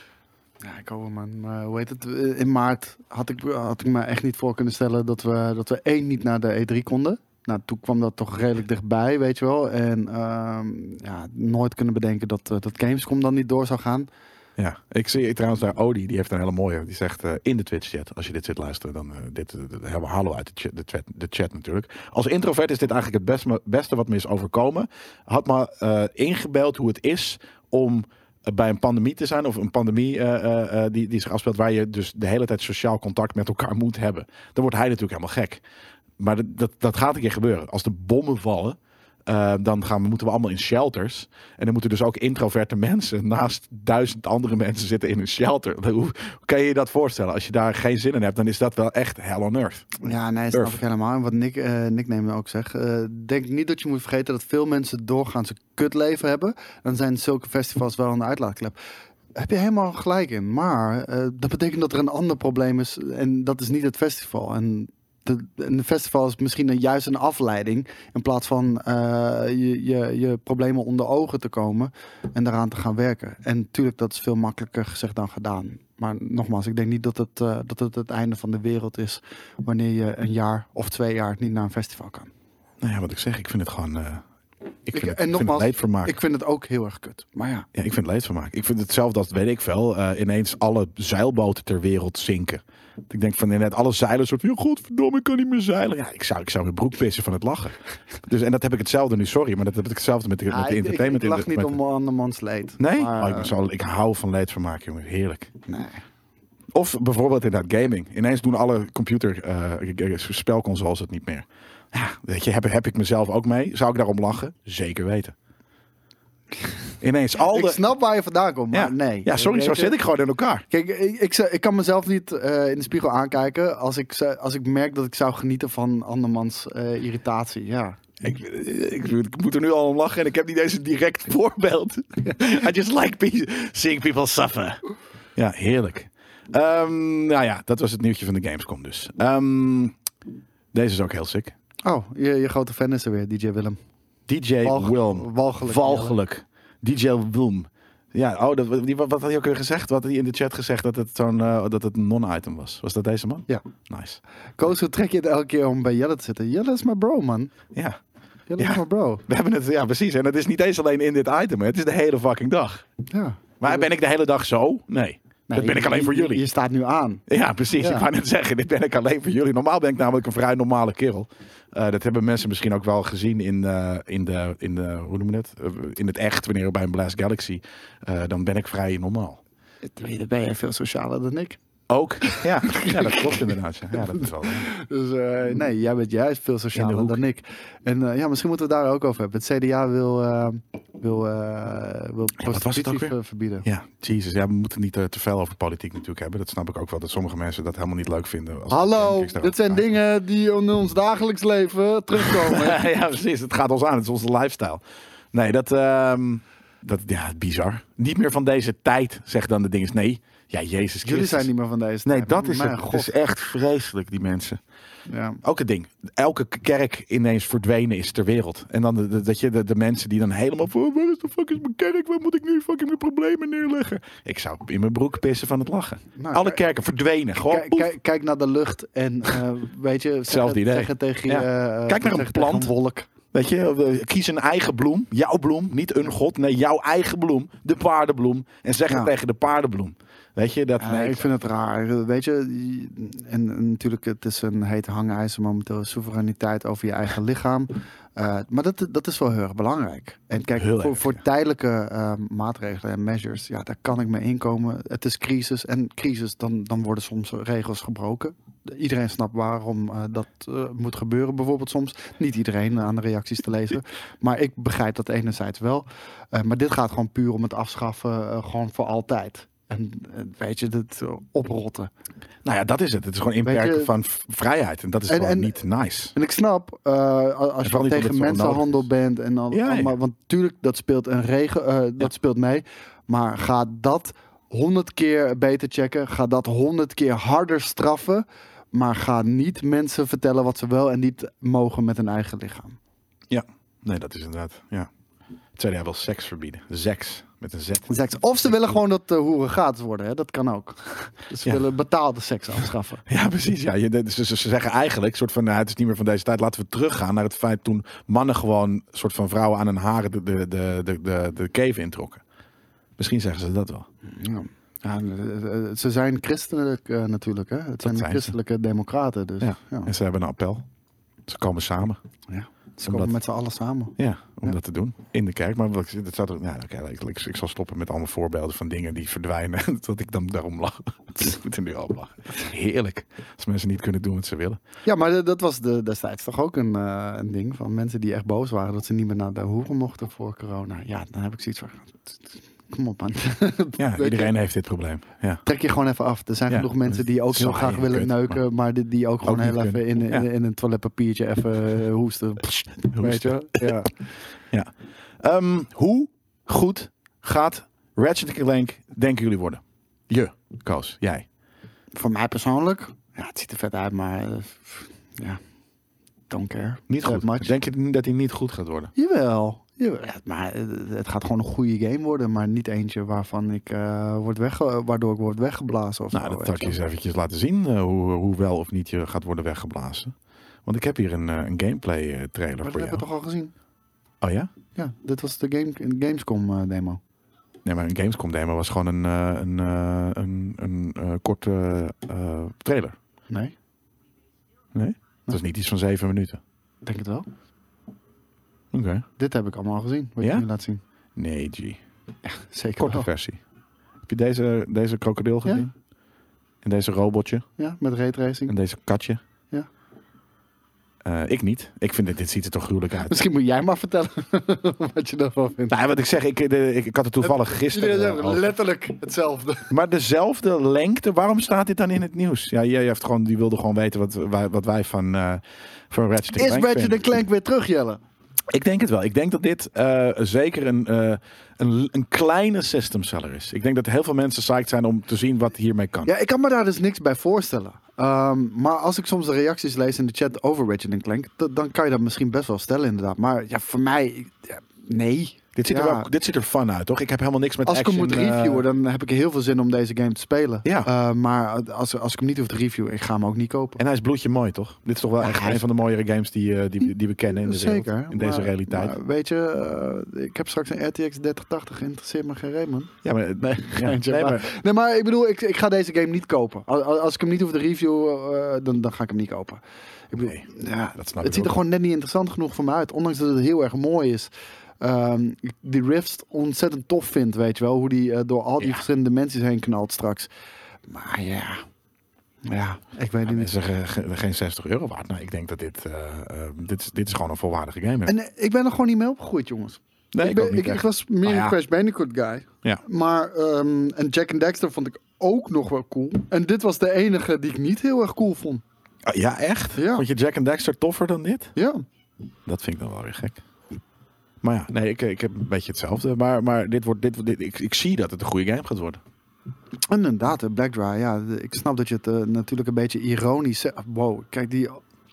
Speaker 2: Ja, ik hoop het, man. Maar hoe heet het? Eh, In maart had ik, had ik me echt niet voor kunnen stellen dat we, dat we één niet naar de E3 konden. Nou, toen kwam dat toch redelijk dichtbij, weet je wel. En ehm, ja, nooit kunnen bedenken dat, eh, dat Gamescom dan niet door zou gaan.
Speaker 1: Ja, ik zie trouwens daar Odi, die heeft een hele mooie. Die zegt eh, in de Twitch-chat, als je dit zit luisteren, dan eh, dit, eh, dit hebben we halen we uit de chat, de, chat, de chat natuurlijk. Als introvert is dit eigenlijk het best, beste wat me is overkomen. Had maar eh, ingebeeld hoe het is om eh, bij een pandemie te zijn of een pandemie eh, eh, eh, die, die zich afspeelt waar je dus de hele tijd sociaal contact met elkaar moet hebben. Dan wordt hij natuurlijk helemaal gek. Maar dat, dat, dat gaat een keer gebeuren. Als de bommen vallen, eh, dan gaan we, moeten we allemaal in shelters. En dan moeten dus ook introverte mensen [laughs] naast duizend andere mensen zitten in een shelter. Hoe, hoe kan je je dat voorstellen? Als je daar geen zin in hebt, dan is dat wel echt hell on earth.
Speaker 2: Ja, nee, snap
Speaker 1: Durf.
Speaker 2: ik helemaal. En wat Nick, eh Nickname ook zegt. eh, denk niet dat je moet vergeten dat veel mensen doorgaans een kutleven hebben. Dan zijn zulke festivals wel een uitlaatklep. Heb je helemaal gelijk in. Maar eh, dat betekent dat er een ander probleem is. En dat is niet het festival. En de, en de festival is misschien een, juist een afleiding. In plaats van eh, je, je, je problemen onder ogen te komen. En daaraan te gaan werken. En natuurlijk, dat is veel makkelijker gezegd dan gedaan. Maar nogmaals, ik denk niet dat het, eh, dat het het einde van de wereld is wanneer je een jaar of twee jaar niet naar een festival kan.
Speaker 1: Nou ja, wat ik zeg, ik vind het gewoon... eh, ik vind, het,
Speaker 2: en
Speaker 1: ik vind het
Speaker 2: nogmaals,
Speaker 1: leedvermaak.
Speaker 2: Ik vind het ook heel erg kut. Maar ja,
Speaker 1: Ja, ik vind het leedvermaak. Ik vind hetzelfde als, weet ik veel, eh, ineens alle zeilboten ter wereld zinken. Dat Ik denk van net alle zeilen soort van, "Ja, godverdomme, ik kan niet meer zeilen. Ja, ik zou, ik zou mijn broek pissen van het lachen. Dus, en dat heb ik hetzelfde nu, sorry, maar dat heb ik hetzelfde met de,
Speaker 2: Ja,
Speaker 1: met de
Speaker 2: Ah, ik, ik, ik
Speaker 1: entertainment.
Speaker 2: lach niet
Speaker 1: met-
Speaker 2: om andermans leed.
Speaker 1: Nee?
Speaker 2: Maar, eh,
Speaker 1: Oh, ik, ben zo- ik hou van leedvermaak, jongen. Heerlijk.
Speaker 2: nee.
Speaker 1: Of bijvoorbeeld inderdaad gaming. Ineens doen alle computer eh, g- g- spelconsoles het niet meer. Ja, weet je, heb, heb ik mezelf ook mee? Zou ik daarom lachen? Zeker weten. Ineens al
Speaker 2: ik
Speaker 1: de...
Speaker 2: snap waar je vandaan komt, maar
Speaker 1: ja.
Speaker 2: nee.
Speaker 1: ja, sorry,
Speaker 2: Weet
Speaker 1: zo
Speaker 2: je,
Speaker 1: zit ik gewoon in elkaar.
Speaker 2: Kijk, ik, ik, zou- ik kan mezelf niet eh, in de spiegel aankijken als ik, zou- als ik merk dat ik zou genieten van andermans eh, irritatie. Ja.
Speaker 1: Ik, ik, ik moet er nu al om lachen en ik heb niet eens een direct [laughs] voorbeeld. I just like pe- seeing people suffer. Ja, heerlijk. Ehm, nou ja, dat was het nieuwtje van de Gamescom dus. Ehm, deze is ook heel sick.
Speaker 2: Oh, je, je grote fan is er weer, DJ Willem.
Speaker 1: DJ
Speaker 2: Walg-
Speaker 1: Wilm.
Speaker 2: walgelijk.
Speaker 1: Walgelijk. DJ Wilm. Ja, oh, dat, die, wat wat had hij ook weer gezegd? Wat had hij in de chat gezegd dat het zo'n eh, dat het een non-item was? Was dat deze man?
Speaker 2: Ja.
Speaker 1: Nice.
Speaker 2: Koos, hoe trek je het elke keer om bij Jelle te zitten? Jelle is mijn bro, man.
Speaker 1: Ja.
Speaker 2: Jelle
Speaker 1: Ja.
Speaker 2: is mijn bro.
Speaker 1: We hebben het, ja, precies. En het is niet eens alleen in dit item, hè. het is de hele fucking dag.
Speaker 2: Ja.
Speaker 1: Maar ben ik de hele dag zo? Nee. dat ben ik alleen voor jullie.
Speaker 2: Je staat nu aan.
Speaker 1: Ja, precies.
Speaker 2: Ja.
Speaker 1: Ik wou net zeggen, dit ben ik alleen voor jullie. Normaal ben ik namelijk een vrij normale kerel. Eh, dat hebben mensen misschien ook wel gezien in, eh, in, de, in, de, hoe noem je het? Eh, in het echt, wanneer we bij een Blast Galaxy. eh, dan ben ik vrij normaal.
Speaker 2: Dan ben je veel socialer dan ik.
Speaker 1: Ook? [laughs] Ja, ja dat klopt inderdaad. Ja, Ja, dat is wel.
Speaker 2: Dus eh, nee, jij bent juist veel
Speaker 1: In de
Speaker 2: socialer
Speaker 1: hoek.
Speaker 2: dan ik. En eh, ja, misschien moeten we het daar ook over hebben. Het CDA wil, eh, wil, eh wil
Speaker 1: was het
Speaker 2: prostitutie
Speaker 1: ook weer?
Speaker 2: ver- verbieden.
Speaker 1: Ja, jezus. Ja, we moeten niet eh, te veel over politiek natuurlijk hebben. Dat snap ik ook wel. Dat sommige mensen dat helemaal niet leuk vinden. als-
Speaker 2: Hallo,
Speaker 1: Kijk, daar-
Speaker 2: dit zijn dingen die in ons dagelijks leven
Speaker 1: [laughs]
Speaker 2: terugkomen.
Speaker 1: ja, precies. Het gaat ons aan. Het is onze lifestyle. Nee, dat... ehm, dat ja, bizar. Niet meer van deze tijd, zegt dan de ding. Nee, ja, Jezus Christus.
Speaker 2: Jullie zijn niet meer van deze
Speaker 1: Nee,
Speaker 2: tijd.
Speaker 1: dat is
Speaker 2: Mijn
Speaker 1: het. Dus- Het
Speaker 2: God.
Speaker 1: is echt vreselijk, die mensen.
Speaker 2: Ja.
Speaker 1: Ook het ding. Elke kerk ineens verdwenen is ter wereld. En dan de, de- dat je de, de mensen die dan helemaal voor... Waar is de fuck is mijn kerk? Waar moet ik nu fucking mijn problemen neerleggen? Ik zou in mijn broek pissen van het lachen.
Speaker 2: Nou,
Speaker 1: Alle
Speaker 2: kijk-
Speaker 1: kerken verdwenen. Gewoon
Speaker 2: Kijk,
Speaker 1: Oh, poef.
Speaker 2: kijk, kijk naar de lucht en eh, weet je, zeg
Speaker 1: Hetzelfde
Speaker 2: het-
Speaker 1: idee.
Speaker 2: zeg het tegen je.
Speaker 1: Ja.
Speaker 2: eh,
Speaker 1: Kijk naar een
Speaker 2: zeg het tegen
Speaker 1: plant.
Speaker 2: wolk.
Speaker 1: Weet je, eh, kies een eigen bloem. Jouw bloem, niet een god. Nee, jouw eigen bloem. De paardenbloem. En zeg
Speaker 2: Ja.
Speaker 1: het tegen de paardenbloem. Weet je, dat...
Speaker 2: Ja,
Speaker 1: nee,
Speaker 2: Ah, ik vind het raar. Weet je, en, en natuurlijk, het is een heet hangijzer momenteel. Soevereiniteit over je eigen lichaam. Eh, maar dat, dat is wel heel erg belangrijk. En kijk,
Speaker 1: Heel
Speaker 2: voor,
Speaker 1: erg,
Speaker 2: voor
Speaker 1: ja.
Speaker 2: tijdelijke eh, maatregelen en measures, ja, daar kan ik mee inkomen. Het is crisis. En crisis, dan, dan worden soms regels gebroken. Iedereen snapt waarom eh, dat eh, moet gebeuren, bijvoorbeeld soms. Niet iedereen eh, aan de reacties te
Speaker 1: [laughs]
Speaker 2: lezen. Maar ik begrijp dat enerzijds wel. Eh, maar dit gaat gewoon puur om het afschaffen, eh, gewoon voor altijd. En eh, weet je, dat eh, oprotten.
Speaker 1: Nou ja, dat is het. Het is gewoon
Speaker 2: je-
Speaker 1: inperken van v- vrijheid. En dat is
Speaker 2: En-
Speaker 1: gewoon
Speaker 2: en-
Speaker 1: niet nice.
Speaker 2: En ik snap, eh, als
Speaker 1: vooral
Speaker 2: je
Speaker 1: niet
Speaker 2: tegen
Speaker 1: omdat het zo
Speaker 2: mensenhandel bent en al,
Speaker 1: Ja, ja.
Speaker 2: allemaal- want tuurlijk, dat speelt een regen, eh, dat speelt mee. Maar ga dat honderd keer beter checken. Ga dat honderd keer harder straffen. Maar ga niet mensen vertellen wat ze wel en niet mogen met hun eigen lichaam.
Speaker 1: Nee, dat is inderdaad. Ja. Het zei hij wel seks verbieden. Seks met een Z.
Speaker 2: Seks. Of ze willen gewoon dat de hoeren gratis worden. Hè? Dat kan ook. [laughs] Dus ze
Speaker 1: Ja.
Speaker 2: willen betaalde seks afschaffen.
Speaker 1: [laughs] Ja, precies. Ja. Je, de- ze, ze ze zeggen eigenlijk, soort van, nou, het is niet meer van deze tijd. Laten we teruggaan naar het feit toen mannen gewoon soort van vrouwen aan hun haren de, de, de, de, de, de cave introkken. Misschien zeggen ze dat wel.
Speaker 2: Ja. Ja, eh, eh, ze zijn christelijk eh, natuurlijk. Hè? Het zijn,
Speaker 1: zijn ze.
Speaker 2: christelijke democraten. Dus, ja.
Speaker 1: Ja. En ze hebben een appel. Ze komen samen.
Speaker 2: Ja. Ze
Speaker 1: Omdat-
Speaker 2: komen met z'n allen samen.
Speaker 1: Ja, om
Speaker 2: Ja.
Speaker 1: dat te doen. In de kerk. Maar wat, ik- dat staat er, nou, oké, ik, ik, ik zal stoppen met allemaal voorbeelden van dingen die verdwijnen. [laughs] Dat ik dan daarom lach. [laughs] ik moet er nu al om lachen. Heerlijk. Als mensen niet kunnen doen wat ze willen.
Speaker 2: Ja, maar eh, dat was de, destijds toch ook een, eh, een ding van mensen die echt boos waren dat ze niet meer naar de hoeren mochten voor corona. Ja, dan heb ik zoiets van. Kom op, man. [laughs]
Speaker 1: Ja, iedereen heeft dit probleem. Ja.
Speaker 2: Trek je gewoon even af. Er zijn
Speaker 1: Ja,
Speaker 2: genoeg mensen die ook heel
Speaker 1: saai
Speaker 2: graag
Speaker 1: en
Speaker 2: willen
Speaker 1: kut,
Speaker 2: neuken, maar, die, die ook gewoon
Speaker 1: niet
Speaker 2: heel even in, in,
Speaker 1: Ja.
Speaker 2: in een toiletpapiertje even eh, hoesten.
Speaker 1: [laughs]
Speaker 2: Weet je? Ja.
Speaker 1: Ja. Ehm, hoe goed gaat Ratchet Clank denken jullie worden? Je, Koos, jij.
Speaker 2: Voor mij persoonlijk, ja, het ziet er vet uit, maar eh, pff, ja, don't care.
Speaker 1: Niet
Speaker 2: That
Speaker 1: goed.
Speaker 2: much.
Speaker 1: Denk je dat hij niet goed gaat worden?
Speaker 2: Jawel. jawel. Ja, maar het het gaat gewoon een goede game worden, maar niet eentje waarvan ik eh, word weg, waardoor ik word weggeblazen of
Speaker 1: Nou,
Speaker 2: zo,
Speaker 1: dat zal
Speaker 2: weet
Speaker 1: ik je
Speaker 2: je.
Speaker 1: eens eventjes laten zien eh, hoe, hoe wel of niet je gaat worden weggeblazen. Want ik heb hier een, eh, een gameplay eh, trailer
Speaker 2: Maar dat
Speaker 1: voor jou.
Speaker 2: hebben we toch al gezien?
Speaker 1: Oh ja?
Speaker 2: Ja, dit was de game, Gamescom eh, demo.
Speaker 1: Nee, maar een Gamescom demo was gewoon een, eh, een, eh, een, een eh, korte eh, trailer.
Speaker 2: Nee,
Speaker 1: Dat is niet iets van zeven minuten.
Speaker 2: ik denk het wel.
Speaker 1: Oké.
Speaker 2: Dit heb ik allemaal al gezien, wat
Speaker 1: Ja?
Speaker 2: je nu laat zien.
Speaker 1: Nee, G.
Speaker 2: Zeker
Speaker 1: Korte
Speaker 2: wel.
Speaker 1: versie. Heb je deze, deze krokodil
Speaker 2: Oh. Ja.
Speaker 1: gezien? En deze robotje?
Speaker 2: Ja, met raytracing.
Speaker 1: En deze katje?
Speaker 2: Ja.
Speaker 1: Eh, ik niet. Ik vind dit, dit ziet er toch gruwelijk
Speaker 2: [laughs]
Speaker 1: uit.
Speaker 2: Misschien moet jij maar vertellen wat je daarvan vindt.
Speaker 1: Nou, wat ik zeg, ik, eh, ik, ik had het toevallig gisteren. eh, over.
Speaker 2: letterlijk hetzelfde.
Speaker 1: Maar dezelfde lengte, waarom staat dit dan in het nieuws? Ja, jij heeft gewoon, die wilde gewoon weten wat, wij- wat wij van, eh van Ratchet
Speaker 2: Is
Speaker 1: Clank
Speaker 2: Ratchet
Speaker 1: vinden.
Speaker 2: Clank weer terug, Jelle?
Speaker 1: Ik denk het wel. Ik denk dat dit eh, zeker een, eh, een, een kleine system seller is. Ik denk dat heel veel mensen psyched zijn om te zien wat hiermee kan.
Speaker 2: Ja, ik kan me daar dus niks bij voorstellen. Ehm, maar als ik soms de reacties lees in de chat over Ratchet Clank, da- dan kan je dat misschien best wel stellen, inderdaad. Maar ja, voor mij, ik- ja, nee.
Speaker 1: Dit, ziet er
Speaker 2: Ja.
Speaker 1: wel, dit ziet er fun uit, toch? Ik heb helemaal niks met
Speaker 2: Als ik hem
Speaker 1: action.
Speaker 2: moet
Speaker 1: eh,
Speaker 2: reviewen, dan heb ik heel veel zin om deze game te spelen.
Speaker 1: Ja.
Speaker 2: Eh, maar als, als ik hem niet hoef te reviewen, ik ga hem ook niet kopen.
Speaker 1: en hij is bloedje mooi, toch? Dit is toch wel
Speaker 2: Ja,
Speaker 1: echt
Speaker 2: hij is-
Speaker 1: een van de mooiere games die, eh, die, die we kennen in, de wereld,
Speaker 2: Zeker.
Speaker 1: in deze
Speaker 2: maar-
Speaker 1: realiteit.
Speaker 2: maar weet je, eh, ik heb straks een RTX 3080, interesseert me geen reet, man.
Speaker 1: ja, maar, eh, ja, [laughs]
Speaker 2: Geintje,
Speaker 1: nee,
Speaker 2: maar-
Speaker 1: maar-
Speaker 2: Nee, maar ik bedoel, ik, ik ga deze game niet kopen. Al- al- Als, ik hem niet hoef te reviewen, eh, dan, dan ga ik hem niet kopen. Ik bedoel,
Speaker 1: Nee,
Speaker 2: ja,
Speaker 1: dat snap ik
Speaker 2: het ziet er
Speaker 1: ook.
Speaker 2: gewoon net niet interessant genoeg voor me uit. Ondanks dat het heel erg mooi is. Ehm, ik die Rift ontzettend tof vind, weet je wel. Hoe die eh, door al die
Speaker 1: Ja.
Speaker 2: verschillende dimensies heen knalt straks. Maar ja, ja ik weet het
Speaker 1: Ja,
Speaker 2: niet.
Speaker 1: mensen zeggen ge- geen 60 euro waard. Nou, ik denk dat dit, eh, eh, dit, is, dit is gewoon een volwaardige game.
Speaker 2: En eh, ik ben er gewoon niet mee opgegroeid, jongens.
Speaker 1: nee,
Speaker 2: ik, ben-
Speaker 1: ook niet
Speaker 2: ik, ik
Speaker 1: echt.
Speaker 2: was meer
Speaker 1: Nou ja.
Speaker 2: een Crash Bandicoot guy.
Speaker 1: Ja.
Speaker 2: Maar, ehm, en Jack and Dexter vond ik ook nog wel cool. En dit was de enige die ik niet heel erg cool vond.
Speaker 1: Ah, ja, echt?
Speaker 2: Ja.
Speaker 1: Vond je Jack and Dexter toffer dan dit?
Speaker 2: Ja.
Speaker 1: Dat vind ik dan wel weer gek. Maar ja, nee, ik, ik heb een beetje hetzelfde. Maar, maar dit wordt, dit, dit, ik, ik zie dat het een goede game gaat worden.
Speaker 2: Inderdaad, hè, Black Dry. Ja, de- ik snap dat je het eh, natuurlijk een beetje ironisch zegt. Wow, kijk die...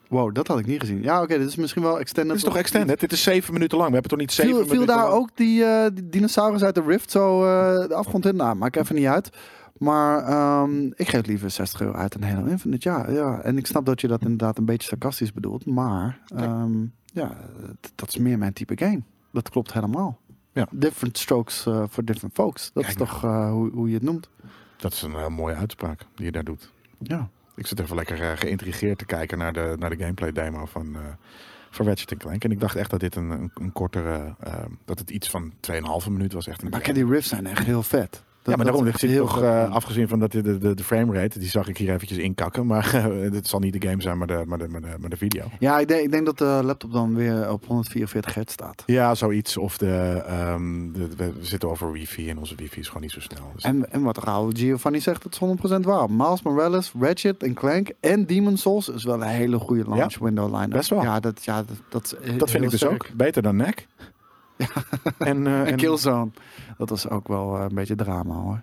Speaker 2: Wow, dat had ik niet gezien. Ja, oké, dit is misschien wel extended.
Speaker 1: Dit is toch extended? Dit is zeven minuten lang. We hebben toch niet zeven
Speaker 2: Viel,
Speaker 1: minuten
Speaker 2: viel daar
Speaker 1: lang?
Speaker 2: ook die, eh, die dinosaurus uit de Rift zo eh, de afgrond in? Nou, maakt even niet uit. Maar ehm, ik geef liever 60 euro uit een hele Infinite. Ja, ja, en ik snap dat je dat inderdaad een beetje sarcastisch bedoelt. Maar ehm, ja, d- dat is meer mijn type game. Dat klopt helemaal.
Speaker 1: Ja.
Speaker 2: Different strokes eh, for different folks. Dat
Speaker 1: Kijk
Speaker 2: is toch eh, hoe, hoe je het noemt.
Speaker 1: Dat is een eh, mooie uitspraak die je daar doet.
Speaker 2: Ja.
Speaker 1: Ik zit even lekker eh, geïntrigeerd te kijken naar de, naar de gameplay demo van, eh van Ratchet Clank. En ik dacht echt dat dit een, een, een kortere... eh, dat het iets van 2,5 minuut was. Echt een
Speaker 2: Maar kijk, die riffs zijn echt heel vet. Dat-
Speaker 1: ja, maar
Speaker 2: dat
Speaker 1: daarom
Speaker 2: is
Speaker 1: dit
Speaker 2: echt
Speaker 1: zit toch,
Speaker 2: vet.
Speaker 1: eh, afgezien van dat de, de, de framerate, die zag ik hier eventjes inkakken. Maar [laughs] eh, dit zal niet de game zijn, maar de, maar de, maar de, maar de video.
Speaker 2: Ja, ik denk, ik denk dat de laptop dan weer op 144 hertz staat.
Speaker 1: Ja, zoiets. Of de, ehm, de- we we zitten over wifi en onze wifi is gewoon niet zo snel. Dus-
Speaker 2: En, en wat Raoul Giovanni zegt, dat is 100% waar. Miles Morales, Ratchet en Clank en Demon Souls is wel een hele goede launch window line.
Speaker 1: best wel.
Speaker 2: Ja, dat, ja, dat, dat, is he-
Speaker 1: dat vind
Speaker 2: heel
Speaker 1: ik dus
Speaker 2: sterk.
Speaker 1: ook. Beter dan
Speaker 2: [laughs]
Speaker 1: NEC. en, eh,
Speaker 2: En
Speaker 1: en-
Speaker 2: Killzone, dat was ook wel eh, een beetje drama hoor.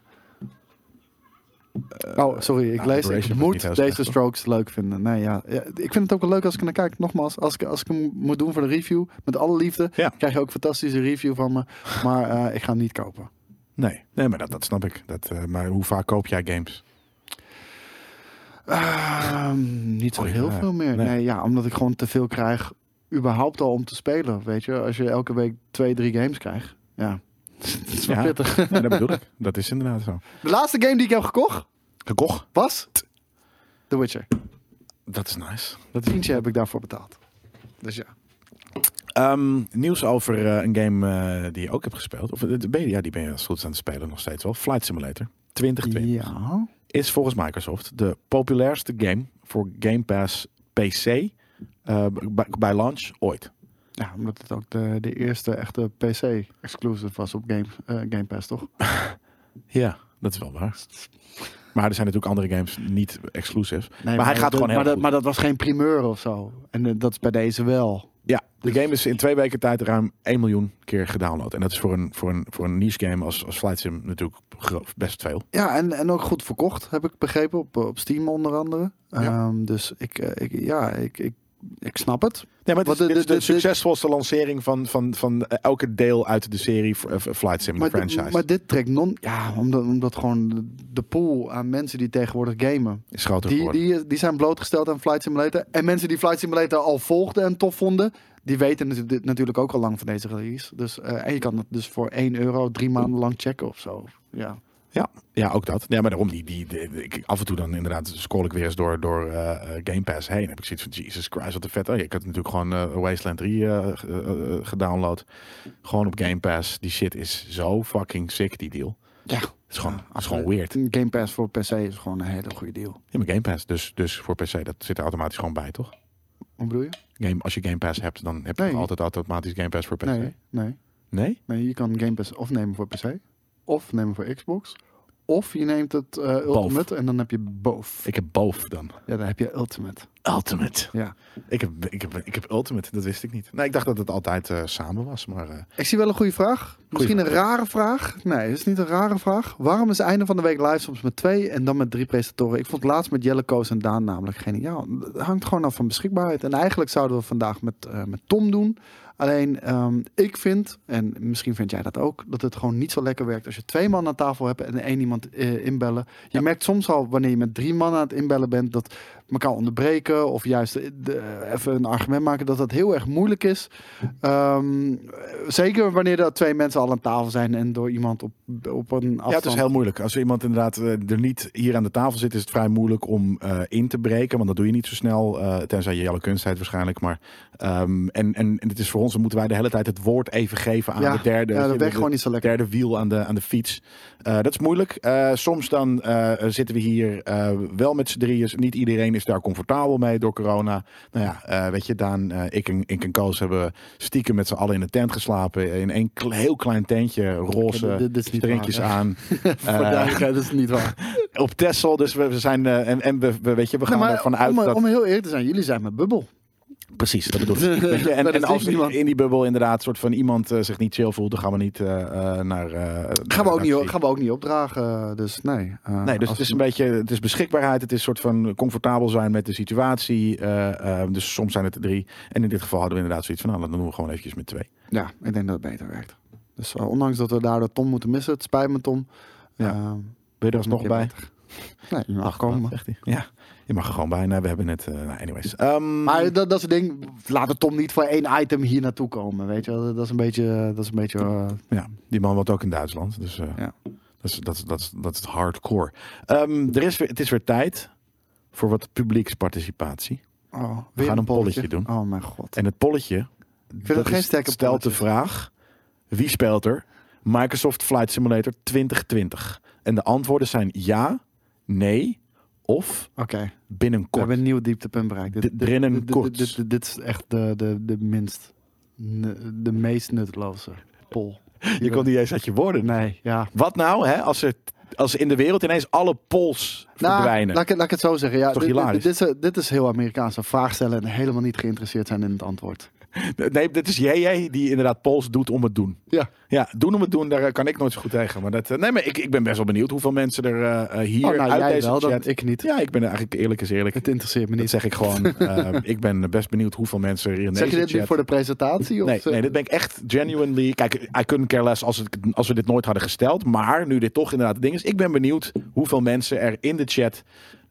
Speaker 2: oh, sorry, ik
Speaker 1: ja,
Speaker 2: lees.
Speaker 1: Liberation vind
Speaker 2: Ik
Speaker 1: ik niet heel
Speaker 2: moet
Speaker 1: slecht,
Speaker 2: deze
Speaker 1: hoor.
Speaker 2: strokes leuk vinden. Nee, ja. ja, ik vind het ook wel leuk als ik naar kijk. Nogmaals, als ik, als ik hem moet doen voor de review, met alle liefde,
Speaker 1: Ja.
Speaker 2: krijg je ook een fantastische review van me. Maar eh, ik ga hem niet kopen.
Speaker 1: Nee, nee maar dat, dat snap ik. Dat, eh, maar hoe vaak koop jij
Speaker 2: [laughs]
Speaker 1: games?
Speaker 2: Ehm, niet zo
Speaker 1: Goeie
Speaker 2: heel
Speaker 1: vraag.
Speaker 2: veel meer.
Speaker 1: Nee.
Speaker 2: Nee. ja, omdat ik gewoon te veel krijg. Überhaupt al om te spelen, weet je. Als je elke week twee, drie games krijgt. Ja, [laughs] dat is wel
Speaker 1: Ja.
Speaker 2: pittig.
Speaker 1: Nee, dat bedoel ik. Dat is inderdaad zo.
Speaker 2: De laatste game die ik heb gekocht
Speaker 1: Gekocht?
Speaker 2: was... The Witcher.
Speaker 1: Dat is nice.
Speaker 2: Dat tientje heb ik daarvoor betaald. Dus ja.
Speaker 1: Ehm, nieuws over eh, een game eh, die je ook hebt gespeeld. Of, eh, ben je, ja, die ben je als het goed is aan het spelen nog steeds wel. Flight Simulator 2020
Speaker 2: Ja.
Speaker 1: is volgens Microsoft de populairste game voor Game Pass PC eh, bij- bij launch ooit.
Speaker 2: Ja, omdat het ook de, de eerste echte PC-exclusive was op Game, eh, Game Pass, toch?
Speaker 1: Ja, dat is wel waar. Maar er zijn natuurlijk andere games niet exclusives.
Speaker 2: Nee,
Speaker 1: maar hij gaat
Speaker 2: de-
Speaker 1: gewoon heel
Speaker 2: maar, dat,
Speaker 1: goed.
Speaker 2: maar dat was geen primeur of zo. En eh, dat is bij deze wel.
Speaker 1: Ja, de game is in twee weken tijd ruim 1 miljoen keer gedownload. En dat is voor een, voor een, voor een niche game als, als Flight Sim natuurlijk gro- best veel.
Speaker 2: Ja, en, en ook goed verkocht, heb ik begrepen. Op, op Steam onder andere.
Speaker 1: Ja.
Speaker 2: Ehm, dus ik, eh, ik, ja, ik, ik, ik snap het.
Speaker 1: Nee, maar
Speaker 2: Want
Speaker 1: dit, is- dit
Speaker 2: de-
Speaker 1: is
Speaker 2: de-
Speaker 1: de
Speaker 2: de- de-
Speaker 1: succesvolste lancering van, van, van eh, elke deel uit de serie v- eh, Flight Sim, de
Speaker 2: Maar,
Speaker 1: franchise.
Speaker 2: dit- maar dit trekt non... Ja, omdat, omdat gewoon de- de pool aan mensen die tegenwoordig gamen...
Speaker 1: is groter
Speaker 2: Die,
Speaker 1: geworden.
Speaker 2: die, die zijn blootgesteld aan Flight Simulator. En mensen die Flight Simulator al volgden en tof vonden, die weten natu- dit natuurlijk ook al lang van deze release. Dus, eh, en je kan het dus voor 1 euro drie maanden lang checken of zo. Ja.
Speaker 1: Ja, ja, ook dat. Ja, maar daarom, die, die, die- die- ik, af en toe dan inderdaad scroll ik weer eens door, door eh, eh, Game Pass heen. Dan heb ik zoiets van, Jesus Christ, wat een vet. Oh, ik had natuurlijk gewoon eh, Wasteland 3 eh, g- eh, eh, gedownload. Gewoon op Game Pass. Die shit is zo fucking sick, die deal.
Speaker 2: ja.
Speaker 1: Het is gewoon, het is gewoon weird.
Speaker 2: Game Pass voor PC is gewoon een hele goede deal.
Speaker 1: Ja, maar Game Pass, dus, dus voor PC, dat zit er automatisch gewoon bij, toch?
Speaker 2: Wat bedoel je?
Speaker 1: Game, als je Game Pass hebt, dan heb je
Speaker 2: Nee.
Speaker 1: nog altijd automatisch Game Pass voor PC.
Speaker 2: Nee, nee,
Speaker 1: Nee?
Speaker 2: nee. Je kan Game Pass of nemen voor PC, of nemen voor Xbox, of je neemt het eh, Ultimate en dan heb je both.
Speaker 1: Ik heb boven dan.
Speaker 2: Ja, dan heb je Ultimate.
Speaker 1: Ultimate.
Speaker 2: Ja.
Speaker 1: Ik heb, ik, heb, ik heb Ultimate, dat wist ik niet. Nee, ik dacht dat het altijd eh, samen was, maar... eh,
Speaker 2: Ik zie wel een goede vraag. Misschien een rare vraag. Nee, het is niet een rare vraag. Waarom is einde van de week live soms met twee en dan met drie presentatoren? Ik vond het laatst met Jelle Koos en Daan namelijk geniaal. Het hangt gewoon af van beschikbaarheid. En eigenlijk zouden we vandaag met, eh, met Tom doen. Alleen ehm, ik vind, en misschien vind jij dat ook, dat het gewoon niet zo lekker werkt als je twee man aan tafel hebt en één iemand eh, inbellen. Je merkt soms al wanneer je met drie man aan het inbellen bent dat elkaar onderbreken of juist eh, de- even een argument maken dat dat heel erg moeilijk is. Ehm, zeker wanneer dat twee mensen al aan tafel zijn en door iemand op, op een afstand.
Speaker 1: ja, het is heel moeilijk. Als er iemand inderdaad eh, er niet hier aan de tafel zit, is het vrij moeilijk om eh, in te breken. Want dat doe je niet zo snel, eh, tenzij je alle kunst hebt waarschijnlijk. Maar, ehm, en, en, en het is voor ons, dan moeten wij de hele tijd het woord even geven aan
Speaker 2: Ja,
Speaker 1: de derde.
Speaker 2: ja,
Speaker 1: weet
Speaker 2: dat
Speaker 1: je,
Speaker 2: werkt
Speaker 1: de-
Speaker 2: gewoon niet zo lekker.
Speaker 1: derde wiel aan de, aan de fiets. Eh, dat is moeilijk. Eh, soms dan eh, zitten we hier eh, wel met z'n drieën. Niet iedereen is daar comfortabel mee door corona. Nou ja, eh, weet je, Daan, eh, ik, en, ik en Koos hebben stiekem met z'n allen in een tent geslapen. In één kle- heel klein tentje, roze
Speaker 2: dit- dit is niet
Speaker 1: drinkjes
Speaker 2: waar,
Speaker 1: aan.
Speaker 2: [laughs] Voor
Speaker 1: Eh.
Speaker 2: duidelijkheid, dat is niet [laughs] waar.
Speaker 1: Op Texel, dus we, we zijn, eh, en, en we, we- weet je, we gaan
Speaker 2: Nee, maar
Speaker 1: Nou, ervan uit
Speaker 2: om,
Speaker 1: dat...
Speaker 2: om heel eerlijk te zijn, jullie zijn mijn bubbel.
Speaker 1: Precies, dat bedoel ik. [laughs] Weet je, en,
Speaker 2: Dat
Speaker 1: en
Speaker 2: is
Speaker 1: als
Speaker 2: niet iemand.
Speaker 1: in die bubbel inderdaad soort van iemand eh, zich niet chill voelt, dan gaan we niet eh, eh, naar...
Speaker 2: Gaan we ook, niet, gaan we ook niet opdragen. eh, Dus nee. eh,
Speaker 1: Nee, dus
Speaker 2: als-
Speaker 1: het is een beetje, het is beschikbaarheid, het is soort van comfortabel zijn met de situatie. eh, eh, dus soms zijn het er drie. En in dit geval hadden we inderdaad zoiets van, nou, dan doen we gewoon eventjes met twee.
Speaker 2: Ja, ik denk dat het beter werkt. Dus eh, ondanks dat we daardoor Tom moeten missen, het spijt me Tom.
Speaker 1: Ja.
Speaker 2: Eh,
Speaker 1: Ben je er alsnog
Speaker 2: keer
Speaker 1: bij?
Speaker 2: beter. Nee, je mag komen.
Speaker 1: Zegt hij. Ja, je mag er gewoon bij. Nee, we hebben het, eh, nou, anyways. Ehm,
Speaker 2: Maar dat, dat is het ding. Laat de Tom niet voor één item hier naartoe komen. Weet je wel, dat is een beetje. Dat is een beetje eh,
Speaker 1: Ja, die man woont ook in Duitsland. Dus eh,
Speaker 2: Ja.
Speaker 1: dat, is, dat, is, dat, is, dat is hardcore. Ehm, er is weer, het is weer tijd voor wat publieksparticipatie.
Speaker 2: oh, weer
Speaker 1: gaan een polletje doen.
Speaker 2: Oh, mijn god.
Speaker 1: En het polletje
Speaker 2: Ik vind dat geen sterke
Speaker 1: stelt de
Speaker 2: polletje.
Speaker 1: vraag, wie speelt er Microsoft Flight Simulator 2020? En de antwoorden zijn ja, nee of
Speaker 2: Oké, we
Speaker 1: binnenkort.
Speaker 2: hebben een nieuw dieptepunt bereikt. Dit,
Speaker 1: Dit-
Speaker 2: dit,
Speaker 1: Drinnen
Speaker 2: dit- dit-
Speaker 1: Korts.
Speaker 2: dit- dit- dit is echt de, de, de minst. ne- de meest nutteloze poll.
Speaker 1: Je kon niet eens uit je woorden.
Speaker 2: Nee, ja.
Speaker 1: Wat nou hè, als er als in de wereld ineens alle pols
Speaker 2: Nou,
Speaker 1: verdwijnen.
Speaker 2: laat, ik, het- laat ik het zo zeggen. Ja,
Speaker 1: Toch
Speaker 2: dit, dit,
Speaker 1: hilarisch?
Speaker 2: dit is, dit is heel Amerikaans. Een vraag stellen en helemaal niet geïnteresseerd zijn in het antwoord.
Speaker 1: Nee, dit is JJ die inderdaad pols doet om het doen.
Speaker 2: Ja.
Speaker 1: Ja, doen om het doen, daar eh, kan ik nooit zo goed tegen. Maar, dat, eh, nee, maar ik, ik ben best wel benieuwd hoeveel mensen er eh, eh, hier
Speaker 2: Oh, nou
Speaker 1: uit
Speaker 2: jij
Speaker 1: deze
Speaker 2: wel,
Speaker 1: chat...
Speaker 2: dan ik niet.
Speaker 1: Ja, ik ben eigenlijk eerlijk is
Speaker 2: [laughs]
Speaker 1: eerlijk.
Speaker 2: Het interesseert me
Speaker 1: Dat
Speaker 2: niet.
Speaker 1: zeg ik gewoon.
Speaker 2: [laughs]
Speaker 1: eh, ik ben best benieuwd hoeveel mensen er in
Speaker 2: Zeg
Speaker 1: deze
Speaker 2: je dit
Speaker 1: chat...
Speaker 2: nu voor de presentatie? Of
Speaker 1: Nee, nee, dit ben ik echt genuinely. Kijk, I couldn't care less als, het, als we dit nooit hadden gesteld. Maar nu dit toch inderdaad het ding is, ik ben benieuwd hoeveel mensen er in de chat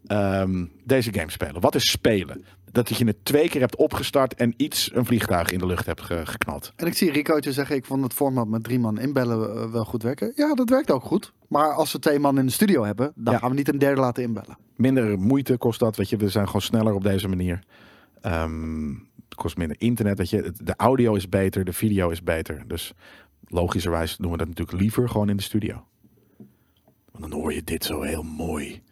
Speaker 1: ehm, deze game spelen. Wat is spelen? Dat je het twee keer hebt opgestart en iets, een vliegtuig in de lucht hebt ge- geknald.
Speaker 2: En ik zie Ricootje zeggen, ik vond het format met drie man inbellen eh, wel goed werken. Ja, dat werkt ook goed. Maar als we twee man in de studio hebben, dan
Speaker 1: Ja.
Speaker 2: gaan we niet een derde laten inbellen.
Speaker 1: Minder moeite kost dat. Weet je, we zijn gewoon sneller op deze manier. Ehm, het kost minder internet. Weet je, Het- de audio is beter, de video is beter. Dus logischerwijs doen we dat natuurlijk liever gewoon in de studio. Want dan hoor je dit zo heel mooi.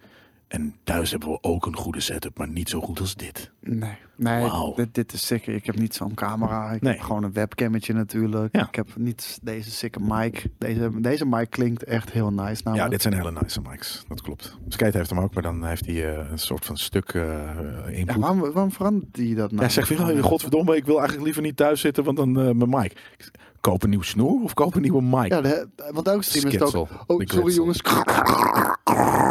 Speaker 1: En thuis hebben we ook een goede setup, maar niet zo goed als dit.
Speaker 2: Nee, nee
Speaker 1: Wauw.
Speaker 2: dit, dit is sick. Ik heb niet zo'n camera. Ik
Speaker 1: Nee.
Speaker 2: heb gewoon een webcammetje natuurlijk.
Speaker 1: Ja.
Speaker 2: Ik heb niet deze sick mic. Deze, deze mic klinkt echt heel nice
Speaker 1: Ja,
Speaker 2: namelijk.
Speaker 1: dit zijn hele nice mics. Dat klopt. Skate heeft hem ook, maar dan heeft hij eh, een soort van stuk eh
Speaker 2: Ja,
Speaker 1: input.
Speaker 2: waarom, waarom verandert die dat nou?
Speaker 1: Hij zegt van, "Oh, godverdomme, ik wil eigenlijk liever niet thuis zitten, want dan eh, mijn mic. Ik zeg, Koop een nieuw snoer of koop een nieuwe mic?
Speaker 2: Ja, de, want elke stream is het ook...
Speaker 1: Skitsel. De
Speaker 2: Oh, sorry
Speaker 1: gritsel.
Speaker 2: jongens. [laughs]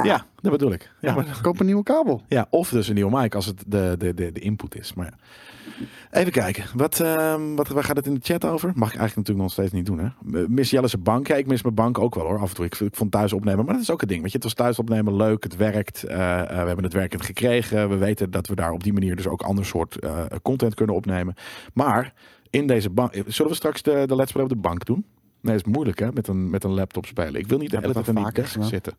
Speaker 1: Ja, dat bedoel ik. Ja, maar-
Speaker 2: Koop een nieuwe kabel.
Speaker 1: ja, of dus een nieuwe mic als het de, de, de, de input is. Maar ja. Even kijken. Wat, ehm, wat, waar gaat het in de chat over? Mag ik eigenlijk natuurlijk nog steeds niet doen. Hè? Mis Jelle zijn bank. Ja, ik mis mijn bank ook wel hoor. Af en toe. Ik, ik vond thuis opnemen. Maar dat is ook een ding. Weet je, het was thuis opnemen leuk. Het werkt. Eh, eh, we hebben het werkend gekregen. We weten dat we daar op die manier dus ook ander soort eh, content kunnen opnemen. Maar in deze bank. Zullen we straks de, de Let's Play op de bank doen? Nee, dat is moeilijk hè. Met een, met een laptop spelen. Ik wil niet de
Speaker 2: Ja,
Speaker 1: hele
Speaker 2: dat
Speaker 1: tijd aan die
Speaker 2: vaker
Speaker 1: desk
Speaker 2: gedaan.
Speaker 1: zitten.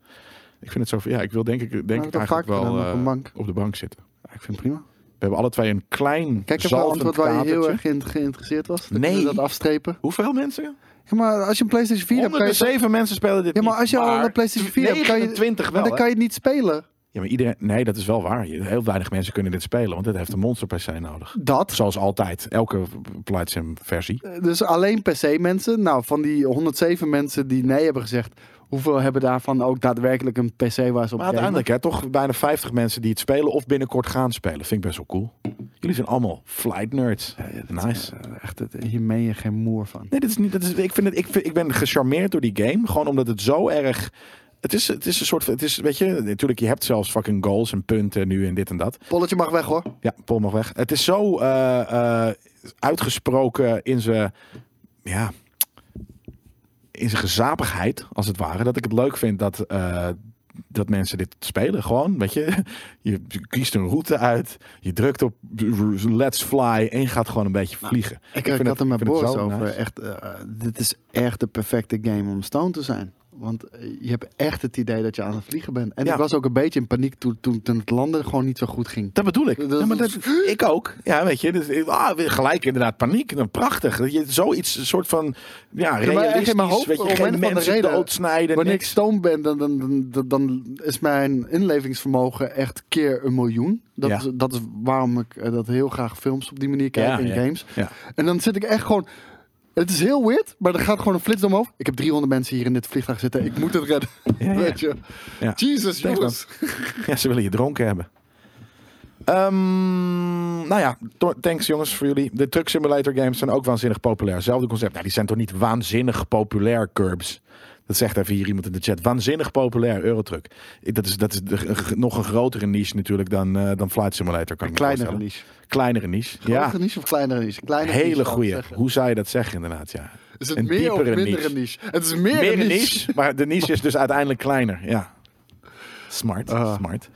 Speaker 1: Ik vind het zo. Ja, ik wil denk ik,
Speaker 2: hebben
Speaker 1: denk ik
Speaker 2: het al
Speaker 1: eigenlijk
Speaker 2: vaker
Speaker 1: wel
Speaker 2: gedaan op
Speaker 1: eh,
Speaker 2: een bank.
Speaker 1: op de bank zitten.
Speaker 2: ik vind het prima.
Speaker 1: We hebben alle twee een klein
Speaker 2: Kijk even een
Speaker 1: zalvend
Speaker 2: antwoord waar je heel
Speaker 1: katertje.
Speaker 2: erg in geïnteresseerd was. Dan
Speaker 1: Nee.
Speaker 2: kunnen we dat afstrepen.
Speaker 1: Hoeveel mensen?
Speaker 2: Ja, maar als je een PlayStation 4 hebt, kan je...
Speaker 1: 107 mensen spelen dit
Speaker 2: Ja, maar
Speaker 1: niet,
Speaker 2: als je al een PlayStation 4 hebt, kan je...
Speaker 1: 29
Speaker 2: maar
Speaker 1: wel.
Speaker 2: dan
Speaker 1: hè?
Speaker 2: kan je niet spelen.
Speaker 1: Ja, maar iedereen... Nee, dat is wel waar. Je- Heel weinig mensen kunnen dit spelen, want dit heeft een monster PC nodig.
Speaker 2: Dat.
Speaker 1: Zoals altijd. Elke Flight Sim versie.
Speaker 2: Dus alleen PC mensen. Nou, van die 107 mensen die nee hebben gezegd... Hoeveel hebben daarvan ook daadwerkelijk een PC waar ze op
Speaker 1: Maar
Speaker 2: gamen?
Speaker 1: uiteindelijk hè, toch bijna 50 mensen die het spelen of binnenkort gaan spelen. Vind ik best wel cool. Jullie zijn allemaal flight nerds. nice.
Speaker 2: Eh, Echt, het- hier meen je geen moer van.
Speaker 1: Nee, dat is niet. Dat is, ik, vind het, ik, vind- ik ben gecharmeerd door die game. Gewoon omdat het zo erg. Het is, het is een soort van. Het is, weet je, natuurlijk, je hebt zelfs fucking goals en punten nu en dit en dat.
Speaker 2: Polletje mag weg, hoor.
Speaker 1: Ja, Paul mag weg. Het is zo eh, eh, uitgesproken in zijn. Ja. In zijn gezapigheid, als het ware. Dat ik het leuk vind dat. eh, dat mensen dit spelen gewoon, weet je. [laughs] Je kiest een route uit, je drukt op let's fly en je gaat gewoon een beetje vliegen.
Speaker 2: Ik,
Speaker 1: vind
Speaker 2: ik
Speaker 1: het-
Speaker 2: had er met
Speaker 1: ik vind het
Speaker 2: Boris
Speaker 1: zo
Speaker 2: over.
Speaker 1: nice.
Speaker 2: Echt, eh, dit is echt de perfecte game om stone te zijn. Want eh, je hebt echt het idee dat je aan het vliegen bent. En
Speaker 1: Ja.
Speaker 2: ik was ook een beetje in paniek toen, toen, toen het landen gewoon niet zo goed ging.
Speaker 1: Dat bedoel ik.
Speaker 2: Dat-
Speaker 1: Ja, maar dat, ik ook. Ja, weet je. Dus, ik- ah, weer gelijk inderdaad paniek. Dan prachtig. Dat je zoiets, een soort van, ja,
Speaker 2: echt in mijn
Speaker 1: realistisch.
Speaker 2: hoofd,
Speaker 1: weet
Speaker 2: om
Speaker 1: je,
Speaker 2: een of
Speaker 1: geen
Speaker 2: andere
Speaker 1: mensen
Speaker 2: reden,
Speaker 1: doodsnijden.
Speaker 2: Wanneer ik
Speaker 1: niks.
Speaker 2: stoned ben, dan, dan, dan, dan- dan is mijn inlevingsvermogen echt keer een miljoen. Dat,
Speaker 1: Ja.
Speaker 2: is, dat is waarom ik eh, dat heel graag films op die manier kijk
Speaker 1: Ja,
Speaker 2: en
Speaker 1: ja.
Speaker 2: games.
Speaker 1: Ja.
Speaker 2: En dan zit ik echt gewoon... Het is heel weird, maar er gaat gewoon een flits door mijn hoofd. Ik heb 300 mensen hier in dit vliegtuig zitten. Ik moet het redden.
Speaker 1: Ja, ja.
Speaker 2: Weet je.
Speaker 1: Ja.
Speaker 2: Jesus,
Speaker 1: Thanks,
Speaker 2: jongens.
Speaker 1: Ja, ze willen je dronken hebben. Ehm, nou ja, to- thanks jongens voor jullie. De truck simulator games zijn ook waanzinnig populair. Zelfde concept. Nou, die zijn toch niet waanzinnig populair, Curbs? Dat zegt even hier iemand in de chat. Waanzinnig populair, Eurotruck. Ik- Dat is, dat is de- g- nog een grotere niche natuurlijk dan, eh, dan Flight Simulator. Kan ik me
Speaker 2: Kleinere
Speaker 1: voorstellen.
Speaker 2: niche.
Speaker 1: Kleinere niche.
Speaker 2: Ja.
Speaker 1: ja.
Speaker 2: Grotere niche of kleinere niche? Kleinere niche,
Speaker 1: Hele
Speaker 2: zou ik
Speaker 1: goeie.
Speaker 2: zeggen.
Speaker 1: Hoe zou je dat zeggen inderdaad, ja.
Speaker 2: Is het
Speaker 1: Een
Speaker 2: meer of
Speaker 1: diepere
Speaker 2: mindere
Speaker 1: niche.
Speaker 2: niche? Het is meer,
Speaker 1: Meer
Speaker 2: een
Speaker 1: een
Speaker 2: niche.
Speaker 1: niche, [laughs] maar de niche is dus uiteindelijk kleiner, ja. Smart,
Speaker 2: Ah.
Speaker 1: smart.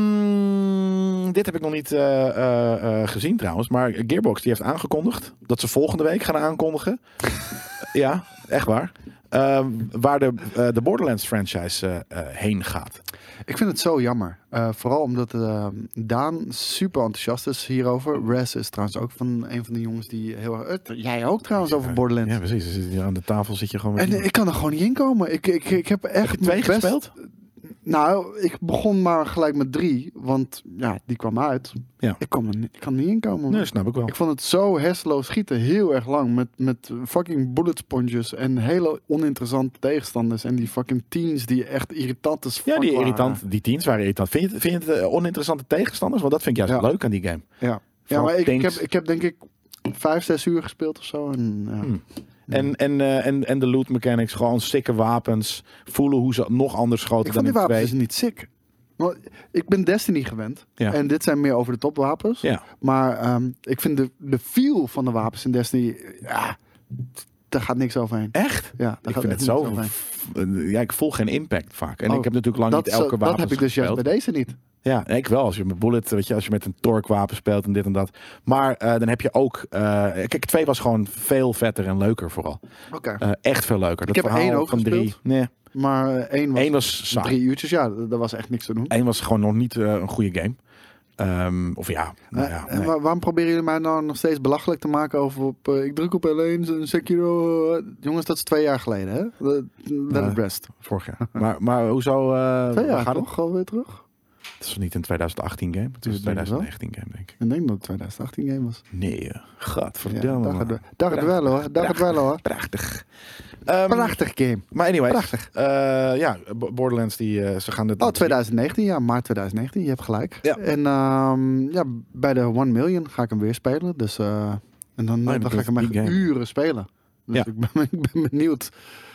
Speaker 1: Ehm, dit heb ik nog niet eh, eh, eh, gezien trouwens, maar Gearbox die heeft aangekondigd dat ze volgende week gaan aankondigen.
Speaker 2: [laughs]
Speaker 1: ja, echt waar. Ehm, waar de, eh, de Borderlands franchise eh, eh, heen gaat.
Speaker 2: Ik vind het zo jammer. Eh, vooral omdat eh, Daan super enthousiast is hierover. Res is trouwens ook van een van de jongens die heel erg... eh, jij ook trouwens over Borderlands.
Speaker 1: Ja, precies. Dus hier aan de tafel zit je gewoon met
Speaker 2: En
Speaker 1: iemand.
Speaker 2: eh, ik kan er gewoon niet in komen. Ik, ik, ik heb echt
Speaker 1: Heb je twee
Speaker 2: mijn best-
Speaker 1: gespeeld?
Speaker 2: Nou, ik begon maar gelijk met drie, want ja, die kwam uit.
Speaker 1: Ja.
Speaker 2: Ik, kon er niet, ik kan er niet inkomen. man.
Speaker 1: Nee, snap ik wel.
Speaker 2: Ik vond het zo hersenloos schieten, heel erg lang. Met, met fucking bullet sponges en hele oninteressante tegenstanders. En die fucking teams die echt irritant is.
Speaker 1: Ja, die, irritant, die teams waren irritant. Vind je, het- vind je het eh, oninteressante tegenstanders? Want dat vind ik juist
Speaker 2: Ja.
Speaker 1: leuk aan die game.
Speaker 2: Ja, ja
Speaker 1: Vooral
Speaker 2: maar ik, ik, heb,
Speaker 1: tanks.
Speaker 2: ik heb denk ik vijf, zes uur gespeeld of zo. En, ja.
Speaker 1: Hmm. En, en, eh, en, en de loot mechanics, gewoon sikke wapens. Voelen hoe ze nog anders schoten
Speaker 2: Ik
Speaker 1: dan
Speaker 2: vond die
Speaker 1: in
Speaker 2: wapens
Speaker 1: twee.
Speaker 2: dus niet sick. Want ik ben Destiny gewend.
Speaker 1: Ja.
Speaker 2: En dit zijn meer over de top wapens.
Speaker 1: Ja.
Speaker 2: Maar ehm, ik vind de, de feel van de wapens in Destiny... Ja, t- daar gaat niks overheen.
Speaker 1: Echt?
Speaker 2: Ja, daar
Speaker 1: Ik
Speaker 2: gaat
Speaker 1: vind
Speaker 2: echt
Speaker 1: het
Speaker 2: niks
Speaker 1: zo...
Speaker 2: overheen.
Speaker 1: eh, Ja, ik voel geen impact vaak. En
Speaker 2: Oh,
Speaker 1: ik heb natuurlijk lang
Speaker 2: Dat,
Speaker 1: niet
Speaker 2: zo-
Speaker 1: elke wapen
Speaker 2: dat heb ik dus juist
Speaker 1: gespeeld.
Speaker 2: bij deze niet.
Speaker 1: Ja, ik wel. Als je met bullet, weet je, als je met een torque wapen speelt en dit en dat. Maar eh, dan heb je ook. eh, kijk, twee was gewoon veel vetter en leuker vooral.
Speaker 2: Oké.
Speaker 1: Eh, echt veel leuker. Dat
Speaker 2: heb
Speaker 1: verhaal
Speaker 2: één ook
Speaker 1: van drie.
Speaker 2: gespeeld.
Speaker 1: Nee,
Speaker 2: Maar eh, één was
Speaker 1: één was saai.
Speaker 2: drie uurtjes. Ja, d- daar was echt niks te doen.
Speaker 1: Eén was gewoon nog niet eh, een goede game. Ehm, of ja, nou ja.
Speaker 2: Eh, en
Speaker 1: nee.
Speaker 2: wa- waarom proberen jullie mij nou nog steeds belachelijk te maken over op, eh, ik druk op L1 en Sekiro? eh, jongens, dat is twee jaar geleden, hè? Let let it
Speaker 1: Nee.
Speaker 2: rest.
Speaker 1: Vorig jaar.
Speaker 2: [laughs]
Speaker 1: Maar, maar hoezo eh,
Speaker 2: Twee jaar
Speaker 1: Oh, gaat het?
Speaker 2: toch? Gewoon weer terug?
Speaker 1: Het is niet een 2018 game. Het is een
Speaker 2: Dat denk ik wel.
Speaker 1: 2019 game, denk ik.
Speaker 2: Ik denk dat het 2018 game was.
Speaker 1: Nee, eh,
Speaker 2: Ja,
Speaker 1: gadverdamme.
Speaker 2: dag,
Speaker 1: man.
Speaker 2: het, dag het wel hoor, dag het wel hoor.
Speaker 1: Prachtig. [laughs] Ehm,
Speaker 2: Prachtig game.
Speaker 1: Maar anyway.
Speaker 2: Prachtig.
Speaker 1: eh, ja, Bo- Borderlands, die, eh, ze gaan dit...
Speaker 2: Oh, 2019, ja, maart 2019, je hebt gelijk.
Speaker 1: Ja.
Speaker 2: En ehm, ja, bij de 1 million ga ik hem weer spelen. Dus, eh, en dan,
Speaker 1: maar
Speaker 2: dan
Speaker 1: Oh, dat
Speaker 2: ga ik
Speaker 1: is
Speaker 2: hem echt
Speaker 1: die game.
Speaker 2: uren spelen. Dus
Speaker 1: Ja.
Speaker 2: ik, ben, [laughs] ik ben benieuwd.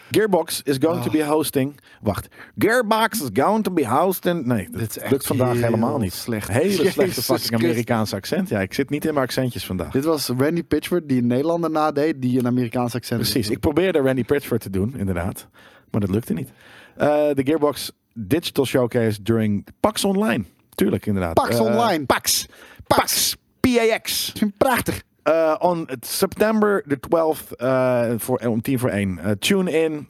Speaker 1: Gearbox is going to be
Speaker 2: Ah.
Speaker 1: hosting. Wacht. Gearbox is going to be hosting. Nee, dat
Speaker 2: Dit is echt
Speaker 1: lukt vandaag
Speaker 2: heel
Speaker 1: helemaal niet.
Speaker 2: slecht.
Speaker 1: Hele slechte
Speaker 2: [laughs] Jezus
Speaker 1: fucking
Speaker 2: Christus.
Speaker 1: Amerikaans accent. Ja, ik zit niet in mijn accentjes vandaag.
Speaker 2: Dit was Randy Pitchford, die een Nederlander nadeed, die een Amerikaans accent
Speaker 1: Precies.
Speaker 2: had.
Speaker 1: Ik probeerde Randy Pritchford te doen, inderdaad. Maar dat lukte niet. Eh, De Gearbox Digital Showcase during PAX Online. Tuurlijk, inderdaad.
Speaker 2: Pax
Speaker 1: Eh,
Speaker 2: Online.
Speaker 1: PAX. PAX. PAX.
Speaker 2: Ik vind het prachtig.
Speaker 1: Eh, on September the 12th, eh, voor, om tien voor één. Eh, tune in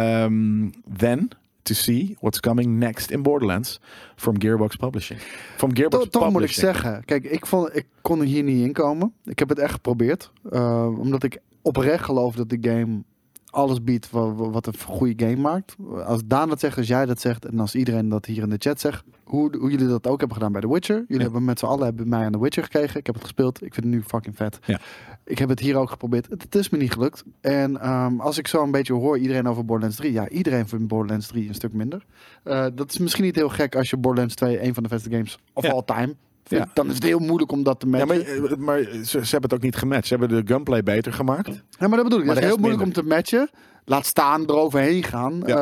Speaker 1: ehm, then to see what's coming next in Borderlands from Gearbox Publishing. From Gearbox
Speaker 2: Toch, toch moet ik
Speaker 1: Publishing.
Speaker 2: zeggen. Kijk, ik, vond, ik kon hier niet inkomen. Ik heb het echt geprobeerd. eh, omdat ik oprecht geloof dat de game alles biedt wa- wa- wat, een goede game maakt. Als Daan dat zegt, als jij dat zegt en als iedereen dat hier in de chat zegt. Hoe, hoe jullie dat ook hebben gedaan bij The Witcher. Jullie
Speaker 1: Ja.
Speaker 2: hebben met z'n allen hebben mij aan The Witcher gekregen. Ik heb het gespeeld. Ik vind het nu fucking vet.
Speaker 1: Ja.
Speaker 2: Ik heb het hier ook geprobeerd. Het, het is me niet gelukt. En ehm, als ik zo een beetje hoor iedereen over Borderlands 3. Ja, iedereen vindt Borderlands 3 een stuk minder. Eh, dat is misschien niet heel gek als je Borderlands 2 een van de beste games of
Speaker 1: Ja.
Speaker 2: all time vindt.
Speaker 1: Ja.
Speaker 2: Dan is het heel moeilijk om dat te
Speaker 1: Ja,
Speaker 2: matchen.
Speaker 1: maar,
Speaker 2: Ja, maar,
Speaker 1: eh, maar ze, ze hebben het ook niet gematcht. Ze hebben de gunplay beter gemaakt.
Speaker 2: dat bedoel ik.
Speaker 1: Maar
Speaker 2: Het is
Speaker 1: de
Speaker 2: heel
Speaker 1: rest
Speaker 2: moeilijk om te matchen. Laat staan, eroverheen gaan. Eh,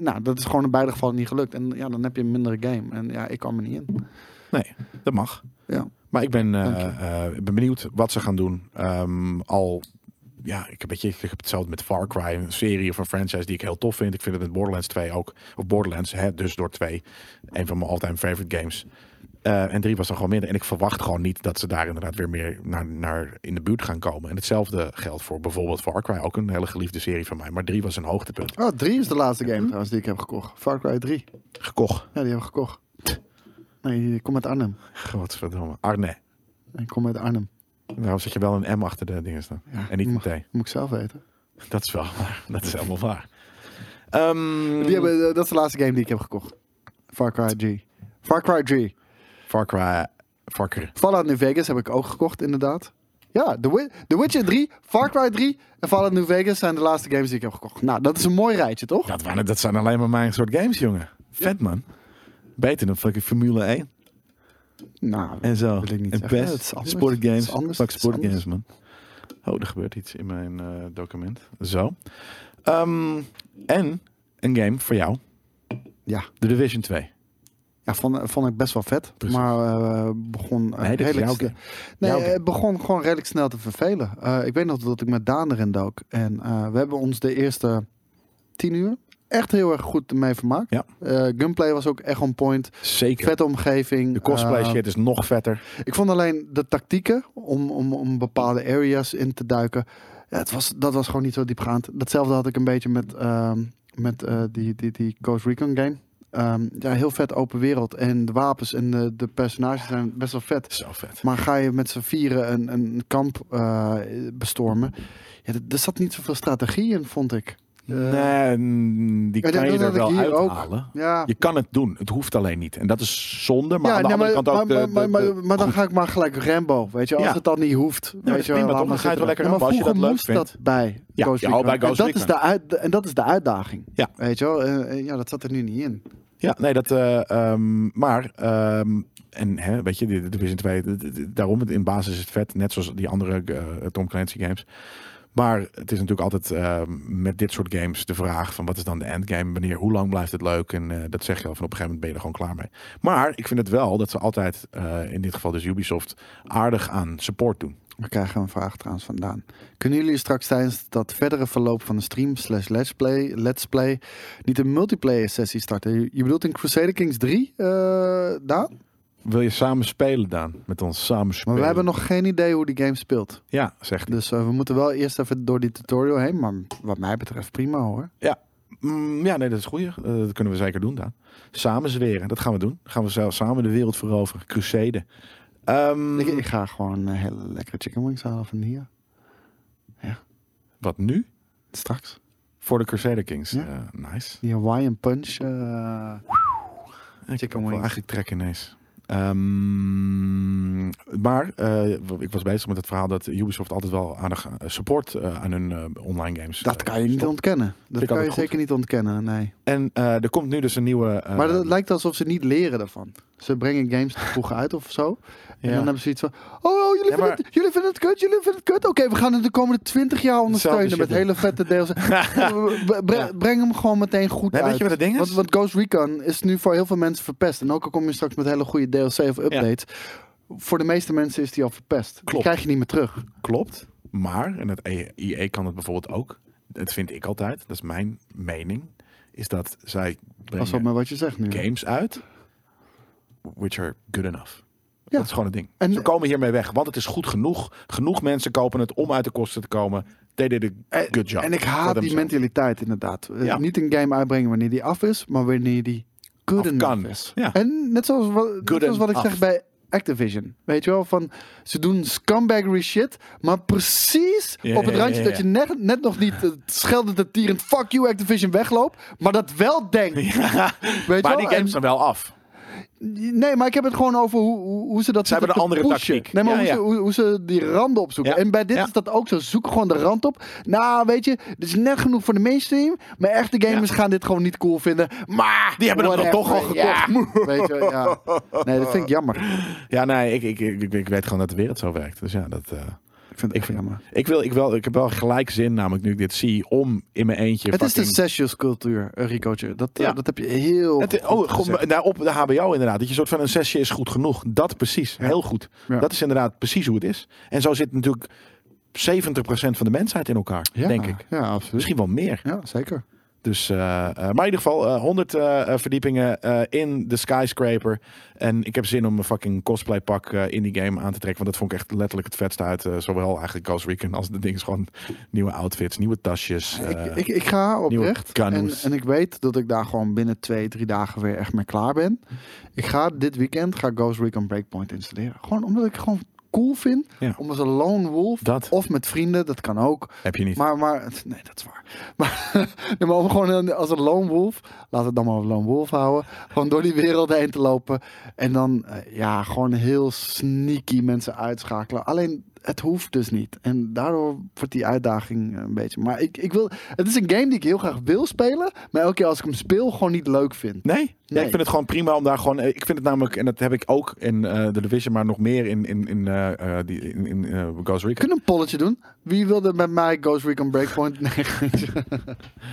Speaker 2: nou, dat is gewoon in beide gevallen niet gelukt. En ja, dan heb je een mindere game. En ja, ik kwam er niet in.
Speaker 1: Nee, dat mag.
Speaker 2: Ja.
Speaker 1: Maar ik ben, eh,
Speaker 2: Dank je.
Speaker 1: eh, ik ben benieuwd wat ze gaan doen. Ehm, al, ja, ik, weet je, ik heb hetzelfde met Far Cry, een serie of een franchise die ik heel tof vind. Ik vind het met Borderlands 2 ook, of Borderlands, hè, dus door 2, een van mijn all-time favorite games. Eh, en 3 was dan gewoon minder. En ik verwacht gewoon niet dat ze daar inderdaad weer meer naar, naar in de buurt gaan komen. En hetzelfde geldt voor bijvoorbeeld Far Cry, ook een hele geliefde serie van mij. Maar 3 was een hoogtepunt.
Speaker 2: Oh, 3 is de laatste
Speaker 1: Hm?
Speaker 2: game trouwens die ik heb gekocht. Far Cry 3.
Speaker 1: Gekocht.
Speaker 2: Ja, die heb ik gekocht. Nee, ik kom uit Arnhem.
Speaker 1: Godverdomme. Arne,
Speaker 2: Ik kom uit Arnhem.
Speaker 1: waarom zet je wel een M achter de dingen staan?
Speaker 2: Ja,
Speaker 1: En niet een
Speaker 2: mag-
Speaker 1: T.
Speaker 2: Moet ik zelf weten.
Speaker 1: Dat is wel waar. Dat is helemaal waar. Ehm,
Speaker 2: Die hebben, eh, dat is de laatste game die ik heb gekocht. Far Cry 3. Far Cry 3.
Speaker 1: Far Cry. Far Cry.
Speaker 2: Fallout New Vegas heb ik ook gekocht, inderdaad. Ja, The, Wi- The Witcher 3, Far Cry 3 en Fallout New Vegas zijn de laatste games die ik heb gekocht. Nou, dat is een mooi rijtje, toch?
Speaker 1: Dat, waren, dat zijn alleen maar mijn soort games, jongen. Vet, man. Beter dan fucking Formule 1
Speaker 2: Nou,
Speaker 1: en zo.
Speaker 2: Wil ik niet
Speaker 1: en
Speaker 2: zeggen.
Speaker 1: PES,
Speaker 2: Het is anders.
Speaker 1: sportgames.
Speaker 2: Het is anders.
Speaker 1: Fuck
Speaker 2: Het is anders.
Speaker 1: sportgames, man. Oh, er gebeurt iets in mijn eh, document. Zo. Ehm, en een game voor jou.
Speaker 2: ja.
Speaker 1: The Division 2.
Speaker 2: Ja, vond, vond ik best wel vet.
Speaker 1: Precies.
Speaker 2: Maar eh, begon eh,
Speaker 1: Nee, dit is
Speaker 2: redelijk
Speaker 1: jouw
Speaker 2: snel-
Speaker 1: game.
Speaker 2: Nee,
Speaker 1: Jouw
Speaker 2: eh,
Speaker 1: game.
Speaker 2: het begon gewoon redelijk snel te vervelen. Eh, ik weet nog dat ik met Daan erin dook. En eh, we hebben ons de eerste tien uur echt heel erg goed mee vermaakt.
Speaker 1: Ja.
Speaker 2: Eh, gunplay was ook echt on point.
Speaker 1: Zeker.
Speaker 2: Vette omgeving.
Speaker 1: De cosplay
Speaker 2: Eh,
Speaker 1: shit is nog vetter.
Speaker 2: Ik vond alleen de tactieken om, om, om bepaalde areas in te duiken. Ja, het was, dat was gewoon niet zo diepgaand. Datzelfde had ik een beetje met, ehm, met eh, die, die, die Ghost Recon game. Ehm, ja, heel vet open wereld. En de wapens en de, de personages zijn best wel vet.
Speaker 1: Zo vet.
Speaker 2: Maar ga je met z'n vieren een, een kamp eh, bestormen? Ja, d- er zat niet zoveel strategie in, vond ik.
Speaker 1: nee, mm, die
Speaker 2: ja,
Speaker 1: kan je
Speaker 2: dat had
Speaker 1: er
Speaker 2: ik
Speaker 1: wel
Speaker 2: hier ook.
Speaker 1: uithalen.
Speaker 2: Ja.
Speaker 1: Je kan het doen. Het hoeft alleen niet. En dat is zonde. Maar
Speaker 2: ja,
Speaker 1: aan de andere
Speaker 2: nee, maar,
Speaker 1: kant ook.
Speaker 2: maar,
Speaker 1: de-
Speaker 2: maar,
Speaker 1: de-
Speaker 2: maar,
Speaker 1: de-
Speaker 2: maar dan ga ik maar gelijk Rambo, weet je. Als
Speaker 1: Ja.
Speaker 2: het dan niet hoeft,
Speaker 1: dat
Speaker 2: weet
Speaker 1: is
Speaker 2: je
Speaker 1: prima,
Speaker 2: wel.
Speaker 1: toch?
Speaker 2: laat maar
Speaker 1: Dan ga je het wel
Speaker 2: zitten.
Speaker 1: lekker
Speaker 2: maar
Speaker 1: aan, als je
Speaker 2: vroeger
Speaker 1: dat
Speaker 2: moest
Speaker 1: leuk
Speaker 2: dat bij
Speaker 1: Ja,
Speaker 2: Ghost
Speaker 1: ja, al
Speaker 2: Recon.
Speaker 1: bij
Speaker 2: en,
Speaker 1: Ghost
Speaker 2: dat is
Speaker 1: Recon.
Speaker 2: de uit, en dat is de uitdaging,
Speaker 1: Ja.
Speaker 2: weet je wel. Eh, eh, ja, dat zat er nu niet in.
Speaker 1: Ja, nee, dat. eh, ehm, maar. ehm, en hè, weet je, de de Division 2. d- d- d- Daarom, het- in basis is het vet. Net zoals die andere eh, Tom Clancy games. Maar het is natuurlijk altijd ehm, met dit soort games de vraag van wat is dan de endgame? Wanneer, hoe lang blijft het leuk? En eh, dat zeg je al van op een gegeven moment ben je er gewoon klaar mee. Maar ik vind het wel dat ze altijd, eh, in dit geval dus Ubisoft, aardig aan support doen.
Speaker 2: We krijgen een vraag trouwens vandaan. Kunnen jullie straks tijdens dat verdere verloop van de stream slash let's play, let's play niet een multiplayer sessie starten? Je- Je bedoelt in Crusader Kings 3, eh Daan?
Speaker 1: Wil je samen spelen, Daan? Met ons samen spelen.
Speaker 2: Maar we hebben nog geen idee hoe die game speelt.
Speaker 1: Ja, zegt hij.
Speaker 2: Dus eh, we moeten wel eerst even door die tutorial heen. Maar wat mij betreft prima hoor.
Speaker 1: Mm, ja, nee, dat is goed. dat kunnen we zeker doen, Daan. Samen zweren, dat gaan we doen. Gaan we zelf samen de wereld veroveren. Crusade. Ehm,
Speaker 2: Ik, ik ga gewoon eh, hele lekkere chicken wings halen van hier.
Speaker 1: Wat nu?
Speaker 2: Straks.
Speaker 1: Voor de Crusader Kings.
Speaker 2: Ja.
Speaker 1: Eh, nice.
Speaker 2: Die Hawaiian punch. eh,
Speaker 1: Ik
Speaker 2: Chicken
Speaker 1: heb wel
Speaker 2: wings.
Speaker 1: eigenlijk trek ineens. Ehm, maar eh, ik was bezig met het verhaal dat Ubisoft altijd wel aardig eh, support eh, aan hun eh, online games.
Speaker 2: dat
Speaker 1: eh,
Speaker 2: kan je niet
Speaker 1: stopt.
Speaker 2: ontkennen. Dat
Speaker 1: Ik had
Speaker 2: kan je
Speaker 1: het goed.
Speaker 2: zeker niet ontkennen, nee.
Speaker 1: En eh, er komt nu dus een nieuwe. eh,
Speaker 2: maar het lijkt alsof ze niet leren daarvan. Ze brengen games te vroeg uit of zo. En
Speaker 1: Ja.
Speaker 2: dan hebben ze iets van... Oh, jullie,
Speaker 1: Ja,
Speaker 2: vinden,
Speaker 1: maar-
Speaker 2: het, jullie vinden het kut, jullie vinden het kut. Oké, we gaan het de komende 20 jaar ondersteunen
Speaker 1: shit
Speaker 2: met
Speaker 1: doen.
Speaker 2: hele vette
Speaker 1: [laughs]
Speaker 2: deels. Breng hem gewoon meteen goed
Speaker 1: Nee,
Speaker 2: uit.
Speaker 1: weet je wat het ding is?
Speaker 2: Want, want Ghost Recon is nu voor heel veel mensen verpest. En ook al kom je straks met hele goede DLC of updates. Voor de meeste mensen is die al verpest. Die
Speaker 1: Klopt.
Speaker 2: krijg je niet meer terug.
Speaker 1: Klopt, maar, en het IE kan het bijvoorbeeld ook, dat vind ik altijd, dat is mijn mening, is dat zij
Speaker 2: Pas op
Speaker 1: brengen
Speaker 2: met wat je zegt nu.
Speaker 1: games uit, which are good enough.
Speaker 2: Ja.
Speaker 1: Dat is gewoon het ding.
Speaker 2: En-
Speaker 1: Ze komen hiermee weg, want het is goed genoeg. Genoeg mensen kopen het om uit de kosten te komen. They did a good job.
Speaker 2: En ik
Speaker 1: For
Speaker 2: haat die
Speaker 1: themselves.
Speaker 2: mentaliteit inderdaad. Eh,
Speaker 1: Ja.
Speaker 2: Niet een game uitbrengen wanneer die af is, maar wanneer die good
Speaker 1: Af
Speaker 2: enough
Speaker 1: kan.
Speaker 2: is.
Speaker 1: Ja.
Speaker 2: En net zoals wat, net
Speaker 1: Good
Speaker 2: zoals wat ik
Speaker 1: enough.
Speaker 2: zeg bij Activision. Weet je wel, van ze doen scumbaggery shit, maar precies
Speaker 1: Ja,
Speaker 2: op het
Speaker 1: ja, ja,
Speaker 2: randje
Speaker 1: ja.
Speaker 2: dat je net, net nog niet eh, scheldend en tierend fuck you Activision wegloopt, maar dat wel denkt.
Speaker 1: [laughs]
Speaker 2: Weet
Speaker 1: Maar
Speaker 2: je
Speaker 1: die
Speaker 2: wel?
Speaker 1: games
Speaker 2: En-
Speaker 1: zijn wel af.
Speaker 2: Nee, maar ik heb het gewoon over hoe, hoe, hoe ze dat
Speaker 1: Ze hebben
Speaker 2: zitten
Speaker 1: een
Speaker 2: te
Speaker 1: andere
Speaker 2: pushen.
Speaker 1: tactiek.
Speaker 2: Nee, maar
Speaker 1: Ja,
Speaker 2: hoe,
Speaker 1: ja.
Speaker 2: Ze, hoe, hoe ze die randen opzoeken.
Speaker 1: Ja.
Speaker 2: En bij dit
Speaker 1: Ja.
Speaker 2: is dat ook zo. Zoek gewoon de rand op. Nou, weet je, dit is net genoeg voor de mainstream. Maar echte gamers gaan dit gewoon niet cool vinden. Maar
Speaker 1: Die hebben dat dan
Speaker 2: whatever.
Speaker 1: toch al gekocht.
Speaker 2: Ja, weet je, ja. Nee, dat vind ik jammer.
Speaker 1: Ja, nee, ik, ik, ik, ik weet gewoon dat de wereld zo werkt. Dus ja, dat... eh,
Speaker 2: Ik vind het echt jammer.
Speaker 1: ik, wil, ik, wel, ik heb wel gelijk zin, namelijk nu ik dit zie, om in mijn eentje...
Speaker 2: Het is de
Speaker 1: fucking-
Speaker 2: sessions cultuur, Ricootje. Dat, eh,
Speaker 1: Ja.
Speaker 2: dat heb je heel
Speaker 1: Het,
Speaker 2: goed
Speaker 1: oh, gewoon
Speaker 2: gezegd.
Speaker 1: daar op de HBO inderdaad. Dat je een soort van een zesje is goed genoeg. Dat precies. Heel goed.
Speaker 2: Ja.
Speaker 1: Dat is inderdaad precies hoe het is. En zo zit natuurlijk 70% van de mensheid in elkaar,
Speaker 2: Ja,
Speaker 1: denk ik.
Speaker 2: Ja, absoluut.
Speaker 1: Misschien wel meer.
Speaker 2: Ja, zeker.
Speaker 1: Dus, eh, eh, maar in ieder geval, eh, 100 eh, eh, verdiepingen eh, in de skyscraper. En ik heb zin om een fucking cosplay pak eh, in die game aan te trekken. Want dat vond ik echt letterlijk het vetste uit. eh, zowel eigenlijk Ghost Recon als de dingen. Gewoon nieuwe outfits, nieuwe tasjes. eh,
Speaker 2: ik, ik, ik ga
Speaker 1: nieuwe
Speaker 2: oprecht. En,
Speaker 1: kanus.
Speaker 2: en ik weet dat ik daar gewoon binnen twee, drie dagen weer echt mee klaar ben. Ik ga dit weekend ga Ghost Recon Breakpoint installeren. Gewoon omdat ik het gewoon cool vind.
Speaker 1: Ja.
Speaker 2: Om als een lone wolf.
Speaker 1: Dat.
Speaker 2: Of met vrienden, dat kan ook.
Speaker 1: Heb je niet.
Speaker 2: Maar, maar, [laughs] nee, dat is waar. Maar, [laughs] nee, maar om gewoon een- als een lone wolf, laten we het dan maar een lone wolf houden, gewoon door die wereld heen te lopen en dan, eh, ja, gewoon heel sneaky mensen uitschakelen. Alleen, het hoeft dus niet. En daardoor wordt die uitdaging eh, een beetje, maar ik, ik wil, het is een game die ik heel graag wil spelen, maar elke keer als ik hem speel, gewoon niet leuk vind.
Speaker 1: Nee? Ja,
Speaker 2: Nee.
Speaker 1: ik vind het gewoon prima om daar gewoon. eh, Ik vind het namelijk, en dat heb ik ook in eh The Division, maar nog meer in, in, in, eh, eh, die, in, in eh, Ghost Recon.
Speaker 2: Kunnen we een polletje doen? Wie wilde met mij [laughs] Ghost Recon Breakpoint? Nee,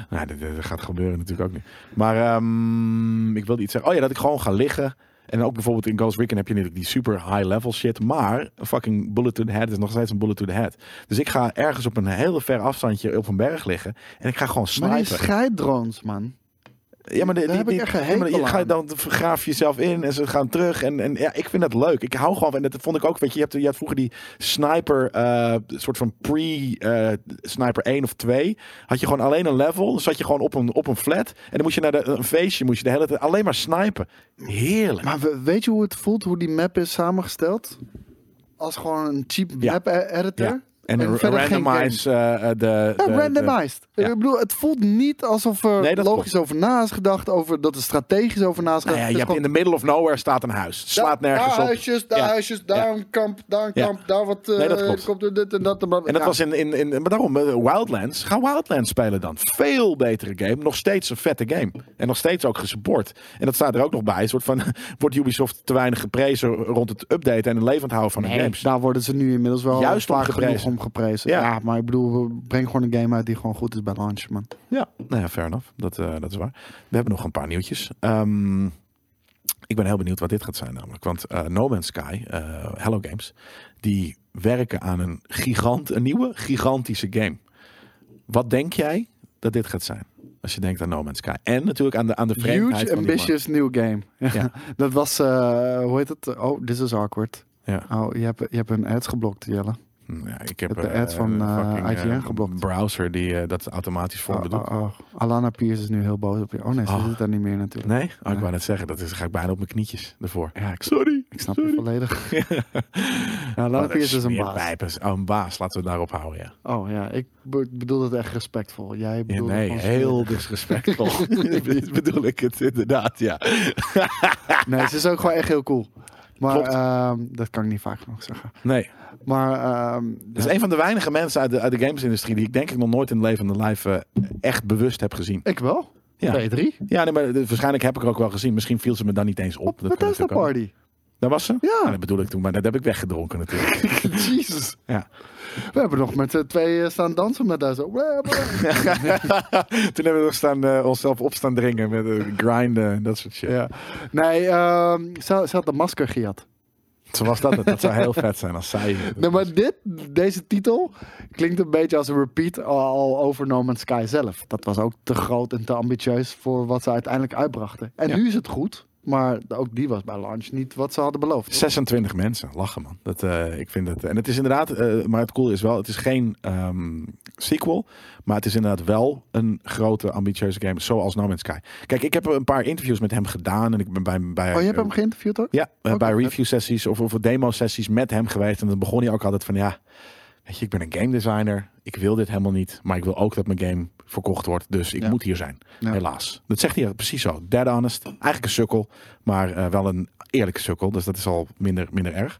Speaker 1: Nou, dat, dat gaat gebeuren natuurlijk ook niet. Maar ehm, ik wilde iets zeggen. Oh ja, dat ik gewoon ga liggen. En ook bijvoorbeeld in Ghost Recon heb je natuurlijk die super high level shit. Maar een fucking bullet to the head is nog steeds een bullet to the head. Dus ik ga ergens op een hele ver afstandje op een berg liggen. En ik ga gewoon
Speaker 2: maar die
Speaker 1: snipen.
Speaker 2: scheiddrones, man.
Speaker 1: Ja, maar de-
Speaker 2: Daar
Speaker 1: die,
Speaker 2: heb ik
Speaker 1: die-
Speaker 2: echt een
Speaker 1: ja, maar je
Speaker 2: hekel
Speaker 1: gaat
Speaker 2: aan.
Speaker 1: dan vergraaf jezelf in en ze gaan terug. En, en ja, ik vind dat leuk. Ik hou gewoon van. En dat vond ik ook. Weet je, je hebt, je had vroeger die sniper, eh, soort van pre-sniper 1 of 2. Had je gewoon alleen een level. Dan zat je gewoon op een, op een flat. En dan moest je naar de, een feestje. Moest je de hele tijd alleen maar snipen. Heerlijk.
Speaker 2: Maar we- weet je hoe het voelt, hoe die map is samengesteld? Als gewoon een cheap
Speaker 1: Ja.
Speaker 2: map e- editor.
Speaker 1: Ja. En,
Speaker 2: En
Speaker 1: r-
Speaker 2: verder geen
Speaker 1: randomize eh, eh, de...
Speaker 2: Ja,
Speaker 1: de- de-
Speaker 2: randomized.
Speaker 1: ja.
Speaker 2: Ik bedoel, het voelt niet alsof er
Speaker 1: Nee, dat
Speaker 2: logisch over na is gedacht, over, dat er strategisch over na is
Speaker 1: Nou
Speaker 2: gedacht.
Speaker 1: ja,
Speaker 2: Het
Speaker 1: je
Speaker 2: is
Speaker 1: hebt in
Speaker 2: gewoon-
Speaker 1: the middle of nowhere staat een huis. Slaat
Speaker 2: daar
Speaker 1: nergens op.
Speaker 2: huisjes, daar
Speaker 1: Ja.
Speaker 2: huisjes, daar
Speaker 1: Ja.
Speaker 2: een kamp, daar een
Speaker 1: Ja.
Speaker 2: kamp, daar wat eh
Speaker 1: Nee, dat klopt.
Speaker 2: komt er dit en dat. En,
Speaker 1: En dat was in, in, in... Maar daarom, eh, Wildlands. Ga Wildlands spelen dan. Veel betere game. Nog steeds een vette game. En nog steeds ook gesupport. En dat staat er ook nog bij. Een soort van... [laughs] Wordt Ubisoft te weinig geprezen rond het updaten en het levend houden van de games?
Speaker 2: daar worden ze nu inmiddels wel
Speaker 1: Juist
Speaker 2: vaak
Speaker 1: om geprezen.
Speaker 2: genoeg om geprezen. Ja.
Speaker 1: Ja.
Speaker 2: maar ik bedoel, breng gewoon een game uit die gewoon goed is bij launch, man.
Speaker 1: Ja, nou ja, fair enough. Dat, eh, dat is waar. We hebben nog een paar nieuwtjes. Ehm, ik ben heel benieuwd wat dit gaat zijn namelijk. Want eh, No Man's Sky, eh, Hello Games, die werken aan een, gigant, een nieuwe gigantische game. Wat denk jij dat dit gaat zijn? Als je denkt aan No Man's Sky. En natuurlijk aan de, aan de vreemdheid
Speaker 2: Huge,
Speaker 1: van die
Speaker 2: ambitious new game.
Speaker 1: Ja.
Speaker 2: [laughs] dat was, eh, hoe heet het? Oh, this is awkward.
Speaker 1: markt. Ja.
Speaker 2: Oh, je hebt, je hebt een ads geblokt, Jelle.
Speaker 1: Hm, ja, ik heb
Speaker 2: Heb de
Speaker 1: eh,
Speaker 2: ad van,
Speaker 1: een
Speaker 2: eh,
Speaker 1: fucking, eh,
Speaker 2: IGN geblokt.
Speaker 1: browser die eh, dat automatisch voor me
Speaker 2: Oh,
Speaker 1: doet.
Speaker 2: oh, oh. Alana Pierce is nu heel boos op je. Oh nee, ze
Speaker 1: Oh.
Speaker 2: zit daar niet meer natuurlijk.
Speaker 1: Nee? Oh, ik
Speaker 2: Nee.
Speaker 1: wou net zeggen, dat is, ga ik bijna op mijn knietjes ervoor.
Speaker 2: Ja, ik,
Speaker 1: Sorry.
Speaker 2: ik snap
Speaker 1: [laughs]
Speaker 2: het volledig. Ja, Alana
Speaker 1: Wat
Speaker 2: Pierce is een baas.
Speaker 1: smeerpijp is- Oh, een baas. Laten we het daarop houden, ja.
Speaker 2: Oh ja, ik be- bedoel dat echt respectvol. Jij
Speaker 1: Ja,
Speaker 2: bedoelt
Speaker 1: nee,
Speaker 2: het gewoon
Speaker 1: heel [laughs] disrespectvol. Dit bedoel ik het inderdaad, ja.
Speaker 2: Nee, ze is ook gewoon echt heel cool. Maar
Speaker 1: Klopt.
Speaker 2: ehm, dat kan ik niet vaak genoeg zeggen.
Speaker 1: Nee,
Speaker 2: Maar ehm,
Speaker 1: dat is een van de weinige mensen uit de, uit de gamesindustrie die ik denk ik nog nooit in het leven en live eh, echt bewust heb gezien.
Speaker 2: ik wel.
Speaker 1: Ja.
Speaker 2: P3.
Speaker 1: Ja, nee, maar de- waarschijnlijk heb ik er ook wel gezien. Misschien viel ze me dan niet eens op.
Speaker 2: Op
Speaker 1: kan
Speaker 2: Bethesda
Speaker 1: natuurlijk ook.
Speaker 2: Party.
Speaker 1: Daar was ze?
Speaker 2: Ja.
Speaker 1: Ah, dat bedoel ik toen, maar dat heb ik weggedronken natuurlijk. [laughs]
Speaker 2: [laughs] Jezus.
Speaker 1: ja.
Speaker 2: We hebben nog met z'n twee eh, staan dansen met daar zo.
Speaker 1: toen hebben we nog staan, eh, onszelf op staan dringen met eh, grinden en dat soort shit.
Speaker 2: Ja. Nee, ehm, ze, ze had een masker gejat.
Speaker 1: Zo was dat het. Dat zou heel vet zijn als zij...
Speaker 2: Nee, maar dit, deze titel klinkt een beetje als een repeat al- al over No Man's Sky zelf. Dat was ook te groot en te ambitieus voor wat ze uiteindelijk uitbrachten. En
Speaker 1: Ja.
Speaker 2: nu is het goed, maar ook die was bij launch niet wat ze hadden beloofd.
Speaker 1: 26 mensen, lachen man. Dat, eh, ik vind het, en het is inderdaad, eh, maar het cool is wel, het is geen ehm, sequel, maar het is inderdaad wel een grote ambitieuze game, zoals No Man's Sky. Kijk, ik heb een paar interviews met hem gedaan en ik ben bij... bij
Speaker 2: Oh, je hebt hem geïnterviewd ook?
Speaker 1: Ja, eh,
Speaker 2: Ook
Speaker 1: bij
Speaker 2: wel vet.
Speaker 1: review sessies of, of demo sessies met hem geweest. En dan begon hij ook altijd van, ja, weet je, ik ben een game designer. Ik wil dit helemaal niet, maar ik wil ook dat mijn game verkocht wordt. Dus ik
Speaker 2: Ja.
Speaker 1: moet hier zijn,
Speaker 2: Ja.
Speaker 1: helaas. Dat zegt hij precies zo. Dead honest. Eigenlijk een sukkel, maar eh, wel een eerlijke sukkel. Dus dat is al minder, minder erg.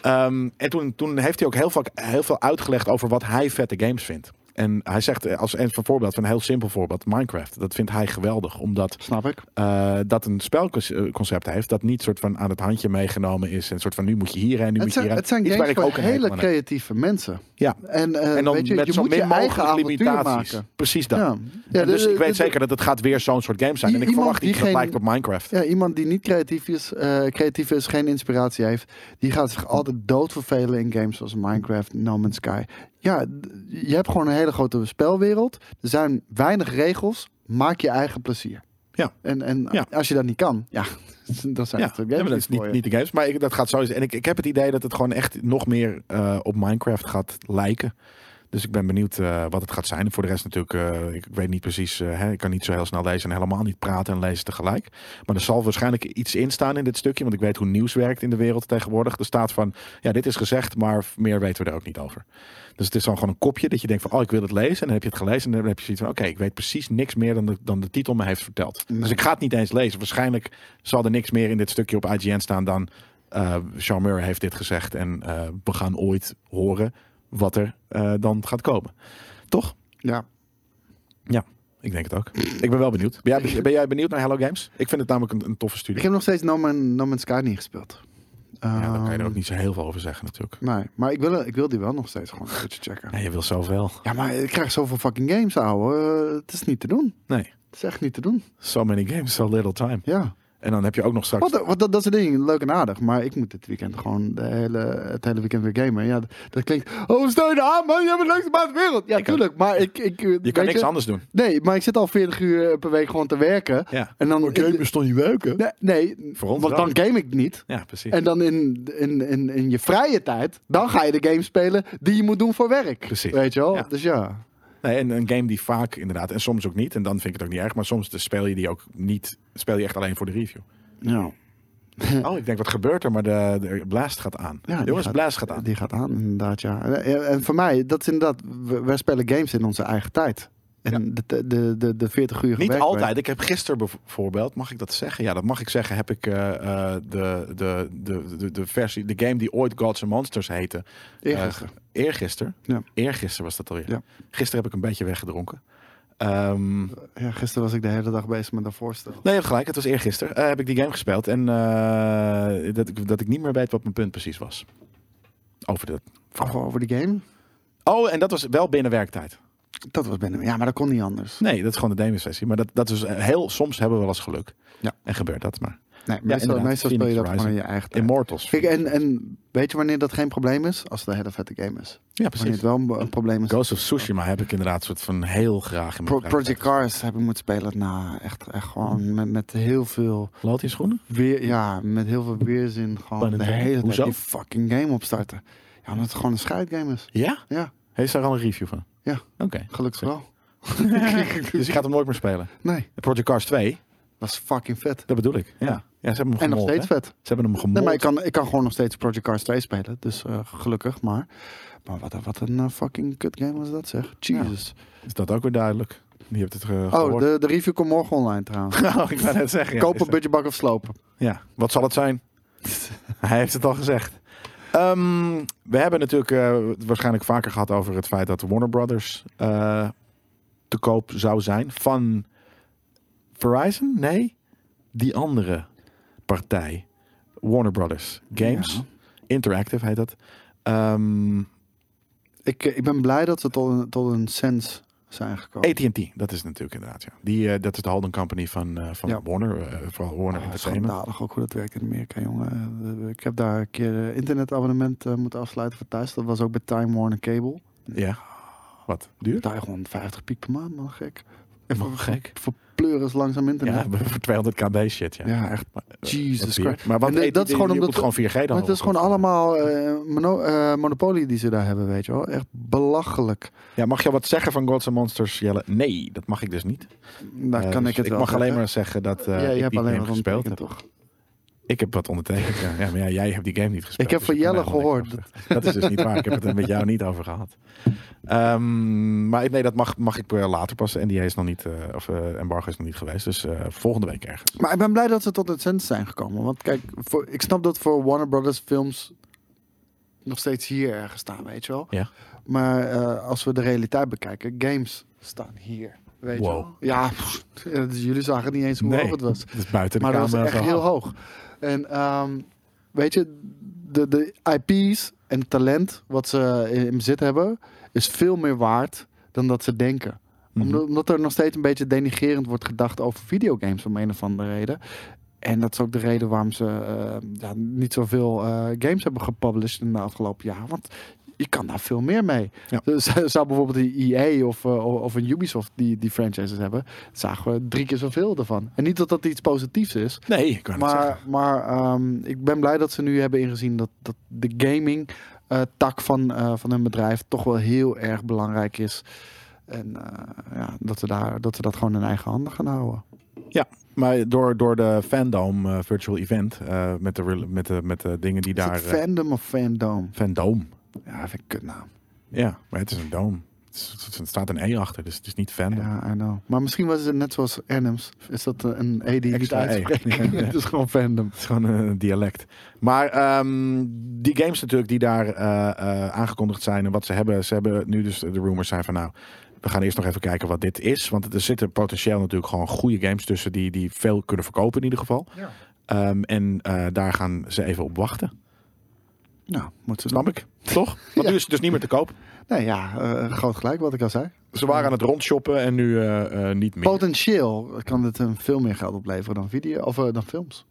Speaker 1: Ehm, en toen, toen heeft hij ook heel, vaak, heel veel uitgelegd over wat hij vette games vindt. En hij zegt eh, als een voorbeeld, van een heel simpel voorbeeld, Minecraft. Dat vindt hij geweldig, omdat
Speaker 2: Snap ik.
Speaker 1: eh, dat een spelconcept heeft dat niet soort van aan het handje meegenomen is. En soort van nu moet je hier en nu
Speaker 2: Het
Speaker 1: moet je
Speaker 2: zijn,
Speaker 1: hier.
Speaker 2: het zijn
Speaker 1: Iets
Speaker 2: games
Speaker 1: waar
Speaker 2: voor
Speaker 1: ik ook een
Speaker 2: hele
Speaker 1: hekel aan heb.
Speaker 2: creatieve mensen.
Speaker 1: Ja.
Speaker 2: En, eh,
Speaker 1: En dan
Speaker 2: weet je,
Speaker 1: met
Speaker 2: je
Speaker 1: zo
Speaker 2: moet je
Speaker 1: min
Speaker 2: eigen
Speaker 1: mogelijk
Speaker 2: avontuur
Speaker 1: limitaties.
Speaker 2: maken.
Speaker 1: Precies dat. Ja.
Speaker 2: Ja. Ja,
Speaker 1: dus
Speaker 2: de-
Speaker 1: ik weet
Speaker 2: de-
Speaker 1: zeker dat het gaat weer zo'n soort game zijn.
Speaker 2: I-
Speaker 1: En ik
Speaker 2: iemand
Speaker 1: verwacht
Speaker 2: die
Speaker 1: niet dat het
Speaker 2: geen-
Speaker 1: lijkt op Minecraft.
Speaker 2: Ja, iemand die niet creatief is, eh, creatief is, geen inspiratie heeft, die gaat zich altijd doodvervelen in games zoals Minecraft, No Man's Sky. Ja, d- je hebt gewoon een hele grote spelwereld. Er zijn weinig regels. Maak je eigen plezier.
Speaker 1: Ja.
Speaker 2: En, en
Speaker 1: Ja.
Speaker 2: als je dat niet kan, ja, [laughs] dan zijn
Speaker 1: Ja,
Speaker 2: het
Speaker 1: ja,
Speaker 2: games
Speaker 1: maar dat
Speaker 2: niet
Speaker 1: is niet,
Speaker 2: voor je.
Speaker 1: niet de games. Maar ik, dat gaat zo En ik, ik heb het idee dat het gewoon echt nog meer eh, op Minecraft gaat lijken. Dus ik ben benieuwd eh, wat het gaat zijn. En voor de rest natuurlijk, eh, ik, ik weet niet precies. eh, hè, ik kan niet zo heel snel lezen en helemaal niet praten en lezen tegelijk. Maar er zal waarschijnlijk iets in staan in dit stukje. Want ik weet hoe nieuws werkt in de wereld tegenwoordig. Er staat van, ja, dit is gezegd, maar meer weten we er ook niet over. Dus het is dan gewoon een kopje dat je denkt van, oh, ik wil het lezen. En dan heb je het gelezen en dan heb je zoiets van, oké, ik weet precies niks meer dan de, dan de titel me heeft verteld. Dus ik ga het niet eens lezen. Waarschijnlijk zal er niks meer in dit stukje op IGN staan dan... eh Sean Murray heeft dit gezegd en eh, we gaan ooit horen wat er eh, dan gaat komen. Toch?
Speaker 2: Ja.
Speaker 1: Ja, ik denk het ook. Ik ben wel benieuwd. Ben jij, ben jij benieuwd naar Hello Games? Ik vind het namelijk een, een toffe
Speaker 2: Ik
Speaker 1: studie.
Speaker 2: heb nog steeds No, Man, no Man's Sky niet gespeeld.
Speaker 1: Ja, daar kan je er
Speaker 2: Ehm,
Speaker 1: ook niet zo heel veel over zeggen natuurlijk.
Speaker 2: Nee, maar ik wil, ik wil die wel nog steeds gewoon een keertje checken.
Speaker 1: Nee, je wil zoveel.
Speaker 2: Ja, maar ik krijg zoveel fucking games, ouwe. Eh, het is niet te doen.
Speaker 1: Nee.
Speaker 2: Het is echt niet te doen.
Speaker 1: So many games, so little time.
Speaker 2: Ja.
Speaker 1: En dan heb je ook nog straks...
Speaker 2: Wat, wat, dat, dat is het ding. Leuk en aardig. Maar ik moet dit weekend gewoon de hele, het hele weekend weer gamen. Ja, dat, dat klinkt... Oh, steun je aan, man. Je bent de leukste baas ter wereld. Ja,
Speaker 1: Ik kan-
Speaker 2: tuurlijk. Maar ik... ik
Speaker 1: Je kan niks anders doen.
Speaker 2: Nee, maar ik zit al 40 uur per week gewoon te werken.
Speaker 1: Ja.
Speaker 2: En dan...
Speaker 1: bestond je werken.
Speaker 2: nee, nee
Speaker 1: Voor ons
Speaker 2: want
Speaker 1: wel.
Speaker 2: dan game ik niet.
Speaker 1: Ja, precies.
Speaker 2: En dan in, in, in, in je vrije tijd, dan ga je de game spelen die je moet doen voor werk.
Speaker 1: Precies.
Speaker 2: Weet je wel?
Speaker 1: Ja.
Speaker 2: Dus ja.
Speaker 1: Nee, en een game die vaak inderdaad, en soms ook niet, en dan vind ik het ook niet erg, maar soms dus speel je die ook niet, speel je echt alleen voor de review.
Speaker 2: Ja.
Speaker 1: Oh, ik denk, wat gebeurt er? Maar de, de blaast gaat aan.
Speaker 2: Hm. Ja, die
Speaker 1: Jongens,
Speaker 2: gaat-
Speaker 1: blaast gaat aan.
Speaker 2: Die gaat aan, inderdaad, ja. En, en voor mij, dat is inderdaad... we- Wij spelen games in onze eigen tijd. En de, de, de, de 40 uur
Speaker 1: Niet altijd. Ik heb gisteren bijvoorbeeld, mag ik dat zeggen? Ja, dat mag ik zeggen. Heb ik eh, eh, de, de, de, de, de versie, de game die ooit Gods and Monsters heette. eh,
Speaker 2: Eergisteren.
Speaker 1: eergisteren.
Speaker 2: Ja.
Speaker 1: Eergisteren was dat alweer.
Speaker 2: Ja.
Speaker 1: Gisteren heb ik een beetje weggedronken. Ehm,
Speaker 2: Ja, gisteren was ik de hele dag bezig met dat voorstel.
Speaker 1: nee, je hebt gelijk. Het was eergisteren. Eh heb ik die game gespeeld. En eh, dat, ik, dat ik niet meer weet wat mijn punt precies was. Over dat.
Speaker 2: Of over de game?
Speaker 1: Oh, en dat was wel binnen werktijd.
Speaker 2: Dat was binnen. Ja, maar dat kon niet anders.
Speaker 1: Nee, dat is gewoon de demo-sessie. Maar dat, dat is eh, heel, soms hebben we wel eens geluk.
Speaker 2: Ja.
Speaker 1: En gebeurt dat maar.
Speaker 2: Nee, meestal,
Speaker 1: inderdaad.
Speaker 2: meestal speel je dat
Speaker 1: Phoenix
Speaker 2: gewoon in je eigen tijd.
Speaker 1: Immortals.
Speaker 2: Kijk, en, en weet je wanneer dat geen probleem is? Als het een hele vette game is.
Speaker 1: Ja,
Speaker 2: Wanneer
Speaker 1: precies.
Speaker 2: het wel een, een probleem is.
Speaker 1: Ghost of Tsushima heb ik inderdaad soort van heel graag in mijn
Speaker 2: Pro-
Speaker 1: vrije
Speaker 2: Project Cars heb ik moeten spelen. Nou, echt, echt
Speaker 1: Mm.
Speaker 2: gewoon met, met heel veel
Speaker 1: tijd. Loopt in schoenen?
Speaker 2: weer, ja, met heel veel weerzin gewoon
Speaker 1: Pun
Speaker 2: de
Speaker 1: intended.
Speaker 2: hele
Speaker 1: Hoezo?
Speaker 2: tijd die fucking game opstarten. Ja, omdat het gewoon een scheidgame is.
Speaker 1: Ja?
Speaker 2: Ja,
Speaker 1: Heeft ze daar al een review van?
Speaker 2: Ja.
Speaker 1: Oké.
Speaker 2: gelukkig wel.
Speaker 1: Dus je gaat hem nooit meer spelen.
Speaker 2: Nee,
Speaker 1: Project Cars 2,
Speaker 2: was fucking vet.
Speaker 1: dat bedoel ik. Ja, ja. ze hebben hem gemold.
Speaker 2: En nog steeds
Speaker 1: hè?
Speaker 2: vet.
Speaker 1: Ze hebben hem gemold.
Speaker 2: Nee, maar ik kan, ik kan gewoon nog steeds Project Cars 2 spelen. Dus eh, gelukkig, maar... Maar wat, een- wat een eh, fucking kut game was dat, zeg. Jesus.
Speaker 1: Is dat ook weer duidelijk? Je hebt het ge
Speaker 2: oh,
Speaker 1: gehoord.
Speaker 2: de, de review komt morgen online trouwens.
Speaker 1: [laughs] Oh, ik wou net zeggen. ja, is
Speaker 2: Kopen,
Speaker 1: dat-
Speaker 2: budgetbak of slopen.
Speaker 1: Ja, wat zal het zijn? [laughs] Hij heeft het al gezegd. Ehm, we hebben natuurlijk eh, het waarschijnlijk vaker gehad over het feit dat Warner Brothers eh, te koop zou zijn van Verizon? Nee, die andere partij. Warner Brothers Games.
Speaker 2: Ja.
Speaker 1: Interactive heet dat. Ehm,
Speaker 2: Ik, eh, ik ben blij dat we tot een, tot een sens zijn gekomen.
Speaker 1: AT&T, dat is het natuurlijk inderdaad. Ja. Die, eh, dat is de holding company van, eh, van
Speaker 2: Ja.
Speaker 1: Warner. eh, vooral Warner
Speaker 2: Ah,
Speaker 1: Entertainment.
Speaker 2: Schandalig ook hoe dat werkt in Amerika, jongen. Eh, Ik heb daar een keer eh, internetabonnement eh, moeten afsluiten voor thuis. Dat was ook bij Time Warner Cable.
Speaker 1: Ja. Wat? Duur?
Speaker 2: Daar 150 piek per maand, man, gek. En
Speaker 1: Man,
Speaker 2: voor,
Speaker 1: gek.
Speaker 2: Voor pleuris langzaam
Speaker 1: Ja,
Speaker 2: internet.
Speaker 1: [laughs] voor 200 kb shit, ja. eh,
Speaker 2: Ja, echt. Jesus
Speaker 1: Wat bier.
Speaker 2: Christ.
Speaker 1: Maar wat
Speaker 2: En dat-
Speaker 1: eet-
Speaker 2: dat is
Speaker 1: je-
Speaker 2: gewoon
Speaker 1: je
Speaker 2: omdat-
Speaker 1: moet gewoon 4G dan.
Speaker 2: Maar het is gewoon allemaal eh, mono- eh, monopolie die ze daar hebben, weet je wel. Echt belachelijk.
Speaker 1: Ja, mag je wat zeggen van Gods and Monsters, Jelle? Nee, dat mag ik dus niet.
Speaker 2: Daar
Speaker 1: Eh,
Speaker 2: kan
Speaker 1: dus
Speaker 2: ik het
Speaker 1: Ik
Speaker 2: wel
Speaker 1: mag alleen
Speaker 2: zeggen.
Speaker 1: maar zeggen dat eh,
Speaker 2: Jij-
Speaker 1: ik
Speaker 2: jij hebt
Speaker 1: die
Speaker 2: alleen
Speaker 1: game
Speaker 2: maar
Speaker 1: gespeeld
Speaker 2: gespeeld,
Speaker 1: heb.
Speaker 2: toch?
Speaker 1: Ik heb wat ondertekend. Ja, Ja, maar ja, jij hebt die game niet gespeeld.
Speaker 2: Ik heb
Speaker 1: dus
Speaker 2: van
Speaker 1: kan
Speaker 2: Jelle
Speaker 1: daar helemaal niks
Speaker 2: gehoord.
Speaker 1: over zeggen. Dat is dus niet waar. Ik heb het er met jou niet over gehad. Ehm, maar nee, dat mag, mag ik eh, later passen. En die is nog niet, eh, of eh, embargo is nog niet geweest. Dus eh, volgende week ergens.
Speaker 2: Maar ik ben blij dat ze tot het cent zijn gekomen. Want kijk, voor, ik snap dat voor Warner Brothers films nog steeds hier ergens staan, weet je wel.
Speaker 1: Ja.
Speaker 2: Maar eh, als we de realiteit bekijken, games staan hier, weet je
Speaker 1: Wow.
Speaker 2: wel. Ja, pff, ja, dus jullie zagen niet eens hoe hoog het was.
Speaker 1: Het is buiten de
Speaker 2: Maar dat was
Speaker 1: camera
Speaker 2: echt
Speaker 1: verhaal.
Speaker 2: heel hoog. En ehm, weet je, de, de IP's en het talent wat ze in in bezit hebben, is veel meer waard dan dat ze denken.
Speaker 1: Mhm.
Speaker 2: Omdat, omdat er nog steeds een beetje denigerend wordt gedacht over videogames om een of andere reden. En dat is ook de reden waarom ze eh, ja, niet zoveel eh, games hebben gepublished in de afgelopen jaar. Want je kan daar veel meer mee.
Speaker 1: Ja.
Speaker 2: Dus, zou bijvoorbeeld die EA of, eh, o- of een Ubisoft die, die franchises hebben, zagen we drie keer zoveel ervan. En niet dat dat iets positiefs is,
Speaker 1: Nee, ik kan het zeggen.
Speaker 2: maar, maar ehm, ik ben blij dat ze nu hebben ingezien dat, dat de gaming eh, tak van, eh, van hun bedrijf toch wel heel erg belangrijk is. En eh, ja, dat, ze daar, dat ze dat gewoon in eigen handen gaan houden.
Speaker 1: Maar door, door de fandom eh, virtual event, eh, met, de, rel- met, de, met de dingen die
Speaker 2: Is
Speaker 1: daar...
Speaker 2: het
Speaker 1: eh,
Speaker 2: fandom of fandom?
Speaker 1: fandom.
Speaker 2: Ja, vind ik nou. kutnaam.
Speaker 1: Ja, maar het is een dome. Het, is- het is- er staat een E achter, dus het is niet fandom.
Speaker 2: Ja, I know. Maar misschien was het net zoals Adams. Is dat een E die je niet
Speaker 1: Extra E.
Speaker 2: uitspreekt?
Speaker 1: [laughs]
Speaker 2: [laughs]
Speaker 1: Ja, ja.
Speaker 2: het is gewoon fandom.
Speaker 1: Het is gewoon eh, een dialect. Maar ehm, die games natuurlijk die daar eh, eh, aangekondigd zijn en wat ze hebben. Ze hebben nu dus de rumors zijn van nou, we gaan eerst nog even kijken wat dit is. Want er zitten potentieel natuurlijk gewoon goede games tussen die, die veel kunnen verkopen in ieder geval.
Speaker 2: Ja.
Speaker 1: Ehm, en eh, daar gaan ze even op wachten.
Speaker 2: Nou, moeten ze
Speaker 1: Snap ik? Toch? Want nu is het dus niet meer te koop.
Speaker 2: Nou ja, eh, groot gelijk wat ik al zei.
Speaker 1: Ze waren aan het rondshoppen en nu eh, eh, niet meer.
Speaker 2: Potentieel kan het hem veel meer geld opleveren dan, video, of, eh, dan films.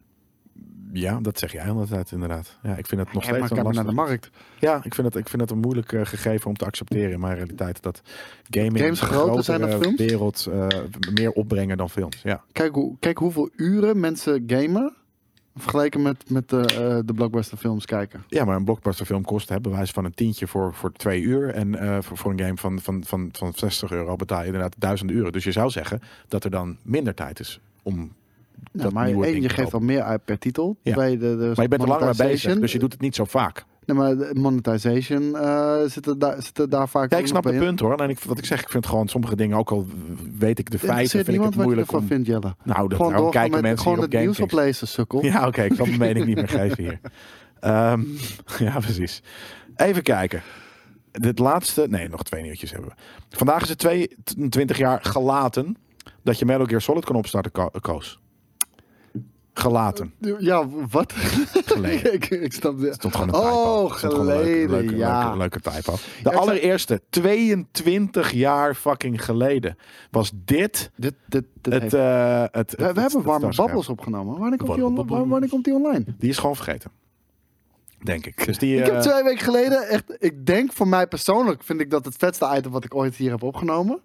Speaker 1: Ja, dat zeg jij de hele tijd inderdaad. Ja, ik vind het nog
Speaker 2: Kijk maar,
Speaker 1: steeds een
Speaker 2: kijk maar naar de
Speaker 1: lastig.
Speaker 2: markt.
Speaker 1: Ja, ik vind, het, ik vind het een moeilijk eh, gegeven om te accepteren in mijn realiteit. Dat gaming
Speaker 2: Games
Speaker 1: een
Speaker 2: groter zijn dan
Speaker 1: grotere
Speaker 2: films?
Speaker 1: wereld eh, meer opbrengen dan films. Ja.
Speaker 2: Kijk, hoe, kijk hoeveel uren mensen gamen. Vergeleken met, met de, eh de blockbusterfilms kijken.
Speaker 1: ja, maar een blockbusterfilm kost hè, bewijs van een tientje voor, voor twee uur. En eh, voor, voor een game van, van, van, van 60 euro betaal je inderdaad duizend uren. Dus je zou zeggen dat er dan minder tijd is om dat
Speaker 2: maar
Speaker 1: nieuwe
Speaker 2: één,
Speaker 1: ding
Speaker 2: je
Speaker 1: kopen.
Speaker 2: geeft al meer uit per titel.
Speaker 1: Ja.
Speaker 2: Twee, de, de
Speaker 1: Maar je bent er lang mee bezig,
Speaker 2: monetization.
Speaker 1: dus je doet het niet zo vaak.
Speaker 2: Nee, maar de monetization eh, zit, er daar, zit er daar vaak
Speaker 1: Ja,
Speaker 2: ook
Speaker 1: ik
Speaker 2: nog
Speaker 1: snap
Speaker 2: bij
Speaker 1: het
Speaker 2: in.
Speaker 1: punt hoor. En ik, wat ik zeg, ik vind gewoon sommige dingen, ook al weet ik de
Speaker 2: Er
Speaker 1: feiten,
Speaker 2: zit
Speaker 1: vind ik
Speaker 2: niemand
Speaker 1: het
Speaker 2: wat je
Speaker 1: moeilijk
Speaker 2: ervan
Speaker 1: om...
Speaker 2: vindt, Jelle.
Speaker 1: Nou, dat
Speaker 2: Gewoon
Speaker 1: daarom
Speaker 2: doorgaan
Speaker 1: kijken
Speaker 2: met-
Speaker 1: mensen
Speaker 2: gewoon
Speaker 1: hier op
Speaker 2: het nieuws
Speaker 1: Gamekings.
Speaker 2: oplezen, sukkel.
Speaker 1: Ja, oké, ik zal mijn mening niet meer geven
Speaker 2: [laughs]
Speaker 1: hier. Ehm, ja, precies. Even kijken. Dit laatste, nee, nog twee nieuwtjes hebben we. Vandaag is het 22 jaar gelaten dat je Metal Gear Solid kan opstarten, Ko- Koos. Gelaten.
Speaker 2: Ja, wat? [laughs]
Speaker 1: Geleden.
Speaker 2: ik, ik snap dit.
Speaker 1: Stond gewoon een typo.
Speaker 2: Oh,
Speaker 1: Stond gewoon een leuke-
Speaker 2: geleden,
Speaker 1: leuke,
Speaker 2: ja.
Speaker 1: leuke, leuke typo.
Speaker 2: ik
Speaker 1: De
Speaker 2: zag-
Speaker 1: allereerste, 22 jaar fucking geleden, was dit
Speaker 2: Dit, dit, dit
Speaker 1: het...
Speaker 2: heeft-
Speaker 1: eh, het, het-
Speaker 2: we, we
Speaker 1: het-
Speaker 2: hebben
Speaker 1: het
Speaker 2: warme
Speaker 1: starscherm.
Speaker 2: babbels opgenomen. Wanneer komt, die
Speaker 1: Warme
Speaker 2: on-
Speaker 1: babbels.
Speaker 2: wanneer komt die online?
Speaker 1: Die is gewoon vergeten. Denk ik. Dus die,
Speaker 2: Ik
Speaker 1: eh,
Speaker 2: heb twee weken geleden echt... Ik denk voor mij persoonlijk vind ik dat het vetste item wat ik ooit hier heb opgenomen.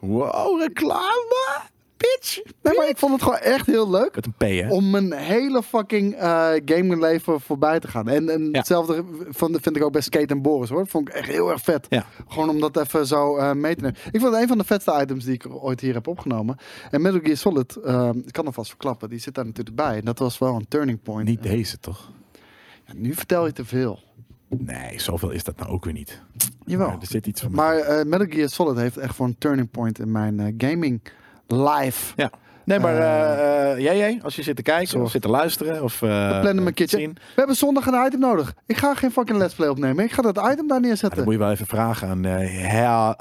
Speaker 1: Wow, reclame! Bitch!
Speaker 2: Nee, maar ik vond het gewoon echt heel leuk.
Speaker 1: Met een P, hè?
Speaker 2: om mijn hele fucking eh gaming leven voorbij te gaan. En, en
Speaker 1: Ja.
Speaker 2: hetzelfde van, vind ik ook bij Skate en Boris hoor. Vond ik echt heel erg vet.
Speaker 1: Ja.
Speaker 2: Gewoon om dat even zo eh, mee te nemen. Ik vond het een van de vetste items die ik ooit hier heb opgenomen. En Metal Gear Solid, eh, ik kan alvast verklappen, die zit daar natuurlijk bij. En dat was wel een turning point.
Speaker 1: Niet deze, toch?
Speaker 2: Ja, nu vertel je te veel.
Speaker 1: Nee, zoveel is dat nou ook weer niet.
Speaker 2: Jawel.
Speaker 1: Maar er zit iets van...
Speaker 2: Maar eh, Metal Gear Solid heeft echt voor een turning point in mijn eh, gaming life.
Speaker 1: Ja. Nee, maar eh, eh, jij, jij, als je zit te kijken
Speaker 2: Zorg.
Speaker 1: of zit te luisteren of... eh
Speaker 2: Plannen mijn
Speaker 1: te
Speaker 2: kitchen.
Speaker 1: zien.
Speaker 2: We hebben zondag een item nodig. Ik ga geen fucking let's play opnemen. Ik ga dat item daar
Speaker 1: Ja,
Speaker 2: neerzetten.
Speaker 1: Ah, dan moet je wel even vragen aan eh Herr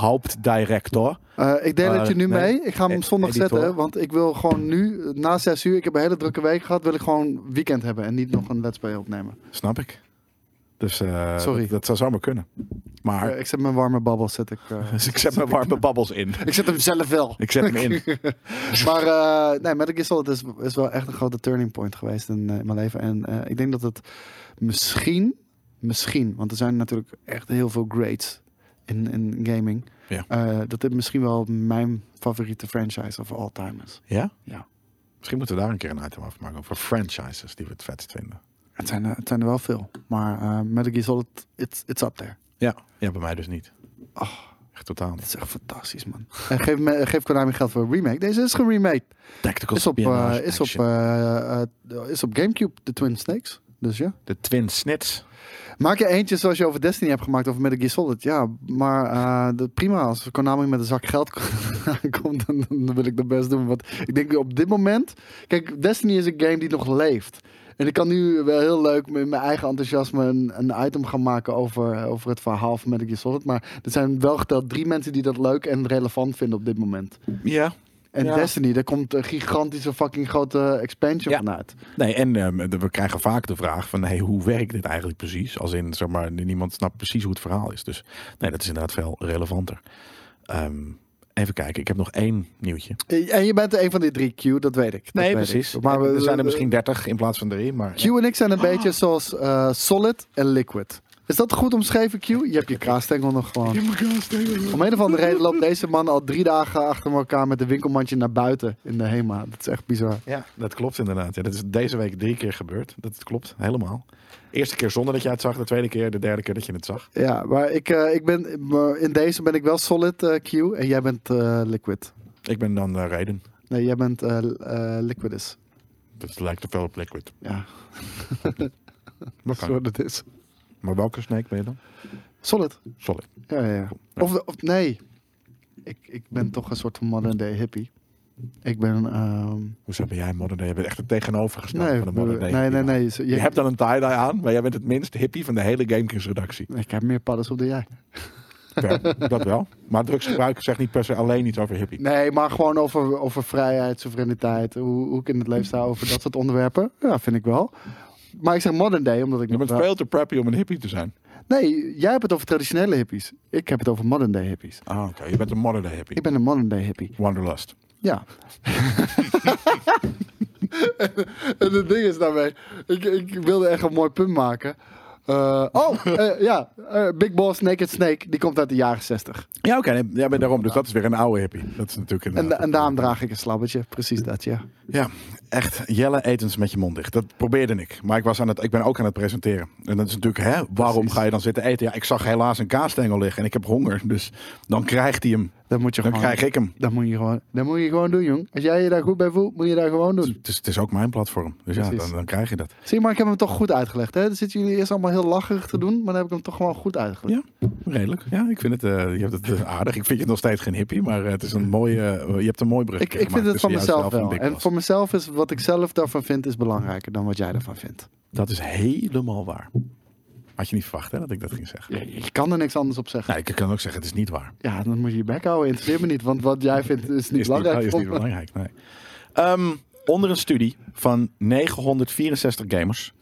Speaker 1: Hauptdirector.
Speaker 2: Eh, ik deel
Speaker 1: Maar,
Speaker 2: het je nu
Speaker 1: Ah, nee.
Speaker 2: mee. Ik ga hem
Speaker 1: Eh,
Speaker 2: zondag
Speaker 1: editor.
Speaker 2: zetten. Want ik wil gewoon nu, eh, na zes uur, ik heb een hele drukke week gehad, wil ik gewoon weekend hebben en niet nog een let's play opnemen.
Speaker 1: Snap ik. Dus eh,
Speaker 2: Sorry.
Speaker 1: Dat, dat zou zomaar kunnen. Maar
Speaker 2: Eh, ik zet mijn warme babbel, zet ik. eh,
Speaker 1: [laughs] dus ik zet mijn warme babbels in.
Speaker 2: ik zet hem zelf wel.
Speaker 1: Ik zet hem in.
Speaker 2: Maar
Speaker 1: [laughs]
Speaker 2: eh nee, Metal Gear Solid is, is wel echt een grote turning point geweest in, eh, in mijn leven. En eh, ik denk dat het misschien, misschien, want er zijn natuurlijk echt heel veel grades in, in gaming.
Speaker 1: Ja.
Speaker 2: eh, dat dit misschien wel mijn favoriete franchise of all time is.
Speaker 1: [laughs] Ja?
Speaker 2: Ja.
Speaker 1: Misschien moeten we daar een keer een item afmaken over franchises die we het vetst vinden.
Speaker 2: Het zijn, er- het zijn er wel veel. Maar eh Metal Gear Solid, it's, it's up there.
Speaker 1: Ja. Ja, bij mij dus niet.
Speaker 2: Oh.
Speaker 1: Echt totaal
Speaker 2: Het
Speaker 1: niet.
Speaker 2: is echt fantastisch,
Speaker 1: [laughs]
Speaker 2: man. En geef, me, geef Konami geld voor een remake. Deze is geremade.
Speaker 1: Tactical
Speaker 2: Is op, eh,
Speaker 1: spionage
Speaker 2: is, op,
Speaker 1: action.
Speaker 2: eh, eh, is op Gamecube, de Twin Snakes. Dus ja.
Speaker 1: De Twin Snits.
Speaker 2: Maak je eentje zoals je over Destiny hebt gemaakt over Metal Gear Solid. Ja, maar eh, dat, prima. Als Konami met een zak geld [laughs] komt, dan, dan wil ik dat best doen. Want ik denk op dit moment... Kijk, Destiny is een game die nog leeft. En ik kan nu wel heel leuk met mijn eigen enthousiasme een, een item gaan maken over, over het verhaal van Metal Gear Solid. Maar er zijn wel geteld drie mensen die dat leuk en relevant vinden op dit moment.
Speaker 1: Ja.
Speaker 2: En
Speaker 1: Ja.
Speaker 2: Destiny, daar komt een gigantische fucking grote expansion
Speaker 1: Ja.
Speaker 2: vanuit.
Speaker 1: Nee, en ehm, de- we krijgen vaak de vraag van, hey, hoe werkt dit eigenlijk precies? Als in, zeg maar, niemand snapt precies hoe het verhaal is. Dus nee, dat is inderdaad veel relevanter. Ehm, even kijken, ik heb nog één nieuwtje.
Speaker 2: En je bent een van die drie, Q, dat weet ik. Dat
Speaker 1: Nee,
Speaker 2: weet
Speaker 1: precies.
Speaker 2: ik.
Speaker 1: Maar
Speaker 2: we-
Speaker 1: er zijn er misschien dertig in plaats van drie, maar...
Speaker 2: Q en ik zijn een beetje zoals eh, solid en liquid. Is dat goed omschreven, Q? Je hebt je kraasstengel nog gewoon. Om een of andere reden loopt deze man al drie dagen achter elkaar met een winkelmandje naar buiten in de HEMA. Dat is echt bizar.
Speaker 1: Ja, dat klopt inderdaad. Ja, dat is deze week drie keer gebeurd. Dat klopt, helemaal. Eerste keer zonder dat jij het zag, de tweede keer, de derde keer dat je het zag.
Speaker 2: Ja, maar ik, eh, ik ben, maar in deze ben ik wel solid, eh, Q. En jij bent eh, liquid.
Speaker 1: Ik ben dan eh Raiden.
Speaker 2: Nee, jij bent eh eh, liquidus.
Speaker 1: Dat lijkt op wel op Liquid.
Speaker 2: Ja,
Speaker 1: Dat
Speaker 2: dat is
Speaker 1: kan.
Speaker 2: wat het is.
Speaker 1: Maar welke snake ben je dan?
Speaker 2: Solid.
Speaker 1: Sorry.
Speaker 2: Ja, ja, ja. Of, of nee. Ik, ik ben toch een soort van modern day hippie. Ik ben... ehm,
Speaker 1: Hoezo ben jij modern day? Je bent echt het tegenovergestelde
Speaker 2: Nee,
Speaker 1: van de modern day.
Speaker 2: nee, nee, nee. Je,
Speaker 1: Je hebt dan een tie-dye aan, maar jij bent het minst hippie van de hele Gamekings redactie.
Speaker 2: Ik heb meer paddels op dan jij.
Speaker 1: Ja,
Speaker 2: [laughs]
Speaker 1: dat wel. Maar drugsgebruik zegt niet per se alleen iets over hippie.
Speaker 2: Nee, maar gewoon over, over vrijheid, soevereiniteit, hoe, hoe ik in het leven sta, over dat soort onderwerpen. Ja, vind ik wel. Maar ik zeg modern day, omdat ik...
Speaker 1: Je
Speaker 2: nog
Speaker 1: bent
Speaker 2: wel-
Speaker 1: veel te preppy om een hippie te zijn.
Speaker 2: Nee, jij hebt het over traditionele hippies. Ik heb het over modern day hippies.
Speaker 1: Ah, oké. Je bent een modern day hippie.
Speaker 2: Ik ben een modern day hippie.
Speaker 1: Wanderlust.
Speaker 2: Ja. [laughs] en het ding is daarmee, ik, ik wilde echt een mooi punt maken. Eh, oh, eh, ja, eh, Big Boss Naked Snake, die komt uit de jaren 60.
Speaker 1: Ja, oké. nee, ja, maar daarom. Dus dat is weer een oude hippie. Dat is natuurlijk
Speaker 2: En,
Speaker 1: inderdaad-
Speaker 2: da- en daarom draag ik een slabbetje, precies dat, ja.
Speaker 1: Ja, echt. Jelle etens met je mond dicht. Dat probeerde ik. Maar ik, was aan het, ik ben ook aan het presenteren. En dat is natuurlijk, hè, waarom
Speaker 2: Precies.
Speaker 1: ga je dan zitten eten? Ja, ik zag helaas een kaasstengel liggen en ik heb honger. Dus dan krijgt hij hem.
Speaker 2: Dan moet je
Speaker 1: Dan
Speaker 2: gewoon.
Speaker 1: krijg ik hem.
Speaker 2: Hm, Dat moet je gewoon, dat moet je gewoon doen, jong. Als jij je daar goed bij voelt, moet je daar gewoon doen.
Speaker 1: Het is, het is ook mijn platform. Dus ja,
Speaker 2: Precies.
Speaker 1: dan, dan krijg je dat.
Speaker 2: Zie, maar ik heb hem toch goed uitgelegd. Hè? Dan zitten jullie eerst allemaal heel lacherig te doen, maar dan heb ik hem toch gewoon goed uitgelegd.
Speaker 1: Ja, redelijk. Ja, ik vind het, eh, je hebt het eh, aardig. Ik vind je nog steeds geen hippie, maar eh, het is een mooie, eh, je hebt een mooi brug.
Speaker 2: Ik, dus ik vind het van mezelf wel. En voor mezelf is wat ik zelf daarvan vind, is belangrijker dan wat jij daarvan vindt.
Speaker 1: Dat is helemaal waar. Had je niet verwacht hè, dat ik dat ging zeggen.
Speaker 2: Je, je kan er niks anders op zeggen.
Speaker 1: Nou, ik kan ook zeggen, het is niet waar.
Speaker 2: Ja, dan moet je je bek houden. Interesseert me niet, want wat jij vindt is niet
Speaker 1: is
Speaker 2: belangrijk.
Speaker 1: Niet, is
Speaker 2: voor
Speaker 1: niet
Speaker 2: me.
Speaker 1: belangrijk, nee. Ehm, onder een studie van 964 gamers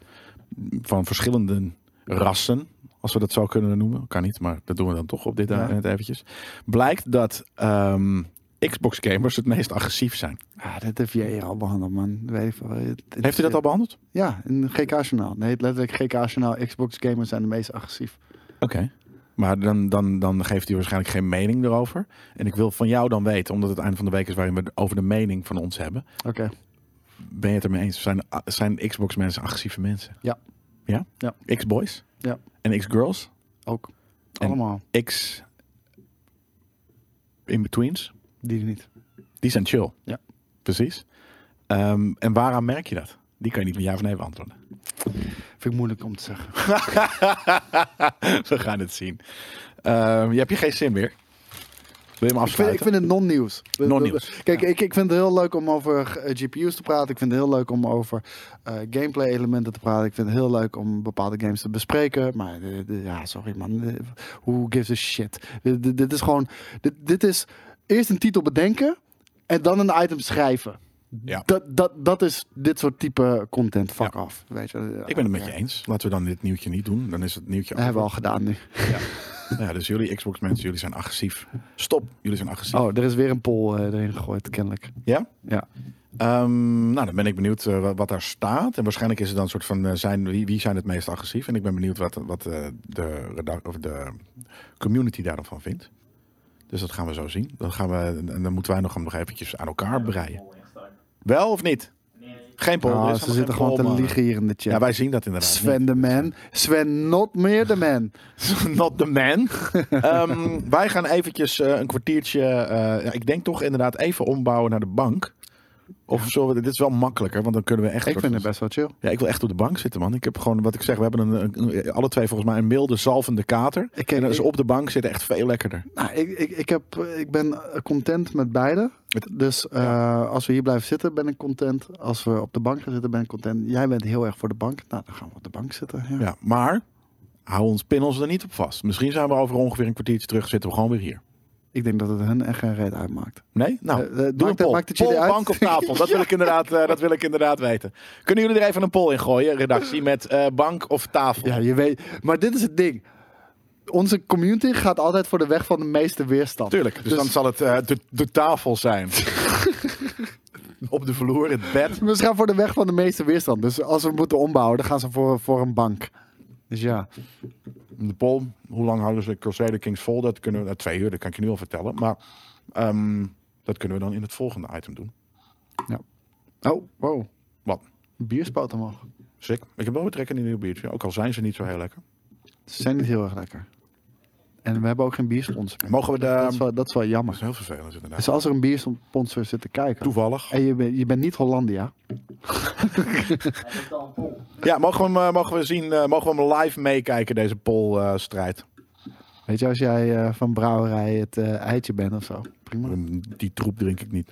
Speaker 1: van verschillende rassen, als we dat zo kunnen noemen, kan niet, maar dat doen we dan toch op dit
Speaker 2: Ja.
Speaker 1: moment eventjes, blijkt dat ehm, Xbox gamers het meest agressief zijn.
Speaker 2: Ah, dat heb jij hier al behandeld, man. Weet ik veel. Het- het-
Speaker 1: Heeft u dat al behandeld?
Speaker 2: Ja, in GK-journaal. Nee, letterlijk GK-journaal. Xbox-gamers zijn de meest agressief.
Speaker 1: Oké. Maar dan, dan, dan geeft u waarschijnlijk geen mening erover. En ik wil van jou dan weten, omdat het einde van de week is waarin we het over de mening van ons hebben.
Speaker 2: Oké.
Speaker 1: Ben je het ermee eens? Zijn, zijn Xbox mensen agressieve mensen?
Speaker 2: Ja.
Speaker 1: Ja?
Speaker 2: Ja.
Speaker 1: X-boys?
Speaker 2: Ja.
Speaker 1: En X-girls?
Speaker 2: Ook.
Speaker 1: En-
Speaker 2: Allemaal.
Speaker 1: X in-betweens,
Speaker 2: Die niet.
Speaker 1: die zijn chill.
Speaker 2: Ja.
Speaker 1: Precies. Ehm, en waaraan merk je dat? Die kan je niet met ja of nee beantwoorden. [laughs]
Speaker 2: Vind ik moeilijk om te zeggen.
Speaker 1: We gaan het zien. Ehm, je hebt je geen zin meer. Wil je hem
Speaker 2: Ik vind,
Speaker 1: afsluiten?
Speaker 2: ik vind het non-nieuws.
Speaker 1: Non-nieuws.
Speaker 2: Kijk, ik, ik vind het heel leuk om over eh, GPU's te praten. Ik vind het heel leuk om over eh, gameplay-elementen te praten. Ik vind het heel leuk om bepaalde games te bespreken. Maar eh, eh, ja, sorry man. Eh, who gives a shit? Dit, dit- dit is gewoon... Dit, dit is eerst een titel bedenken en dan een item schrijven.
Speaker 1: Ja.
Speaker 2: Dat, dat, dat is dit soort type content. Fuck
Speaker 1: Ja.
Speaker 2: off. Weet je, eh,
Speaker 1: Ik ben het met je eens. Laten we dan dit nieuwtje niet doen. Dan is het nieuwtje.
Speaker 2: Dat hebben we al gedaan nu.
Speaker 1: Ja, dus jullie Xbox mensen, jullie zijn agressief. Stop, jullie zijn agressief.
Speaker 2: Oh, er is weer een poll eh, erin gegooid, kennelijk.
Speaker 1: Ja?
Speaker 2: Ja.
Speaker 1: Ehm, nou, dan ben ik benieuwd eh, wa- wat daar staat. En waarschijnlijk is het dan een soort van, eh, zijn, wie, wie zijn het meest agressief? En ik ben benieuwd wat, wat eh, de, redac- of de community daar dan van vindt. Dus dat gaan we zo zien. Dan gaan we, en dan moeten wij nog hem nog eventjes aan elkaar breien. Wel of niet? Geen poll.
Speaker 2: Ah,
Speaker 1: er is
Speaker 2: ze
Speaker 1: helemaal
Speaker 2: zitten
Speaker 1: geen
Speaker 2: gewoon te
Speaker 1: poll, man.
Speaker 2: liegen hier in de chat.
Speaker 1: Ja, wij zien dat inderdaad.
Speaker 2: Sven de man. Sven not meer de [laughs] man.
Speaker 1: [laughs] Not the
Speaker 2: [laughs]
Speaker 1: man. Ehm, wij gaan eventjes eh, een kwartiertje, eh, ja, ik denk toch inderdaad even ombouwen naar de bank. Of zo, dit is wel makkelijker, want dan kunnen we echt...
Speaker 2: Ik vind het best wel chill.
Speaker 1: Ja, ik wil echt op de bank zitten, man. Ik heb gewoon, wat ik zeg, we hebben een, een- alle twee volgens mij een milde zalvende kater.
Speaker 2: Ik,
Speaker 1: En
Speaker 2: ik,
Speaker 1: dus
Speaker 2: ik,
Speaker 1: op de bank zitten echt veel lekkerder.
Speaker 2: nou, ik, ik, ik, heb, ik ben content met beide.
Speaker 1: Het-
Speaker 2: Dus eh, als we hier blijven zitten, ben ik content. Als we op de bank gaan zitten, ben ik content. Jij bent heel erg voor de bank. Nou, dan gaan we op de bank zitten. Ja.
Speaker 1: Ja, maar hou ons, pin ons er niet op vast. Misschien zijn we over ongeveer een kwartiertje terug, zitten we gewoon weer hier.
Speaker 2: Ik denk dat het hun echt geen reet uitmaakt.
Speaker 1: Nee? Nou,
Speaker 2: Eh, eh, maakt
Speaker 1: doe een
Speaker 2: het-
Speaker 1: poll.
Speaker 2: maakt het jullie
Speaker 1: Poll,
Speaker 2: uit?
Speaker 1: bank op tafel.
Speaker 2: [laughs]
Speaker 1: Dat wil, ik inderdaad, eh, dat wil ik inderdaad weten. Kunnen jullie er even een poll in gooien, redactie, met eh, bank of tafel?
Speaker 2: Ja, je weet. Maar dit is het ding. Onze community gaat altijd voor de weg van de meeste weerstand.
Speaker 1: Tuurlijk. Dus,
Speaker 2: Dus-
Speaker 1: dan zal het eh, de, de tafel
Speaker 2: [laughs]
Speaker 1: zijn. op de vloer, het bed.
Speaker 2: We gaan voor de weg van de meeste weerstand. Dus als we moeten ombouwen, dan gaan ze voor, voor een bank. Dus ja.
Speaker 1: De poll, hoe lang houden ze Crusader Kings vol? Dat kunnen we, nou, twee uur, dat kan ik je nu al vertellen. Maar ehm, dat kunnen we dan in het volgende item doen.
Speaker 2: Oh, wow.
Speaker 1: Wat?
Speaker 2: Bierspout omhoog.
Speaker 1: Sick. Ik heb wel weer trek in een nieuw biertje, ook al zijn ze niet zo heel lekker.
Speaker 2: Ze zijn niet heel erg lekker. En we hebben ook geen biersponsor. meer.
Speaker 1: Mogen we de...
Speaker 2: Dat, is wel, dat is wel
Speaker 1: Dat
Speaker 2: jammer.
Speaker 1: is heel vervelend inderdaad.
Speaker 2: Dus als er een biersponsor zit te kijken.
Speaker 1: Toevallig.
Speaker 2: En je, bent- je bent niet Hollandia.
Speaker 1: Ja, mogen we hem, eh, mogen we zien, eh, mogen we hem live meekijken, deze poll-strijd?
Speaker 2: Weet je, als jij eh, van brouwerij het eh, eitje bent of zo. Prima.
Speaker 1: Eh, Die troep drink ik
Speaker 2: [laughs]
Speaker 1: niet.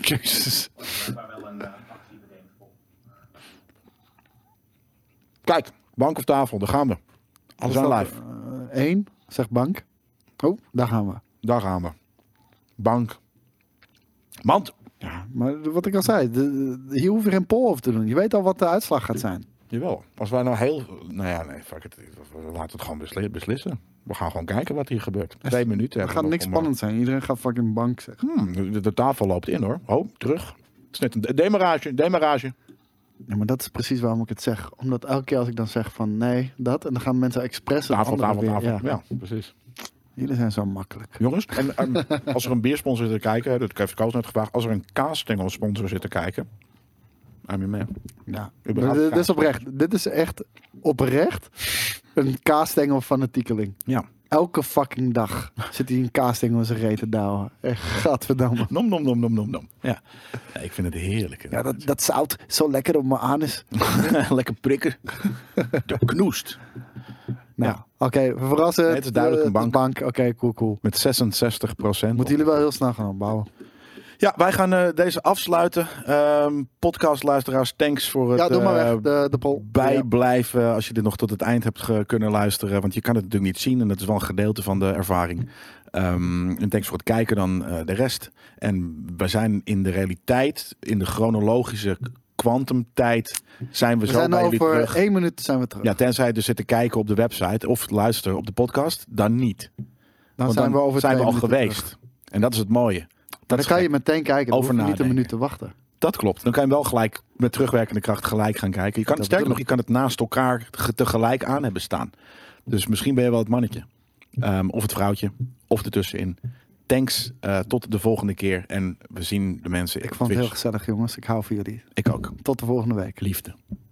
Speaker 2: Jezus.
Speaker 3: maar wel een eh, actie bedenkt voor.
Speaker 1: Kijk, bank of tafel, daar gaan we. We zijn live.
Speaker 2: Eén, zegt bank. Oh, daar gaan we.
Speaker 1: Daar gaan we. Bank. Mand.
Speaker 2: Ja, maar wat ik al zei, de- de- hier hoef je geen poll over te doen. Je weet al wat de uitslag gaat zijn.
Speaker 1: Jawel. Als wij nou heel... Nou ja, nee, fuck it. Laten we het gewoon besli- beslissen. We gaan gewoon kijken wat hier gebeurt. Twee minuten.
Speaker 2: Het
Speaker 1: hebben
Speaker 2: gaat
Speaker 1: we
Speaker 2: niks
Speaker 1: nog om,
Speaker 2: spannend zijn. Iedereen gaat fucking bank zeggen.
Speaker 1: eh, hmm, de, de tafel loopt in hoor. Oh, terug. Het is net een de- demarage, demarage.
Speaker 2: Ja, maar dat is precies waarom ik het zeg. Omdat elke keer als ik dan zeg van nee, dat. En dan gaan mensen expres het
Speaker 1: Tafel,
Speaker 2: andere
Speaker 1: tafel,
Speaker 2: weer-
Speaker 1: tafel. Ja.
Speaker 2: Ja.
Speaker 1: precies.
Speaker 2: Jullie zijn zo makkelijk.
Speaker 1: Jongens, en, ehm, [laughs] als er een biersponsor zit te kijken, dat heeft Koos net gevraagd, als er een kaasstengelsponsor zit te kijken, I'm your man.
Speaker 2: Ja.
Speaker 1: Überhaupt
Speaker 2: Dit dit
Speaker 1: kaas.
Speaker 2: is oprecht. Dit is echt oprecht een kaasstengel fanatiekeling.
Speaker 1: Ja.
Speaker 2: Elke fucking dag zit hij een kaasding om zijn reet te douwen. Echt, gadverdamme.
Speaker 1: Nom, nom, nom, nom, nom, nom. Ja. Ja, ik vind het heerlijk.
Speaker 2: Ja, dat, dat zout zo lekker op mijn anus.
Speaker 1: [laughs] Lekker prikken. De knoest.
Speaker 2: Nou,
Speaker 1: Ja.
Speaker 2: oké, we verrassen.
Speaker 1: Nee, het is duidelijk
Speaker 2: De-
Speaker 1: een bank.
Speaker 2: de Oké, cool, cool.
Speaker 1: Met 66 procent.
Speaker 2: Moeten jullie wel heel snel gaan bouwen.
Speaker 1: Ja, wij gaan eh, deze afsluiten. Ehm podcastluisteraars, thanks voor het
Speaker 2: Ja, doe maar
Speaker 1: eh,
Speaker 2: weg, de, de pol. Ja.
Speaker 1: bijblijven. Als je dit nog tot het eind hebt ge- kunnen luisteren. Want je kan het natuurlijk niet zien. En dat is wel een gedeelte van de ervaring. Ehm, en thanks voor het kijken dan eh, de rest. En we zijn in de realiteit, in de chronologische kwantumtijd, zijn we, zo
Speaker 2: We zijn
Speaker 1: bij jullie
Speaker 2: over
Speaker 1: terug.
Speaker 2: één minuut zijn we terug.
Speaker 1: Ja, tenzij je dus zit te kijken op de website of luisteren op de podcast, dan niet.
Speaker 2: dan
Speaker 1: Want
Speaker 2: zijn we over
Speaker 1: zijn we
Speaker 2: twee
Speaker 1: al
Speaker 2: minuten
Speaker 1: geweest.
Speaker 2: terug.
Speaker 1: En dat is het mooie. Dat
Speaker 2: Dan
Speaker 1: is
Speaker 2: kan je
Speaker 1: gek.
Speaker 2: meteen kijken. Dan
Speaker 1: Over
Speaker 2: hoef je niet een
Speaker 1: nadenken.
Speaker 2: minuut te wachten.
Speaker 1: Dat klopt. Dan kan je wel gelijk met terugwerkende kracht gelijk gaan kijken. Je kan,
Speaker 2: Dat
Speaker 1: sterker nog,
Speaker 2: bedoel
Speaker 1: je kan het naast elkaar ge- tegelijk aan hebben staan. Dus misschien ben je wel het mannetje. Ehm, of het vrouwtje. Of ertussenin. Thanks. eh, tot de volgende keer. En we zien de mensen.
Speaker 2: Ik
Speaker 1: op
Speaker 2: vond het heel
Speaker 1: Twitch.
Speaker 2: gezellig, jongens. Ik hou van jullie.
Speaker 1: Ik ook.
Speaker 2: Tot de volgende week.
Speaker 1: Liefde.